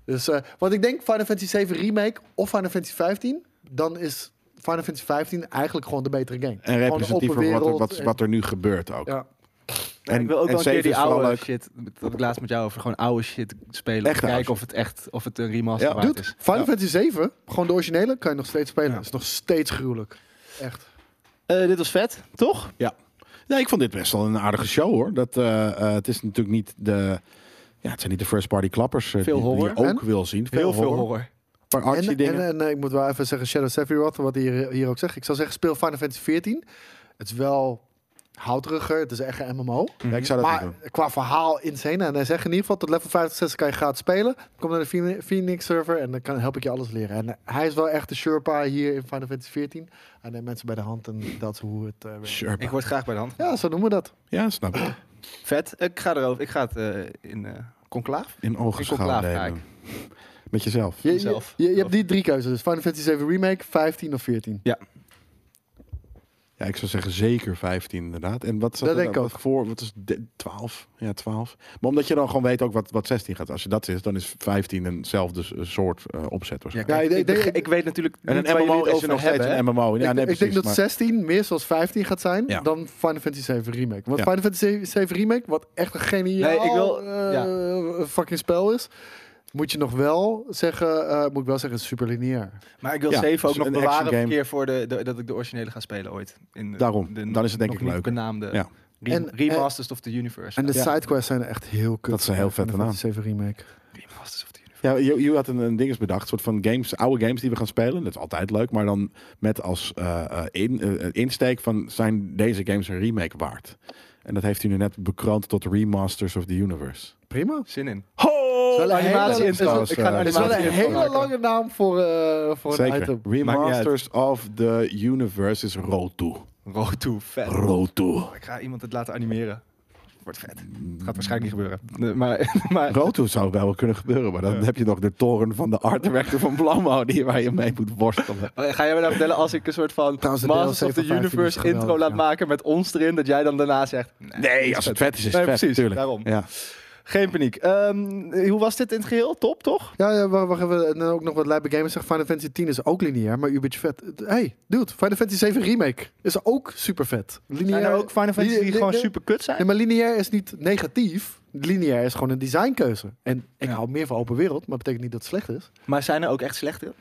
Speaker 3: Dus eh wat ik denk, Final Fantasy 7 Remake of Final Fantasy 15, dan is Final Fantasy 15 eigenlijk gewoon de betere game.
Speaker 2: En
Speaker 3: Gewoon een
Speaker 2: representatief
Speaker 3: open
Speaker 2: voor wat er,
Speaker 3: wereld
Speaker 2: wat,
Speaker 3: en-
Speaker 2: wat er nu gebeurt ook.
Speaker 3: ja.
Speaker 1: En, ik wil ook wel een
Speaker 2: zeven
Speaker 1: keer die
Speaker 2: is vooral
Speaker 1: oude
Speaker 2: leuk.
Speaker 1: shit, dat ik laatst met jou over gewoon oude shit spelen. Om
Speaker 2: Echte
Speaker 1: te kijken
Speaker 2: oude
Speaker 1: of het echt, of het een remaster
Speaker 2: Ja,
Speaker 1: waard
Speaker 3: Dude,
Speaker 1: is.
Speaker 3: Final Fantasy 7, gewoon de originele, kan je nog steeds spelen. Dat is nog steeds gruwelijk. Echt.
Speaker 1: Eh, dit was vet, toch?
Speaker 2: Ja. Nee, ik vond dit best wel een aardige show hoor. Dat, eh, eh, het is natuurlijk niet de. Ja, het zijn niet de first party klappers
Speaker 1: Veel
Speaker 2: eh, die, die je
Speaker 1: horror.
Speaker 2: ook
Speaker 3: En?
Speaker 2: wil zien.
Speaker 1: Heel veel horror.
Speaker 2: Een paar
Speaker 3: En,
Speaker 2: actie dingen.
Speaker 3: en, en, eh, ik moet wel even zeggen, Shadow Sephiroth, wat hij hier, hier ook zegt. Ik zou zeggen, speel Final Fantasy 14. Het is wel houteriger, het is echt een MMO.
Speaker 2: Ja, Mm. ik zou dat niet
Speaker 3: Maar
Speaker 2: doen.
Speaker 3: qua verhaal insane. En hij zegt in ieder geval tot level 50, 60 kan je gaat spelen. Kom naar de Phoen- Phoenix server en dan kan, help ik je alles leren. En hij is wel echt de Sherpa hier in Final Fantasy 14. Hij neemt mensen bij de hand en dat is hoe het eh, werkt.
Speaker 2: Sure.
Speaker 1: Ik word graag bij de hand.
Speaker 3: Ja, zo noemen we dat.
Speaker 2: Ja, snap ik.
Speaker 1: Vet, ik ga erover. Ik ga het eh, in eh conclaaf.
Speaker 2: In ogen
Speaker 1: Ik kom klaar,
Speaker 2: schouwen
Speaker 1: Frank.
Speaker 2: nemen. <laughs> Met jezelf.
Speaker 3: Je, je,
Speaker 1: Zelf.
Speaker 3: je, je hebt die drie keuzes. Dus Final Fantasy 7 Remake, 15 of 14.
Speaker 2: Ja, ik zou zeggen zeker 15 inderdaad. En wat zat
Speaker 3: Dat
Speaker 2: er
Speaker 3: denk
Speaker 2: dan-
Speaker 3: ik
Speaker 2: wat voor? Wat is de- 12? Ja, 12. Maar omdat je dan gewoon weet ook wat, wat 16 gaat. Als je dat is, dan is 15 eenzelfde s- soort eh, opzet waarschijnlijk.
Speaker 3: kijk,
Speaker 1: ik,
Speaker 3: ik denk-
Speaker 1: ik, ik weet natuurlijk
Speaker 2: En
Speaker 1: niet
Speaker 2: een
Speaker 1: waar
Speaker 2: MMO
Speaker 1: jullie het
Speaker 2: is er
Speaker 1: over
Speaker 2: nog steeds
Speaker 1: hebben. hè?
Speaker 2: een MMO. Ja,
Speaker 3: ik,
Speaker 2: nee,
Speaker 3: ik
Speaker 2: precies,
Speaker 3: denk dat
Speaker 2: maar-
Speaker 3: 16 meer zoals 15 gaat zijn
Speaker 2: Ja.
Speaker 3: dan Final Fantasy 7 Remake. Want
Speaker 2: Ja.
Speaker 3: Final Fantasy 7 Remake, wat echt een geniaal
Speaker 1: Nee, ik wil-
Speaker 3: eh,
Speaker 1: ja.
Speaker 3: fucking spel is, moet je nog wel zeggen, eh, moet ik wel zeggen, super lineair.
Speaker 1: Maar ik wil
Speaker 2: Ja,
Speaker 1: zeven ook
Speaker 2: dus
Speaker 1: nog
Speaker 2: een
Speaker 1: bewaren
Speaker 2: action
Speaker 1: voor een
Speaker 2: game.
Speaker 1: keer voor de, de- dat ik de originele ga spelen ooit. In de-
Speaker 2: Daarom.
Speaker 1: de
Speaker 2: Dan is het denk
Speaker 1: nog
Speaker 2: ik
Speaker 1: niet
Speaker 2: leuker.
Speaker 1: benaamde
Speaker 2: Ja.
Speaker 1: re-
Speaker 3: En-
Speaker 1: remasters of the universe.
Speaker 3: En de
Speaker 2: Ja.
Speaker 3: sidequests zijn echt heel kut.
Speaker 2: Dat is een heel vette
Speaker 3: Final Fantasy 7 remake.
Speaker 1: remasters of the universe.
Speaker 2: Ja, je, je had een, een ding is bedacht, soort van games, oude games die we gaan spelen. Dat is altijd leuk, maar dan met als eh, eh, in, eh, insteek van zijn deze games een remake waard? En dat heeft u nu net bekroond tot Remasters of the Universe.
Speaker 3: Prima.
Speaker 1: Zin in.
Speaker 2: Ho!
Speaker 3: Wel een
Speaker 1: animatie
Speaker 3: hele-
Speaker 1: in trouwens,
Speaker 3: is wel-
Speaker 1: eh,
Speaker 3: is wel een
Speaker 1: animatie in
Speaker 3: hele
Speaker 1: maken.
Speaker 3: lange naam voor, eh, voor een
Speaker 2: Zeker.
Speaker 3: item.
Speaker 2: Remasters of the Universe is Rotu.
Speaker 1: Road to vet.
Speaker 2: Rotu.
Speaker 1: Ik ga iemand het laten animeren. Wordt vet. Het gaat waarschijnlijk niet gebeuren. Nee, maar, <laughs> maar
Speaker 2: Rotu zou wel kunnen gebeuren, maar dan heb je nog de toren van de art director van Blammo die waar je mee moet worstelen.
Speaker 1: ga jij me nou vertellen als ik een soort van
Speaker 3: Trouwens, de
Speaker 1: Masters
Speaker 3: DLC
Speaker 1: of the
Speaker 3: van 15 is
Speaker 1: Universe
Speaker 3: geweldig,
Speaker 1: intro laat
Speaker 3: ja.
Speaker 1: maken met ons erin, dat jij dan daarna zegt... Nee,
Speaker 2: Nee, als het vet is, is het
Speaker 1: Nee,
Speaker 2: vet,
Speaker 1: precies,
Speaker 2: natuurlijk.
Speaker 1: daarom.
Speaker 2: Ja.
Speaker 1: Geen paniek. Ehm, hoe was dit in het geheel? Top, toch?
Speaker 3: Ja, ja, wa- wacht even. En dan ook nog wat Leibe Gamers zegt. Final Fantasy 10 is ook lineair, maar ubertje vet. Hey, dude. Final Fantasy 7 remake is ook super vet. Lineair,
Speaker 1: Zijn er ook Final Fantasy die
Speaker 3: li-
Speaker 1: gewoon
Speaker 3: li-
Speaker 1: super kut
Speaker 3: Nee,
Speaker 1: zijn?
Speaker 3: maar lineair is niet negatief. Lineair is gewoon een designkeuze. En ik hou meer van open wereld, maar betekent niet dat het slecht is.
Speaker 1: Maar zijn er ook echt slechte?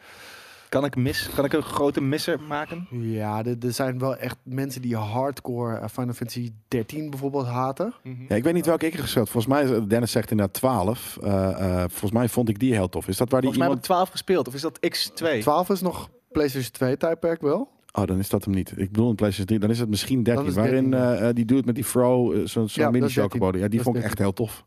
Speaker 1: Kan ik, mis, kan ik een grote misser maken?
Speaker 3: Ja, er er zijn wel echt mensen die hardcore eh, Final Fantasy 13 bijvoorbeeld haten.
Speaker 2: Ja, ik weet niet welke ik heb gespeeld. Volgens mij, is- Dennis zegt inderdaad 12. Eh, eh, volgens mij vond ik die heel tof. Is dat waar die
Speaker 1: Volgens mij heb ik 12
Speaker 2: iemand...
Speaker 1: gespeeld. Of is dat X2?
Speaker 3: 12 is nog PlayStation 2 tijdperk wel.
Speaker 2: Oh, dan is dat hem niet. Ik bedoel een PlayStation 3. Dan is het misschien 13.
Speaker 3: Dan is het
Speaker 2: waarin
Speaker 3: 13,
Speaker 2: eh, eh, die dude met die fro, eh, zo'n zo'n
Speaker 3: Ja, dat
Speaker 2: mini
Speaker 3: is 13.
Speaker 2: chocobode. Ja, die
Speaker 3: Dat is
Speaker 2: vond ik
Speaker 3: 13.
Speaker 2: echt heel tof.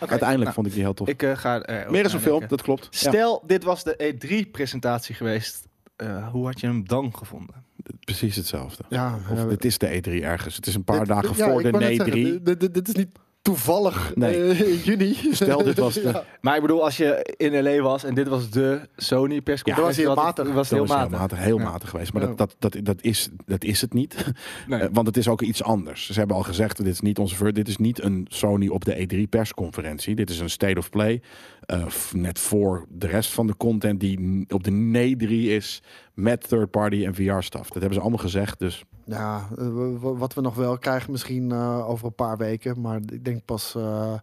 Speaker 1: Oké,
Speaker 2: Uiteindelijk
Speaker 1: nou,
Speaker 2: vond ik die heel tof.
Speaker 1: Ik eh, ga er
Speaker 2: Meer is een film, dat klopt. Ja,
Speaker 1: Stel, dit was de E3-presentatie geweest. Eh, hoe had je hem dan gevonden?
Speaker 2: precies hetzelfde.
Speaker 3: Ja,
Speaker 2: Of
Speaker 3: ja,
Speaker 2: dit is de E3 ergens. Het is een paar
Speaker 3: Dit-
Speaker 2: dagen
Speaker 3: ja,
Speaker 2: voor
Speaker 3: ik
Speaker 2: de E
Speaker 3: wou net zeggen,
Speaker 2: E3.
Speaker 3: dit- dit- Dit is niet toevallig
Speaker 2: Nee.
Speaker 3: eh, in juni.
Speaker 2: Stel, dit
Speaker 3: <laughs>
Speaker 2: was de-
Speaker 3: Ja.
Speaker 1: Maar ik bedoel, als je in L.A. was en dit was de Sony-persconferentie...
Speaker 2: Ja, dat
Speaker 3: was heel
Speaker 1: dan had-
Speaker 3: matig.
Speaker 1: was het
Speaker 2: Dat
Speaker 1: heel
Speaker 2: was heel
Speaker 1: matig.
Speaker 2: matig, heel
Speaker 1: Ja.
Speaker 2: matig geweest. Maar
Speaker 3: Ja.
Speaker 2: dat, dat, dat, dat, is, dat is het niet.
Speaker 1: Nee.
Speaker 2: Eh, want het is ook iets anders. Ze hebben al gezegd, dit is niet onze ver- Dit is niet een Sony op de E3 persconferentie. Dit is een state of play. eh, f- net voor de rest van de content die n- op de E3 is. Met third party en VR stuff. Dat hebben ze allemaal gezegd. Dus
Speaker 3: Ja, eh, w- w- wat we nog wel krijgen misschien eh, over een paar weken. Maar ik denk pas eh,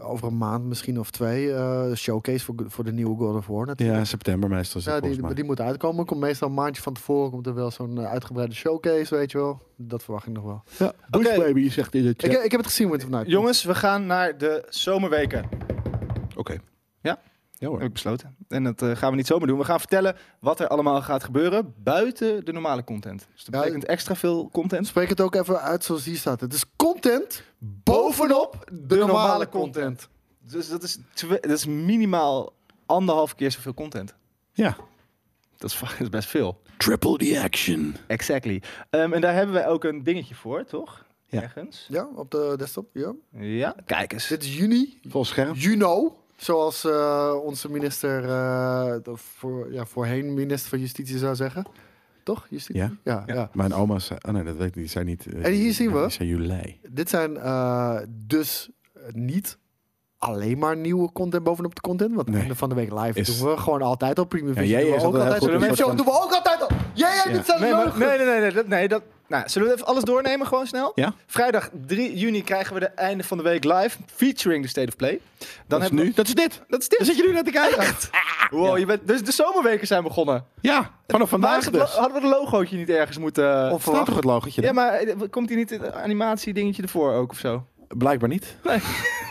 Speaker 3: over een maand misschien of twee. eh, showcase voor, voor de nieuwe God of War natuurlijk.
Speaker 2: ja, september meestal is het
Speaker 3: Ja,
Speaker 2: volgens
Speaker 3: die,
Speaker 2: mij.
Speaker 3: die moet uitkomen. Komt meestal een maandje van tevoren. Komt er wel zo'n eh, uitgebreide showcase, weet je wel. Dat verwacht ik nog wel.
Speaker 2: Ja,
Speaker 1: Bush Oké.
Speaker 2: Baby zegt in de
Speaker 3: Ik, nou, ik heb het gezien, Winter Vanuit.
Speaker 1: Jongens, we gaan naar de zomerweken.
Speaker 2: Oké.
Speaker 1: Ja?
Speaker 2: Ja hoor.
Speaker 1: Heb ik besloten. En dat eh, gaan we niet zomaar doen. We gaan vertellen wat er allemaal gaat gebeuren buiten de normale content. Dus dat
Speaker 3: Ja,
Speaker 1: betekent extra veel content.
Speaker 3: Spreek het ook even uit zoals hier staat. Het is content bovenop de, normale, content.
Speaker 1: Dus dat is, twe- dat is minimaal anderhalf keer zoveel content.
Speaker 2: Ja.
Speaker 1: Dat is, va- <laughs> dat is best veel.
Speaker 2: Triple the action.
Speaker 1: Exactly. Ehm, en daar hebben wij ook een dingetje voor, toch?
Speaker 2: Ja.
Speaker 1: Ergens.
Speaker 3: Ja, op de desktop. Ja.
Speaker 1: Ja, kijk eens.
Speaker 3: Dit is juni.
Speaker 2: Vol scherm.
Speaker 3: Juno. Zoals eh, onze minister, eh, de voor, ja, voorheen minister van Justitie zou zeggen. Toch? Justitie?
Speaker 2: Ja.
Speaker 3: Ja, ja.
Speaker 2: Mijn oma zei... Oh nee, dat weet ik niet. Die zei niet... eh,
Speaker 3: En hier zien we-
Speaker 2: Die zei juli.
Speaker 3: Dit zijn eh, dus niet alleen maar nieuwe content bovenop de content. Want
Speaker 2: Nee.
Speaker 3: einde van de week live
Speaker 2: Is-
Speaker 3: doen we gewoon altijd al. Premium
Speaker 2: Ja,
Speaker 3: Vision
Speaker 2: jij
Speaker 3: doen we
Speaker 2: is
Speaker 3: ook
Speaker 2: altijd
Speaker 3: altijd
Speaker 2: heel
Speaker 3: al.
Speaker 2: goed
Speaker 3: Premium
Speaker 2: in
Speaker 3: Vision
Speaker 2: soort
Speaker 3: doen we ook altijd al. Jij, jij,
Speaker 2: Ja.
Speaker 3: dit zijn
Speaker 1: Nee,
Speaker 3: wel
Speaker 1: maar,
Speaker 3: goed.
Speaker 1: nee, nee, nee, nee, dat, nee, dat, nou, zullen we even alles doornemen gewoon snel?
Speaker 2: Ja.
Speaker 1: Vrijdag 3 juni krijgen we de einde van de week live, featuring de State of Play. Dan
Speaker 2: Dat is
Speaker 1: hebben we-
Speaker 2: nu. Dat is dit.
Speaker 1: Dat is dit. zit je nu naar te kijken.
Speaker 2: Ah.
Speaker 1: Wow, je bent, dus de zomerweken zijn begonnen.
Speaker 2: Ja. Vanaf
Speaker 1: Maar
Speaker 2: vandaag
Speaker 1: hadden we het
Speaker 2: dus.
Speaker 1: lo- hadden we het logootje niet ergens moeten... eh,
Speaker 2: Of staat toch het logotje?
Speaker 1: ja,
Speaker 2: Ja,
Speaker 1: maar eh, komt hier niet het animatie dingetje ervoor ook of zo? <laughs>
Speaker 2: Blijkbaar niet.
Speaker 1: Nee.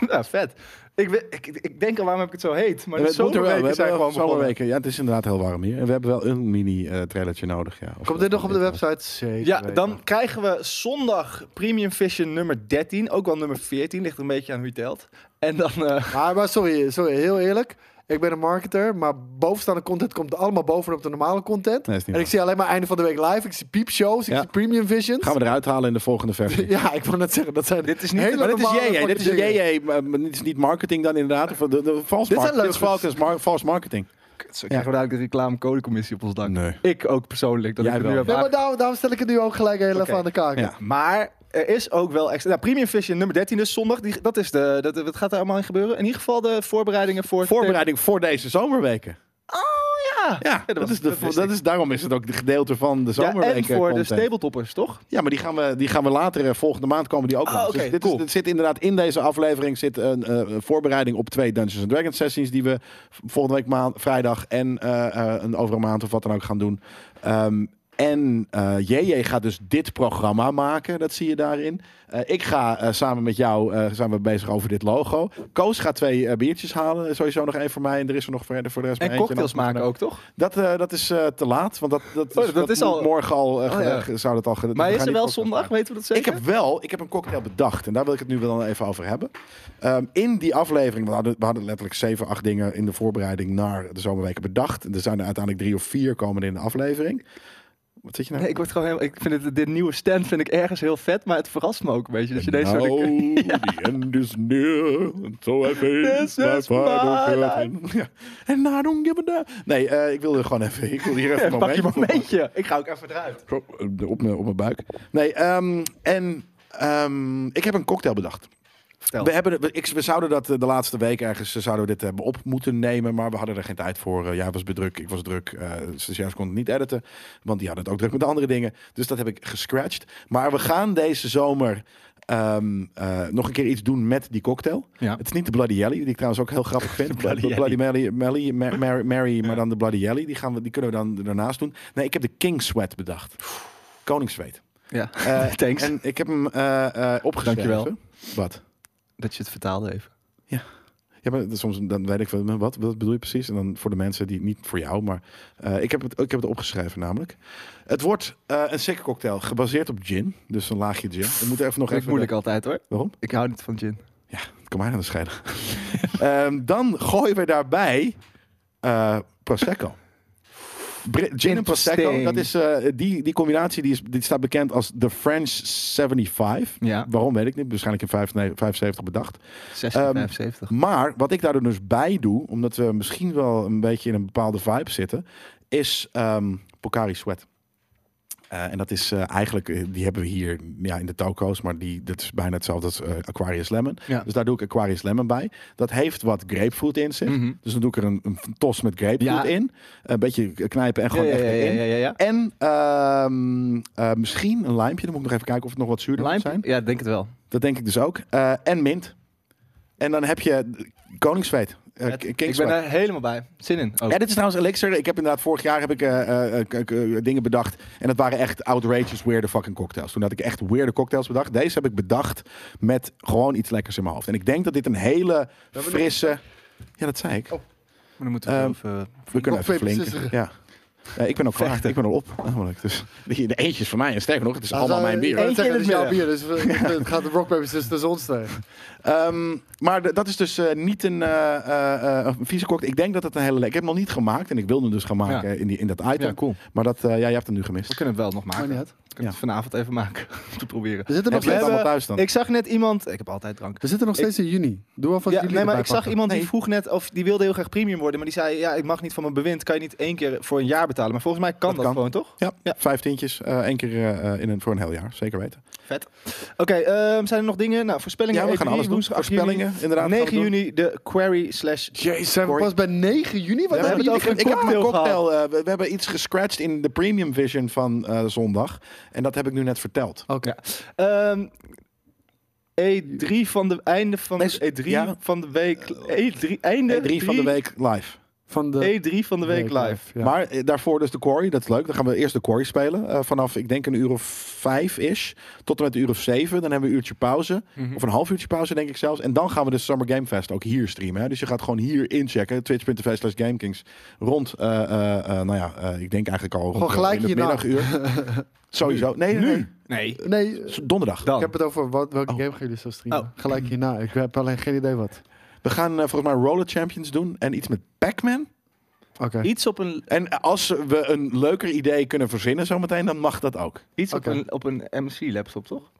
Speaker 1: nou, vet. Ik, we- ik, ik denk al waarom heb ik het zo heet. Maar de
Speaker 2: Het moet er wel.
Speaker 1: zomerweken
Speaker 2: We
Speaker 1: zijn
Speaker 2: hebben
Speaker 1: gewoon
Speaker 2: wel
Speaker 1: begonnen.
Speaker 2: zomerweken. Ja, het is inderdaad heel warm hier. En we hebben wel een mini-trailertje nodig. Ja, Of
Speaker 3: Komt
Speaker 2: dat-
Speaker 3: dit nog op de website? Zeker.
Speaker 1: Ja,
Speaker 3: weten.
Speaker 1: dan krijgen we zondag Premium Vision nummer 13. Ook wel nummer 14, ligt een beetje aan hoe je telt. En dan... eh, <laughs>
Speaker 3: Maar, maar sorry, sorry, heel eerlijk. Ik ben een marketer, maar bovenstaande content komt allemaal bovenop de normale content.
Speaker 2: Nee, is niet
Speaker 3: en
Speaker 2: waar.
Speaker 3: ik zie alleen maar einde van de week live. Ik zie piepshows, ik
Speaker 2: Ja.
Speaker 3: zie premium visions.
Speaker 2: Gaan we eruit halen in de
Speaker 1: <laughs>
Speaker 2: volgende versie.
Speaker 3: <laughs> Ja, ik wil net zeggen, dat zijn
Speaker 1: Dit is niet-
Speaker 3: hele
Speaker 2: Maar dit is
Speaker 3: normale
Speaker 2: JJ, dit is
Speaker 3: fucking dingen.
Speaker 2: JJ, maar maar dit is niet marketing dan inderdaad. Of de, de, de, vals
Speaker 3: Dit zijn
Speaker 2: market- dit is
Speaker 3: leugens.
Speaker 2: vals- dit is mar- vals marketing.
Speaker 1: Zo krijgen we dadelijk de reclamecodecommissie op ons dak.
Speaker 2: Nee.
Speaker 1: Ik ook persoonlijk. Dat
Speaker 2: Jij
Speaker 1: ik het nu
Speaker 2: wel.
Speaker 1: heb
Speaker 3: Nee, maar
Speaker 1: aange-
Speaker 3: daarom, daarom stel ik het nu ook gelijk heel
Speaker 1: Oké.
Speaker 3: even aan de kaak.
Speaker 2: Ja.
Speaker 1: Maar er is ook wel extra. Nou, Premium Vision nummer 13 dus zondag. Die, dat is de, dat, wat gaat er allemaal in gebeuren? In ieder geval de voorbereidingen voor...
Speaker 2: Voorbereiding voor deze zomerweken.
Speaker 1: Ja,
Speaker 2: Ja,
Speaker 1: dat,
Speaker 2: dat,
Speaker 1: was-
Speaker 2: is de,
Speaker 1: dat
Speaker 2: dat,
Speaker 1: wist ik.
Speaker 2: is, daarom is het ook de gedeelte van de
Speaker 1: Ja,
Speaker 2: zomerweken.
Speaker 1: en voor de
Speaker 2: content.
Speaker 1: stabletoppers, toch?
Speaker 2: Ja, maar die gaan we, die gaan we later, eh, volgende maand komen die ook
Speaker 1: Oh,
Speaker 2: nog.
Speaker 1: oké,
Speaker 2: dus dit,
Speaker 1: cool.
Speaker 2: is, dit zit inderdaad in deze aflevering zit een eh, voorbereiding op twee Dungeons Dragons sessies die we v- volgende week maand, vrijdag en eh, eh, een over een maand of wat dan ook gaan doen. Ehm, en eh, JJ gaat dus dit programma maken, dat zie je daarin. Eh, ik ga eh, samen met jou eh, zijn we bezig over dit logo. Koos gaat twee eh, biertjes halen, sowieso nog één voor mij. En er is er nog voor, voor de rest maar
Speaker 1: En
Speaker 2: eentje.
Speaker 1: cocktails
Speaker 2: dan-
Speaker 1: maken ook, toch?
Speaker 2: Dat, eh, dat is eh, te laat, want dat, dat,
Speaker 1: Oh, dat is
Speaker 2: moet
Speaker 1: al-
Speaker 2: morgen al. eh,
Speaker 1: Oh, ja.
Speaker 2: ge- zou dat al ge-
Speaker 1: Maar
Speaker 2: we
Speaker 1: is
Speaker 2: gaan
Speaker 1: er wel
Speaker 2: niet cocktails
Speaker 1: zondag?
Speaker 2: maken.
Speaker 1: Weten we dat zeker?
Speaker 2: Ik heb wel, ik heb een cocktail bedacht. En daar wil ik het nu wel even over hebben. Ehm, in die aflevering, we hadden, we hadden letterlijk zeven, acht dingen in de voorbereiding naar de zomerweken bedacht. En er zijn er uiteindelijk drie of vier komen er in de aflevering. Wat zit je nou?
Speaker 1: Nee, ik, word gewoon helemaal, ik vind het, dit nieuwe stand vind ik ergens heel vet, maar het verrast me ook een beetje. Dat je deze soort... <laughs>
Speaker 2: Nou, the end is near, and so I face
Speaker 1: This
Speaker 2: my
Speaker 1: is
Speaker 2: final
Speaker 1: my
Speaker 2: curtain. Ja. And I don't give a damn. Nee, eh, ik wilde gewoon even, ik wilde hier even
Speaker 1: <laughs>
Speaker 2: een
Speaker 1: Pak je
Speaker 2: momentje voor pakken.
Speaker 1: momentje. Ik ga ook even eruit.
Speaker 2: Zo, eh, Op mijn, op mijn buik. Nee, ehm, en ehm, ik heb een cocktail bedacht.
Speaker 1: Vertel.
Speaker 2: We, hebben, we, ik, we zouden dat eh, de laatste week ergens eh, zouden we dit hebben op moeten nemen, maar we hadden er geen tijd voor. Eh, jij was bedrukt, ik was druk. eh stagiairs konden het niet editen, want die hadden het ook druk met andere dingen. Dus dat heb ik gescratcht. Maar we gaan deze zomer ehm, eh, nog een keer iets doen met die cocktail.
Speaker 1: Ja.
Speaker 2: Het is niet de Bloody Jelly, die ik trouwens ook heel
Speaker 1: <laughs>
Speaker 2: grappig vind. Bloody,
Speaker 1: Bloody
Speaker 2: Bloody Mary, Mary, Ma-
Speaker 1: <laughs>
Speaker 2: Mary, Mary, maar dan de Bloody Jelly. Die, gaan we, die kunnen we dan daarnaast doen. Nee, ik heb de King Sweat bedacht.
Speaker 1: <laughs>
Speaker 2: Koningszweet.
Speaker 1: Ja,
Speaker 2: Eh,
Speaker 1: thanks
Speaker 2: En ik heb hem eh eh opgeschreven.
Speaker 1: Dankjewel.
Speaker 2: Wat?
Speaker 1: dat je het vertaalde even.
Speaker 2: Ja, maar soms dan weet ik van wat, wat bedoel je precies? En dan voor de mensen die niet voor jou, maar eh, ik, heb het, ik heb het opgeschreven namelijk. Het wordt eh, een sick cocktail gebaseerd op gin, dus een laagje gin. We moeten even nog
Speaker 1: Dat is
Speaker 2: even.
Speaker 1: moeilijk altijd hoor.
Speaker 2: Waarom?
Speaker 1: Ik hou niet van gin.
Speaker 2: Ja, het kan mij aan de schelen. <laughs> Ehm, dan gooien we daarbij eh, prosecco. Bri- Gin en prosecco,
Speaker 1: Interesting.
Speaker 2: dat is, eh, die, die combinatie die, is, die staat bekend als de French 75.
Speaker 1: Ja.
Speaker 2: Waarom weet ik niet, waarschijnlijk in 75 bedacht.
Speaker 1: Ehm, 1675.
Speaker 2: Maar wat ik daar dus bij doe, omdat we misschien wel een beetje in een bepaalde vibe zitten, is ehm Pocari Sweat. Eh, en dat is eh, eigenlijk, eh, die hebben we hier ja, in de toko's, maar die, dat is bijna hetzelfde als eh, Aquarius Lemon.
Speaker 1: Ja.
Speaker 2: Dus daar doe ik Aquarius Lemon bij. Dat heeft wat grapefruit in zich. Dus dan doe ik er een, een tos met grapefruit
Speaker 1: Mhm. Ja.
Speaker 2: in. Een beetje knijpen en gewoon
Speaker 1: ja,
Speaker 2: echt
Speaker 1: ja,
Speaker 2: erin.
Speaker 1: ja, ja, ja.
Speaker 2: En ehm, eh, misschien een lijmpje. Dan moet ik nog even kijken of het nog wat zuurder moet zijn.
Speaker 1: Ja, denk het wel.
Speaker 2: Dat denk ik dus ook. Eh, en mint. En dan heb je koningsfeet. eh,
Speaker 1: Het-
Speaker 2: k-
Speaker 1: ik
Speaker 2: kingsfeet.
Speaker 1: ben eh, er helemaal bij. Zin in. Oh. ook.
Speaker 2: Ja, dit is trouwens Elixir. Ik heb inderdaad vorig jaar heb ik, eh, eh, eh, k- k- eh, dingen bedacht. En dat waren echt outrageous, weirde fucking cocktails. Toen had ik echt weirde cocktails bedacht. Deze heb ik bedacht
Speaker 1: Oh,
Speaker 2: met gewoon iets lekkers in mijn hoofd. En ik denk dat dit een hele frisse... Ja, dat zei ik.
Speaker 1: dan moeten we
Speaker 2: Ehm,
Speaker 1: even...
Speaker 2: We kunnen even
Speaker 3: Rock, paper,
Speaker 2: flink.
Speaker 3: scissors.
Speaker 2: Ja. Ja, ik ben al klaar. Ik ben al op. Namelijk. Dus die- de eentje is van mij. En sterker nog, het
Speaker 1: Nou,
Speaker 2: is allemaal mijn bier.
Speaker 3: Ik wou
Speaker 1: Eentje in
Speaker 3: zeggen,
Speaker 1: het
Speaker 3: het Eh, is jouw
Speaker 1: midden.
Speaker 3: bier, dus we- <laughs> het gaat de rock paper scissors tussen ons twee.
Speaker 2: Ehm, maar de- dat is dus eh, niet een, eh, eh, eh, een vieze cocktail. Ik denk dat het een hele lekkere... Ik heb hem nog niet gemaakt. En ik wilde hem dus gaan maken
Speaker 1: Ja.
Speaker 2: in, die, in dat item.
Speaker 1: Ja, cool.
Speaker 2: Maar dat, eh, ja, jij hebt hem nu
Speaker 1: We
Speaker 2: gemist.
Speaker 1: kunnen het wel nog
Speaker 3: Maar
Speaker 1: maken.
Speaker 3: niet uit.
Speaker 1: We kunnen het vanavond even maken. <laughs> Om te proberen.
Speaker 3: We zitten nog
Speaker 2: Heb jij
Speaker 3: steeds,
Speaker 2: allemaal thuis dan?
Speaker 1: Ik zag net iemand... Ik heb altijd drank.
Speaker 3: we zitten nog steeds in juni. Doe alvast
Speaker 1: Ja, nee,
Speaker 3: jullie
Speaker 1: maar
Speaker 3: erbij
Speaker 1: ik zag
Speaker 3: pakken.
Speaker 1: iemand die
Speaker 2: Nee.
Speaker 1: vroeg net of die wilde heel graag premium worden, maar die zei ja, ik mag niet van mijn bewind, kan je niet één keer voor een jaar betalen. Maar volgens mij kan dat,
Speaker 2: Dat kan.
Speaker 1: gewoon toch?
Speaker 2: Ja,
Speaker 1: Ja.
Speaker 2: vijf tientjes. eh, één keer eh, eh, in een, voor een heel jaar. Zeker weten.
Speaker 1: Vet. Oké, ehm, zijn er nog dingen? Nou, voorspellingen.
Speaker 2: Ja, we gaan
Speaker 1: E3,
Speaker 2: alles doen.
Speaker 1: woensdag 8
Speaker 2: Voorspellingen,
Speaker 1: juni.
Speaker 2: inderdaad, gaan we
Speaker 1: 9
Speaker 2: doen.
Speaker 1: juni de query slash.
Speaker 2: Jezus,
Speaker 3: Zijn we pas bij 9 juni? Wat
Speaker 1: We hebben
Speaker 2: We hebben
Speaker 1: het
Speaker 2: ik,
Speaker 1: over
Speaker 2: ik,
Speaker 1: een
Speaker 2: heb mijn
Speaker 1: cocktail
Speaker 2: cocktail. eh, we, we hebben iets gescratcht in de Premium Vision van eh, zondag. En dat heb ik nu net verteld.
Speaker 3: Oké.
Speaker 1: Ehm, E3 van de einde van
Speaker 2: Nee,
Speaker 1: de E3
Speaker 2: ja.
Speaker 1: van de week. E3 einde.
Speaker 2: E3 van de week live.
Speaker 3: Van de
Speaker 1: E3 van de week live.
Speaker 3: ja.
Speaker 2: Maar eh, daarvoor dus de Quarry, dat is leuk. Dan gaan we eerst de Quarry spelen. eh, vanaf, ik denk, een uur of vijf-ish. Tot en met een uur of zeven. Dan hebben we een uurtje pauze.
Speaker 1: Mhm.
Speaker 2: Of een half uurtje pauze, denk ik zelfs. En dan gaan we de Summer Game Fest ook hier streamen. Hè. Dus je gaat gewoon hier inchecken. Twitch.tv slash GameKings. Rond, eh, eh, eh, nou ja, eh, ik denk eigenlijk al rond
Speaker 3: Gewoon
Speaker 2: eh,
Speaker 3: gelijk
Speaker 2: in het
Speaker 3: hierna.
Speaker 2: middaguur.
Speaker 3: <laughs>
Speaker 2: Sowieso. Nee, nee, nee.
Speaker 1: Nee.
Speaker 3: Nee, eh,
Speaker 2: S- Donderdag.
Speaker 1: Dan.
Speaker 3: ik heb het over wat, welke game gaan jullie zo streamen. Gelijk hierna. Ik heb alleen geen idee wat.
Speaker 2: We gaan eh, volgens mij Roller Champions doen. En iets met Pac-Man.
Speaker 3: Oké.
Speaker 1: Iets op een,
Speaker 2: En als we een leuker idee kunnen verzinnen zometeen, dan mag dat ook.
Speaker 1: iets
Speaker 3: Oké.
Speaker 1: op een, op een MC laptop toch?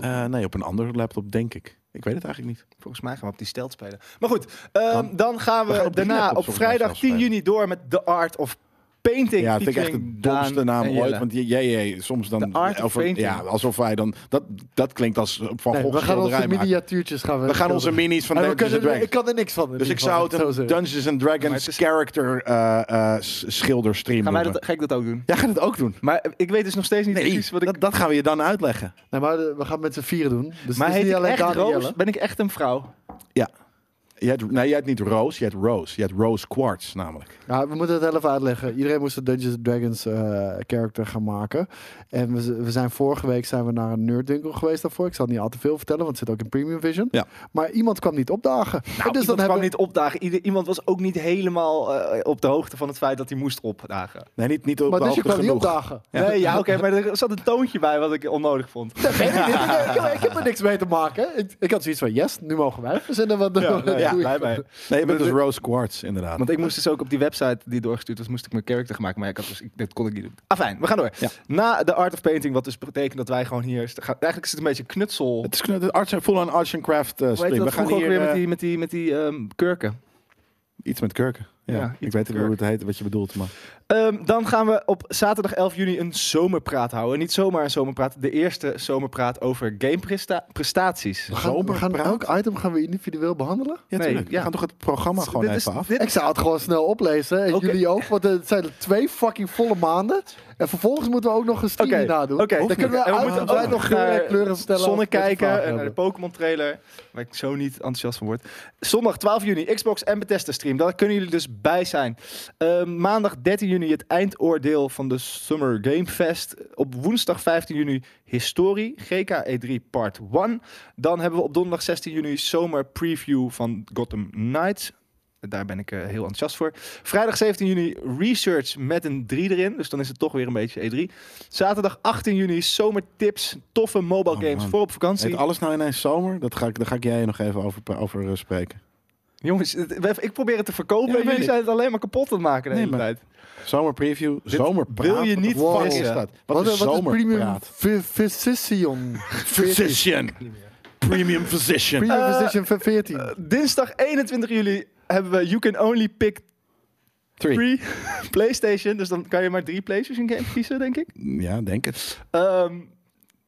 Speaker 2: Eh, nee, op een andere laptop, denk ik. Ik weet het eigenlijk niet.
Speaker 1: Volgens mij gaan we op die stelt spelen. Maar goed, ehm, dan gaan we,
Speaker 2: We gaan op die
Speaker 1: daarna
Speaker 2: laptop
Speaker 1: op
Speaker 2: volgens mij
Speaker 1: vrijdag
Speaker 2: zelfs
Speaker 1: 10
Speaker 2: spelen.
Speaker 1: juni door met The Art of Painting.
Speaker 2: ja, vind ik echt de
Speaker 1: featuring
Speaker 2: domste
Speaker 1: Daan
Speaker 2: naam
Speaker 1: en
Speaker 2: ooit.
Speaker 1: Jelle.
Speaker 2: Want jee, jee, soms dan...
Speaker 1: The Art of
Speaker 2: over-
Speaker 1: Painting.
Speaker 2: ja, alsof wij dan... Dat, dat klinkt als eh, Van
Speaker 3: Nee,
Speaker 2: Gogh
Speaker 3: we gaan onze
Speaker 2: schilderij maken.
Speaker 3: miniatuurtjes gaan we.
Speaker 2: We gaan onze minis van
Speaker 3: En we
Speaker 2: Dungeons
Speaker 3: kunnen-
Speaker 2: and Dragons.
Speaker 3: Ik kan er niks van. in
Speaker 2: Dus ik
Speaker 3: ieder
Speaker 2: zou
Speaker 3: geval,
Speaker 2: het
Speaker 3: zo
Speaker 2: een
Speaker 3: zeggen.
Speaker 2: Dungeons and
Speaker 1: Maar
Speaker 2: Dragons
Speaker 1: het is-
Speaker 2: character eh, eh, s- schilder stream
Speaker 1: Gaan wij
Speaker 2: noemen.
Speaker 1: dat, ga ik dat ook doen?
Speaker 2: Ja, ga dat ook doen.
Speaker 1: Maar eh, ik weet dus nog steeds niet
Speaker 2: Nee,
Speaker 1: precies wat ik...
Speaker 2: dat, dat gaan we je dan uitleggen.
Speaker 3: Nee, maar eh, we gaan met z'n vieren doen. Dus
Speaker 1: maar
Speaker 3: het
Speaker 1: heet
Speaker 3: is niet
Speaker 1: ik
Speaker 3: alleen
Speaker 1: echt
Speaker 3: Danielle.
Speaker 1: Roos? Ben ik echt een
Speaker 2: Nou,
Speaker 1: vrouw?
Speaker 2: Jij hebt, nee, jij hebt niet Rose, jij hebt Rose. Jij hebt Rose Quartz namelijk.
Speaker 3: Ja, we moeten het heel even uitleggen. Iedereen moest een Dungeons and Dragons eh character gaan maken. En we, z- we zijn vorige week zijn we naar een nerddinkel geweest daarvoor. Ik zal niet al te veel vertellen, want het zit ook in Premium Vision.
Speaker 2: Ja.
Speaker 3: Maar iemand kwam niet opdagen.
Speaker 1: Nou,
Speaker 3: En dus
Speaker 1: iemand
Speaker 3: dan
Speaker 1: kwam
Speaker 3: hebben
Speaker 1: niet opdagen. Ieder- iemand was ook niet helemaal eh, op de hoogte van het feit dat hij moest opdagen.
Speaker 2: Nee, niet, niet op
Speaker 3: Maar
Speaker 2: de
Speaker 3: dus je
Speaker 2: hoogte
Speaker 3: kwam niet
Speaker 2: genoeg.
Speaker 3: opdagen.
Speaker 1: Nee, ja, oké, maar er zat een toontje bij wat ik onnodig vond.
Speaker 3: Nee, nee, nee,
Speaker 1: <laughs>
Speaker 3: nee, ik, heb- ik heb er niks mee te maken. Ik, ik had zoiets van, yes, nu mogen wij verzinnen wat
Speaker 1: Ja,
Speaker 3: <laughs>
Speaker 1: nee,
Speaker 2: ja,
Speaker 3: doe
Speaker 1: blij
Speaker 3: je?
Speaker 1: mee.
Speaker 2: Nee, je bent dus Rose Quartz, inderdaad.
Speaker 1: Want ik moest dus ook op die website die doorgestuurd was, moest ik mijn character gaan maken. Maar ja, ik had dus, ik, dit kon ik niet doen. Ah, fijn, we gaan door.
Speaker 2: Ja.
Speaker 1: Na de Art of Painting, wat dus betekent dat wij gewoon hier... st- gaan- Eigenlijk is het een beetje knutsel...
Speaker 2: het is knu- de arts en full-on arts and craft
Speaker 1: Hoe
Speaker 2: eh,
Speaker 1: heette
Speaker 2: stream. We
Speaker 1: dat
Speaker 2: gaan
Speaker 1: vroeger
Speaker 2: hier
Speaker 1: ook weer met
Speaker 2: eh,
Speaker 1: die, met die, met die ehm, kurken?
Speaker 2: iets met kurken. Ja,
Speaker 1: Ja, iets
Speaker 2: ik
Speaker 1: met
Speaker 2: weet niet hoe het heet, wat je bedoelt. Maar.
Speaker 1: Ehm, dan gaan we op zaterdag 11 juni een zomerpraat houden. Niet zomaar een zomerpraat, de eerste zomerpraat over gameprestaties.
Speaker 3: We gaan, we gaan
Speaker 2: Zomerpraat?
Speaker 3: elk item gaan we individueel behandelen.
Speaker 2: Ja,
Speaker 1: Nee,
Speaker 2: tuurlijk.
Speaker 1: ja.
Speaker 2: We gaan toch het programma gewoon
Speaker 1: dit
Speaker 2: even
Speaker 1: is-
Speaker 2: af.
Speaker 1: dit-
Speaker 3: Ik zou het gewoon snel oplezen. En
Speaker 1: Oké.
Speaker 3: jullie ook, want het zijn twee fucking volle maanden. En vervolgens moeten we ook nog een
Speaker 1: Oké,
Speaker 3: studie nadoen.
Speaker 1: oké.
Speaker 3: Dan kunnen we
Speaker 1: En we
Speaker 3: uit-
Speaker 1: moeten
Speaker 3: wij
Speaker 1: ook
Speaker 3: nog kleuren, kleuren stellen.
Speaker 1: Zonne
Speaker 3: of we vragen
Speaker 1: kijken, en naar de
Speaker 3: hebben.
Speaker 1: Pokémon trailer, waar ik zo niet enthousiast van word. Zondag 12 juni, Xbox en Bethesda stream. Daar kunnen jullie dus bij zijn. Ehm, maandag 13 juni het eindoordeel van de Summer Game Fest. Op woensdag 15 juni Historie, GKE3 Part 1. Dan hebben we op donderdag 16 juni Zomer Preview van Gotham Knights. Daar ben ik eh, heel enthousiast voor. Vrijdag 17 juni Research met een 3 erin. Dus dan is het toch weer een beetje E3. Zaterdag 18 juni Zomertips. Toffe mobile
Speaker 2: Oh,
Speaker 1: games
Speaker 2: man.
Speaker 1: voor op vakantie.
Speaker 2: Heet alles nou ineens zomer? Dat ga ik, daar ga ik jij nog even over, pra- over eh, spreken.
Speaker 1: Jongens, het- we- ik probeer het te verkopen.
Speaker 2: Ja,
Speaker 1: en jullie
Speaker 2: weet ik.
Speaker 1: zijn het alleen maar kapot aan het maken de
Speaker 2: Nee,
Speaker 1: hele
Speaker 2: maar-
Speaker 1: tijd.
Speaker 2: Zomerpreview, zomerpraat.
Speaker 1: wil je niet
Speaker 2: Wat de fuck
Speaker 1: missen.
Speaker 2: is dat? Wat,
Speaker 3: Wat,
Speaker 2: is
Speaker 3: is- wat is premium
Speaker 2: zomerpraat?
Speaker 3: fi- physician?
Speaker 1: <laughs>
Speaker 2: Physician. Premium physician.
Speaker 3: Premium
Speaker 1: Eh,
Speaker 3: physician van 14.
Speaker 1: Dinsdag 21 juli hebben we You Can Only Pick
Speaker 2: Three.
Speaker 1: 3 <laughs> PlayStation. Dus dan kan je maar drie PlayStation games kiezen, denk ik.
Speaker 2: Ja, denk het.
Speaker 1: Ehm,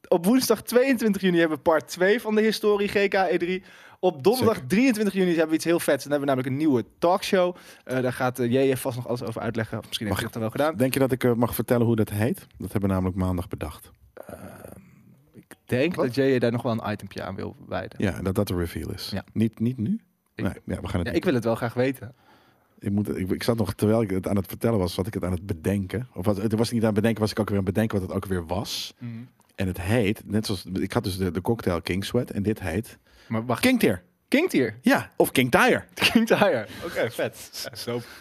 Speaker 1: op woensdag 22 juni hebben we part 2 van de historie GKE3. Op donderdag 23 juni hebben we iets heel vets. Dan hebben we namelijk een nieuwe talkshow. Eh, daar gaat eh JJ vast nog alles over uitleggen. Of misschien heeft
Speaker 2: Mag
Speaker 1: hij dat dan wel gedaan.
Speaker 2: Denk je dat ik eh, mag vertellen hoe dat heet? Dat hebben we namelijk maandag bedacht.
Speaker 1: Ik denk
Speaker 3: Wat?
Speaker 1: dat JJ daar nog wel een itempje aan wil wijden. Ja.
Speaker 2: Ja, dat dat de reveal is.
Speaker 1: Ja.
Speaker 2: Niet, niet nu?
Speaker 1: Ik-
Speaker 2: nee, ja, we gaan het niet
Speaker 1: ik wil het wel graag weten.
Speaker 2: Ik, moet, ik, ik zat nog, terwijl ik het aan het vertellen was, zat ik het aan het bedenken. Of was, het was ik niet aan het bedenken, was ik ook weer aan het bedenken wat het ook weer was.
Speaker 1: Mhm.
Speaker 2: En het heet, net zoals, ik had dus de, de cocktail King Sweat en dit heet
Speaker 1: Maar wacht,
Speaker 2: King Tear.
Speaker 1: King Tier.
Speaker 2: Ja, of King Tire.
Speaker 1: King Tire. Oké, <laughs> vet.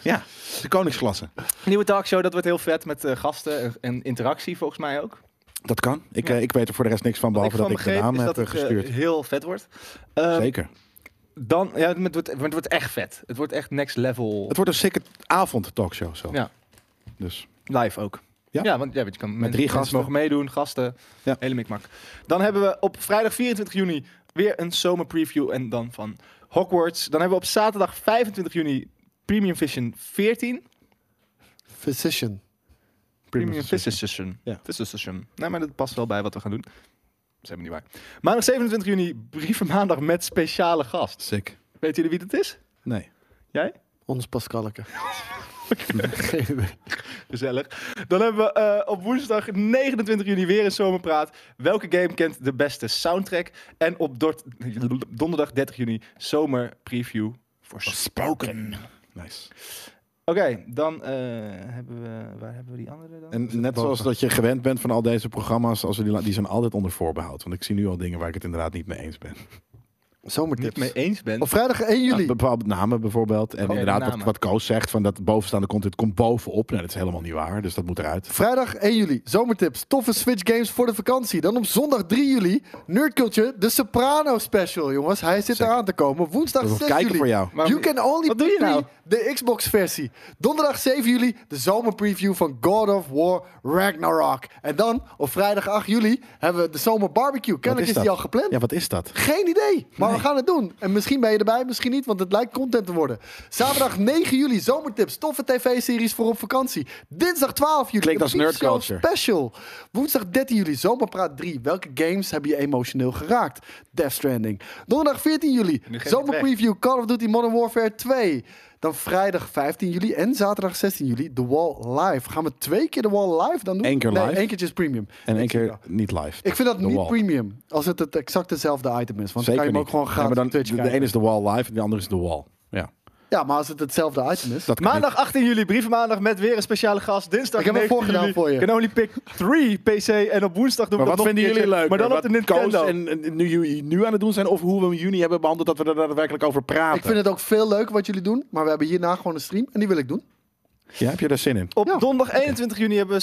Speaker 2: Ja, de koningsklasse.
Speaker 1: Nieuwe talkshow, dat wordt heel vet met eh, gasten en, en interactie volgens mij ook.
Speaker 2: Dat kan. Ik, eh, ik weet er voor de rest niks van, behalve dat ik de
Speaker 1: begreep
Speaker 2: naam
Speaker 1: is
Speaker 2: heb
Speaker 1: dat
Speaker 2: eh,
Speaker 1: het, eh,
Speaker 2: gestuurd.
Speaker 1: heel vet wordt. Eh,
Speaker 2: Zeker.
Speaker 1: Dan, ja, het wordt, het wordt echt vet. Het wordt echt next level.
Speaker 2: Het wordt een sikke avond talkshow zo.
Speaker 1: Ja.
Speaker 2: Dus
Speaker 1: Live ook.
Speaker 2: Ja?
Speaker 1: want, ja, want je kan met
Speaker 2: drie gasten.
Speaker 1: gasten mogen meedoen, gasten,
Speaker 2: Ja.
Speaker 1: hele mikmak. Dan hebben we op vrijdag 24 juni weer een zomerpreview en dan van Hogwarts. Dan hebben we op zaterdag 25 juni Premium Vision 14.
Speaker 3: Physician.
Speaker 1: Premium
Speaker 2: Vision.
Speaker 1: Vision Session.
Speaker 2: Ja.
Speaker 1: Vision Session. Nou, maar dat past wel bij wat we gaan doen. Dat is helemaal niet waar. Maandag 27 juni, brieven maandag met speciale gast.
Speaker 2: sick.
Speaker 1: Weet jullie wie dat is? <laughs>
Speaker 2: Nee.
Speaker 1: Jij?
Speaker 3: Ons Pascalke.
Speaker 1: Gezellig. Dan hebben we eh, op woensdag 29 juni weer een zomerpraat. Welke game kent de beste soundtrack? En op dort- donderdag 30 juni zomerpreview voor Spoken.
Speaker 2: Nice.
Speaker 1: Oké, dan eh, hebben we... Waar hebben we die andere dan?
Speaker 2: En net zoals dat je gewend bent van al deze programma's, als we die, la- die zijn altijd onder voorbehoud. Want ik zie nu al dingen waar ik het inderdaad niet mee eens ben.
Speaker 1: niet
Speaker 3: Zomertips.
Speaker 1: mee eens Ah. bent.
Speaker 3: Op vrijdag 1 juli.
Speaker 2: Ja, bepaalde namen bijvoorbeeld.
Speaker 3: Oh,
Speaker 2: En
Speaker 1: Oké,
Speaker 2: inderdaad, wat,
Speaker 1: namen.
Speaker 2: wat Koos zegt, van dat bovenstaande content komt bovenop. Nou, dat is helemaal niet waar, dus dat moet eruit.
Speaker 3: Vrijdag 1 juli, zomertips, toffe Switch games voor de vakantie. Dan op zondag 3 juli, Nerd Culture, de Soprano special, jongens. Hij zit eraan te komen. Woensdag
Speaker 2: Dat
Speaker 3: 6
Speaker 2: we kijken
Speaker 3: juli,
Speaker 2: voor jou.
Speaker 1: Maar-
Speaker 3: You Can Only
Speaker 1: Wat doe je
Speaker 3: Play
Speaker 1: nou?
Speaker 3: de Xbox versie. Donderdag 7 juli, de zomerpreview van God of War Ragnarok. En dan, op vrijdag 8 juli, hebben we de zomerbarbecue.
Speaker 2: Wat
Speaker 3: Kennelijk is,
Speaker 2: dat?
Speaker 3: die al gepland.
Speaker 2: Ja, wat is dat?
Speaker 3: Geen idee, maar we gaan het doen. En misschien ben je erbij, misschien niet, want het lijkt content te worden. Zaterdag 9 juli, zomertips, toffe tv-series voor op vakantie. Dinsdag 12 juli,
Speaker 2: Klinkt
Speaker 3: de
Speaker 2: als
Speaker 3: Peep
Speaker 2: nerd
Speaker 3: Show
Speaker 2: culture.
Speaker 3: Special. Woensdag 13 juli, zomerpraat 3. Welke games hebben je emotioneel geraakt? Death Stranding. Donderdag 14 juli,
Speaker 1: Nu geef je het
Speaker 3: zomerpreview Call of Duty Modern Warfare 2. Dan vrijdag 15 juli en zaterdag 16 juli, The Wall Live. Gaan we twee keer The Wall Live dan doen?
Speaker 2: Eén keer
Speaker 3: nee,
Speaker 2: live.
Speaker 3: één keertje is premium.
Speaker 2: En één keer niet live.
Speaker 3: Ik vind dat
Speaker 2: The
Speaker 3: niet
Speaker 2: Wall.
Speaker 3: premium. Als het het exact hetzelfde item is. Want dan
Speaker 2: Zeker
Speaker 3: kan je hem
Speaker 2: niet.
Speaker 3: ook gewoon
Speaker 2: Ja,
Speaker 3: gratis
Speaker 2: maar
Speaker 3: op
Speaker 2: dan,
Speaker 3: Twitch
Speaker 2: de, de
Speaker 3: kijken.
Speaker 2: ene is de wall live en de andere is de wall. Ja.
Speaker 3: Ja, maar als het hetzelfde item is.
Speaker 2: Dat kan
Speaker 1: Maandag 18 juli, brievenmaandag met weer een speciale gast. Dinsdag
Speaker 3: Ik heb hem
Speaker 1: 19
Speaker 3: voorgedaan
Speaker 1: juli,
Speaker 3: voor je.
Speaker 1: Can only pick 3 PC. En op woensdag doen
Speaker 2: Maar
Speaker 1: we
Speaker 2: wat
Speaker 1: dat nog
Speaker 2: vinden
Speaker 1: een
Speaker 2: jullie
Speaker 1: keertje.
Speaker 2: leuk?
Speaker 1: Maar dan op de Nintendo.
Speaker 2: En, en nu, nu aan het doen zijn, of hoe we in juni hebben behandeld, dat we er daadwerkelijk over praten.
Speaker 3: Ik vind het ook veel leuker wat jullie doen. Maar we hebben hierna gewoon een stream. En die wil ik doen.
Speaker 2: Ja, heb je daar zin in?
Speaker 1: Op
Speaker 3: Ja.
Speaker 1: donderdag 21 juni hebben we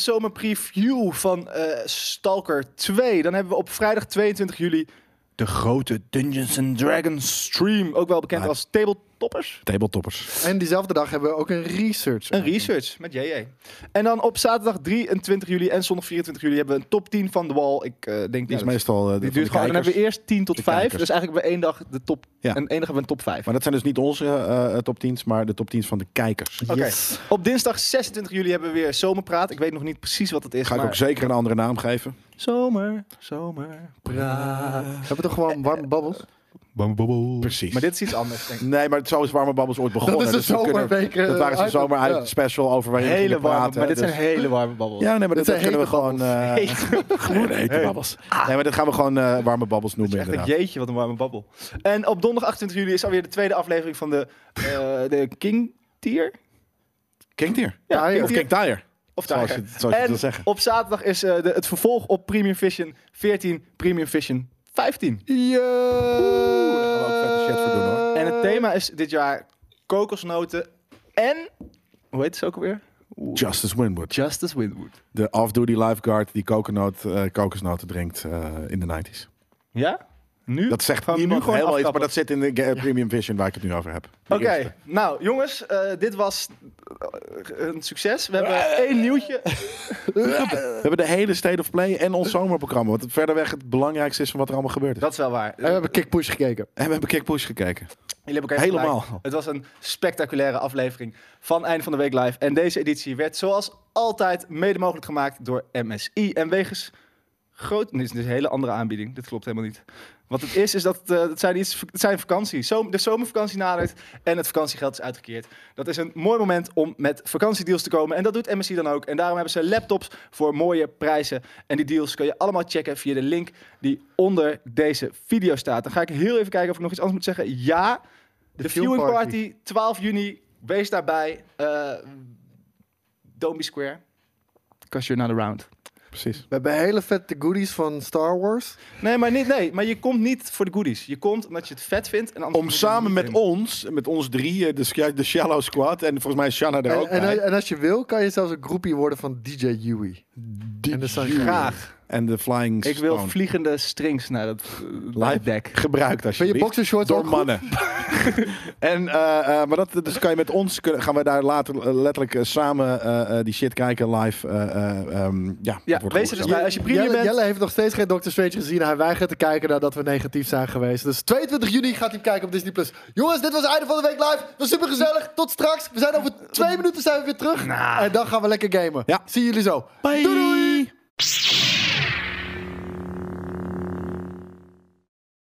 Speaker 1: zomerpreview van eh, Stalker 2. Dan hebben we op vrijdag 22 juli de grote Dungeons and Dragons stream. Ook wel bekend
Speaker 2: Ah.
Speaker 1: als Tabletoppers.
Speaker 2: Tabletoppers.
Speaker 3: En diezelfde dag hebben we ook een research.
Speaker 1: Een research met JJ. En dan op zaterdag 23 juli en zondag 24 juli hebben we een top 10 van de wall. Ik eh, denk
Speaker 2: Die
Speaker 1: dat
Speaker 2: is meestal eh,
Speaker 1: die
Speaker 2: van
Speaker 1: duurt
Speaker 2: de
Speaker 1: gewoon. Dan hebben we
Speaker 2: kijkers.
Speaker 1: eerst 10 tot
Speaker 2: De
Speaker 1: 5.
Speaker 2: kijkers.
Speaker 1: Dus eigenlijk hebben we één dag de top.
Speaker 2: Ja.
Speaker 1: En één dag hebben we een top 5.
Speaker 2: Maar dat zijn dus niet onze eh, eh, top 10's, maar de top 10's van de kijkers.
Speaker 3: Oh,
Speaker 1: Oké.
Speaker 3: Yes.
Speaker 1: Op dinsdag 26 juli hebben we weer zomerpraat. Ik weet nog niet precies wat het is.
Speaker 2: Ga ik
Speaker 1: maar...
Speaker 2: ook zeker een andere naam geven.
Speaker 1: Zomer, zomer.
Speaker 3: We hebben toch gewoon warme babbels?
Speaker 2: Precies.
Speaker 1: Maar dit is iets anders,
Speaker 2: <laughs>
Speaker 1: denk ik.
Speaker 2: Nee, maar zo is Warme Babbels ooit begonnen.
Speaker 3: is een
Speaker 2: dus we kunnen-
Speaker 3: zomerweek, eh,
Speaker 2: Dat waren ze
Speaker 3: item,
Speaker 2: zomer
Speaker 3: ja.
Speaker 2: uit special over waarin we
Speaker 1: Hele
Speaker 2: gingen
Speaker 1: warme,
Speaker 2: praten,
Speaker 1: maar dit
Speaker 2: dus-
Speaker 1: zijn hele warme babbels.
Speaker 2: Ja, nee, maar dat,
Speaker 3: Dit zijn
Speaker 2: kunnen we
Speaker 3: hete
Speaker 2: gewoon... eh, Gewoon hete babbels. Nee, maar dat gaan we gewoon eh, warme babbels noemen
Speaker 1: Ah. Echt een
Speaker 2: inderdaad.
Speaker 1: jeetje, wat een warme babbel. En op donderdag 28 juli is alweer de tweede aflevering van de,
Speaker 2: <laughs>
Speaker 1: eh, de King Tier.
Speaker 2: King Tier.
Speaker 1: Ja,
Speaker 3: Tier.
Speaker 2: Of King Tire.
Speaker 1: Of
Speaker 2: Zoals
Speaker 1: Tiger.
Speaker 2: je- zoals je het wil
Speaker 1: en
Speaker 2: zeggen.
Speaker 1: op zaterdag is eh, de, het vervolg op Premium Vision 14, Premium Vision 15.
Speaker 2: Daar gaan we ook vette shit voor doen, hoor.
Speaker 1: En het thema is dit jaar kokosnoten en... Hoe heet ze ook alweer?
Speaker 3: Eh,
Speaker 2: Justice Winwood.
Speaker 1: Justice Winwood.
Speaker 2: De off-duty lifeguard die coconut, eh, kokosnoten drinkt eh, in de 90s.
Speaker 1: Ja? Nu?
Speaker 2: Dat zegt
Speaker 1: Gaan we nu
Speaker 2: niemand
Speaker 1: gewoon
Speaker 2: helemaal iets, maar
Speaker 1: afkappen.
Speaker 2: dat zit in de Ga- Premium Vision waar ik het nu over heb. Die
Speaker 1: Oké,
Speaker 2: eerste.
Speaker 1: nou jongens, eh, dit was eh, een succes. We
Speaker 2: Eh.
Speaker 1: hebben één nieuwtje.
Speaker 3: Eh.
Speaker 2: We hebben de hele State of Play en ons zomerprogramma. Wat verder weg het belangrijkste is van wat er allemaal gebeurd is.
Speaker 1: Dat is wel waar.
Speaker 3: En Eh,
Speaker 2: Eh,
Speaker 3: we hebben Kick Push gekeken.
Speaker 2: En Eh, we hebben Kick Push gekeken.
Speaker 1: Jullie hebben elkaar
Speaker 2: Helemaal.
Speaker 1: gelijk. Het was een spectaculaire aflevering van Eind van de Week Live. En deze editie werd zoals altijd mede mogelijk gemaakt door MSI. En wegens groot... Dit is een hele andere aanbieding. Dit klopt helemaal niet. Wat het is, is dat eh, het, zijn iets, het zijn vakantie. Zo- de zomervakantie nadert en het vakantiegeld is uitgekeerd. Dat is een mooi moment om met vakantiedeals te komen. En dat doet MSI dan ook. En daarom hebben ze laptops voor mooie prijzen. En die deals kun je allemaal checken via de link die onder deze video staat. Dan ga ik heel even kijken of ik nog iets anders moet zeggen. Ja, de,
Speaker 3: viewing
Speaker 1: viewing party.
Speaker 3: party,
Speaker 1: 12 juni. Wees daarbij. eh Don't be square. Because you're not around.
Speaker 2: precies.
Speaker 3: We hebben hele vette goodies van Star Wars.
Speaker 1: Nee, maar niet, nee, maar je komt niet voor de goodies. Je komt omdat je het vet vindt. En anders
Speaker 2: Om
Speaker 1: kom je
Speaker 2: samen
Speaker 1: er
Speaker 2: met
Speaker 1: niet in.
Speaker 2: ons, met ons drieën, de, sca- de Shallow Squad en volgens mij is Shanna er
Speaker 3: En,
Speaker 2: ook
Speaker 3: en,
Speaker 2: bij.
Speaker 3: en als je wil, kan je zelfs een groepie worden van DJ Yui.
Speaker 2: Die
Speaker 3: en dat zijn
Speaker 2: Jury.
Speaker 1: graag.
Speaker 2: En de Flying
Speaker 1: Ik wil
Speaker 2: Stone.
Speaker 1: vliegende strings naar dat eh,
Speaker 2: Live
Speaker 1: deck.
Speaker 2: Gebruikt als
Speaker 3: Vind je boxershorts
Speaker 2: door
Speaker 3: ook goed?
Speaker 2: mannen. <laughs> en, eh, eh, maar dat, dus kan je met ons, kunnen, gaan we daar later eh, letterlijk eh, samen eh, eh, die shit kijken live. eh, eh, ehm, ja, dat
Speaker 1: Ja,
Speaker 2: wordt
Speaker 1: wees er
Speaker 2: goed
Speaker 1: dus
Speaker 2: zo.
Speaker 1: bij. Als je premium
Speaker 3: Jelle,
Speaker 1: bent,
Speaker 3: Jelle heeft nog steeds geen Doctor Strange gezien. Hij weigert te kijken nadat we negatief zijn geweest. Dus 22 juni gaat hij hem kijken op Disney+. Plus. Jongens, dit was het einde van de week live. Het was super gezellig. Tot straks. We zijn over twee minuten zijn we weer terug. En dan gaan we lekker gamen.
Speaker 2: Ja.
Speaker 3: Zie jullie zo.
Speaker 2: Bye.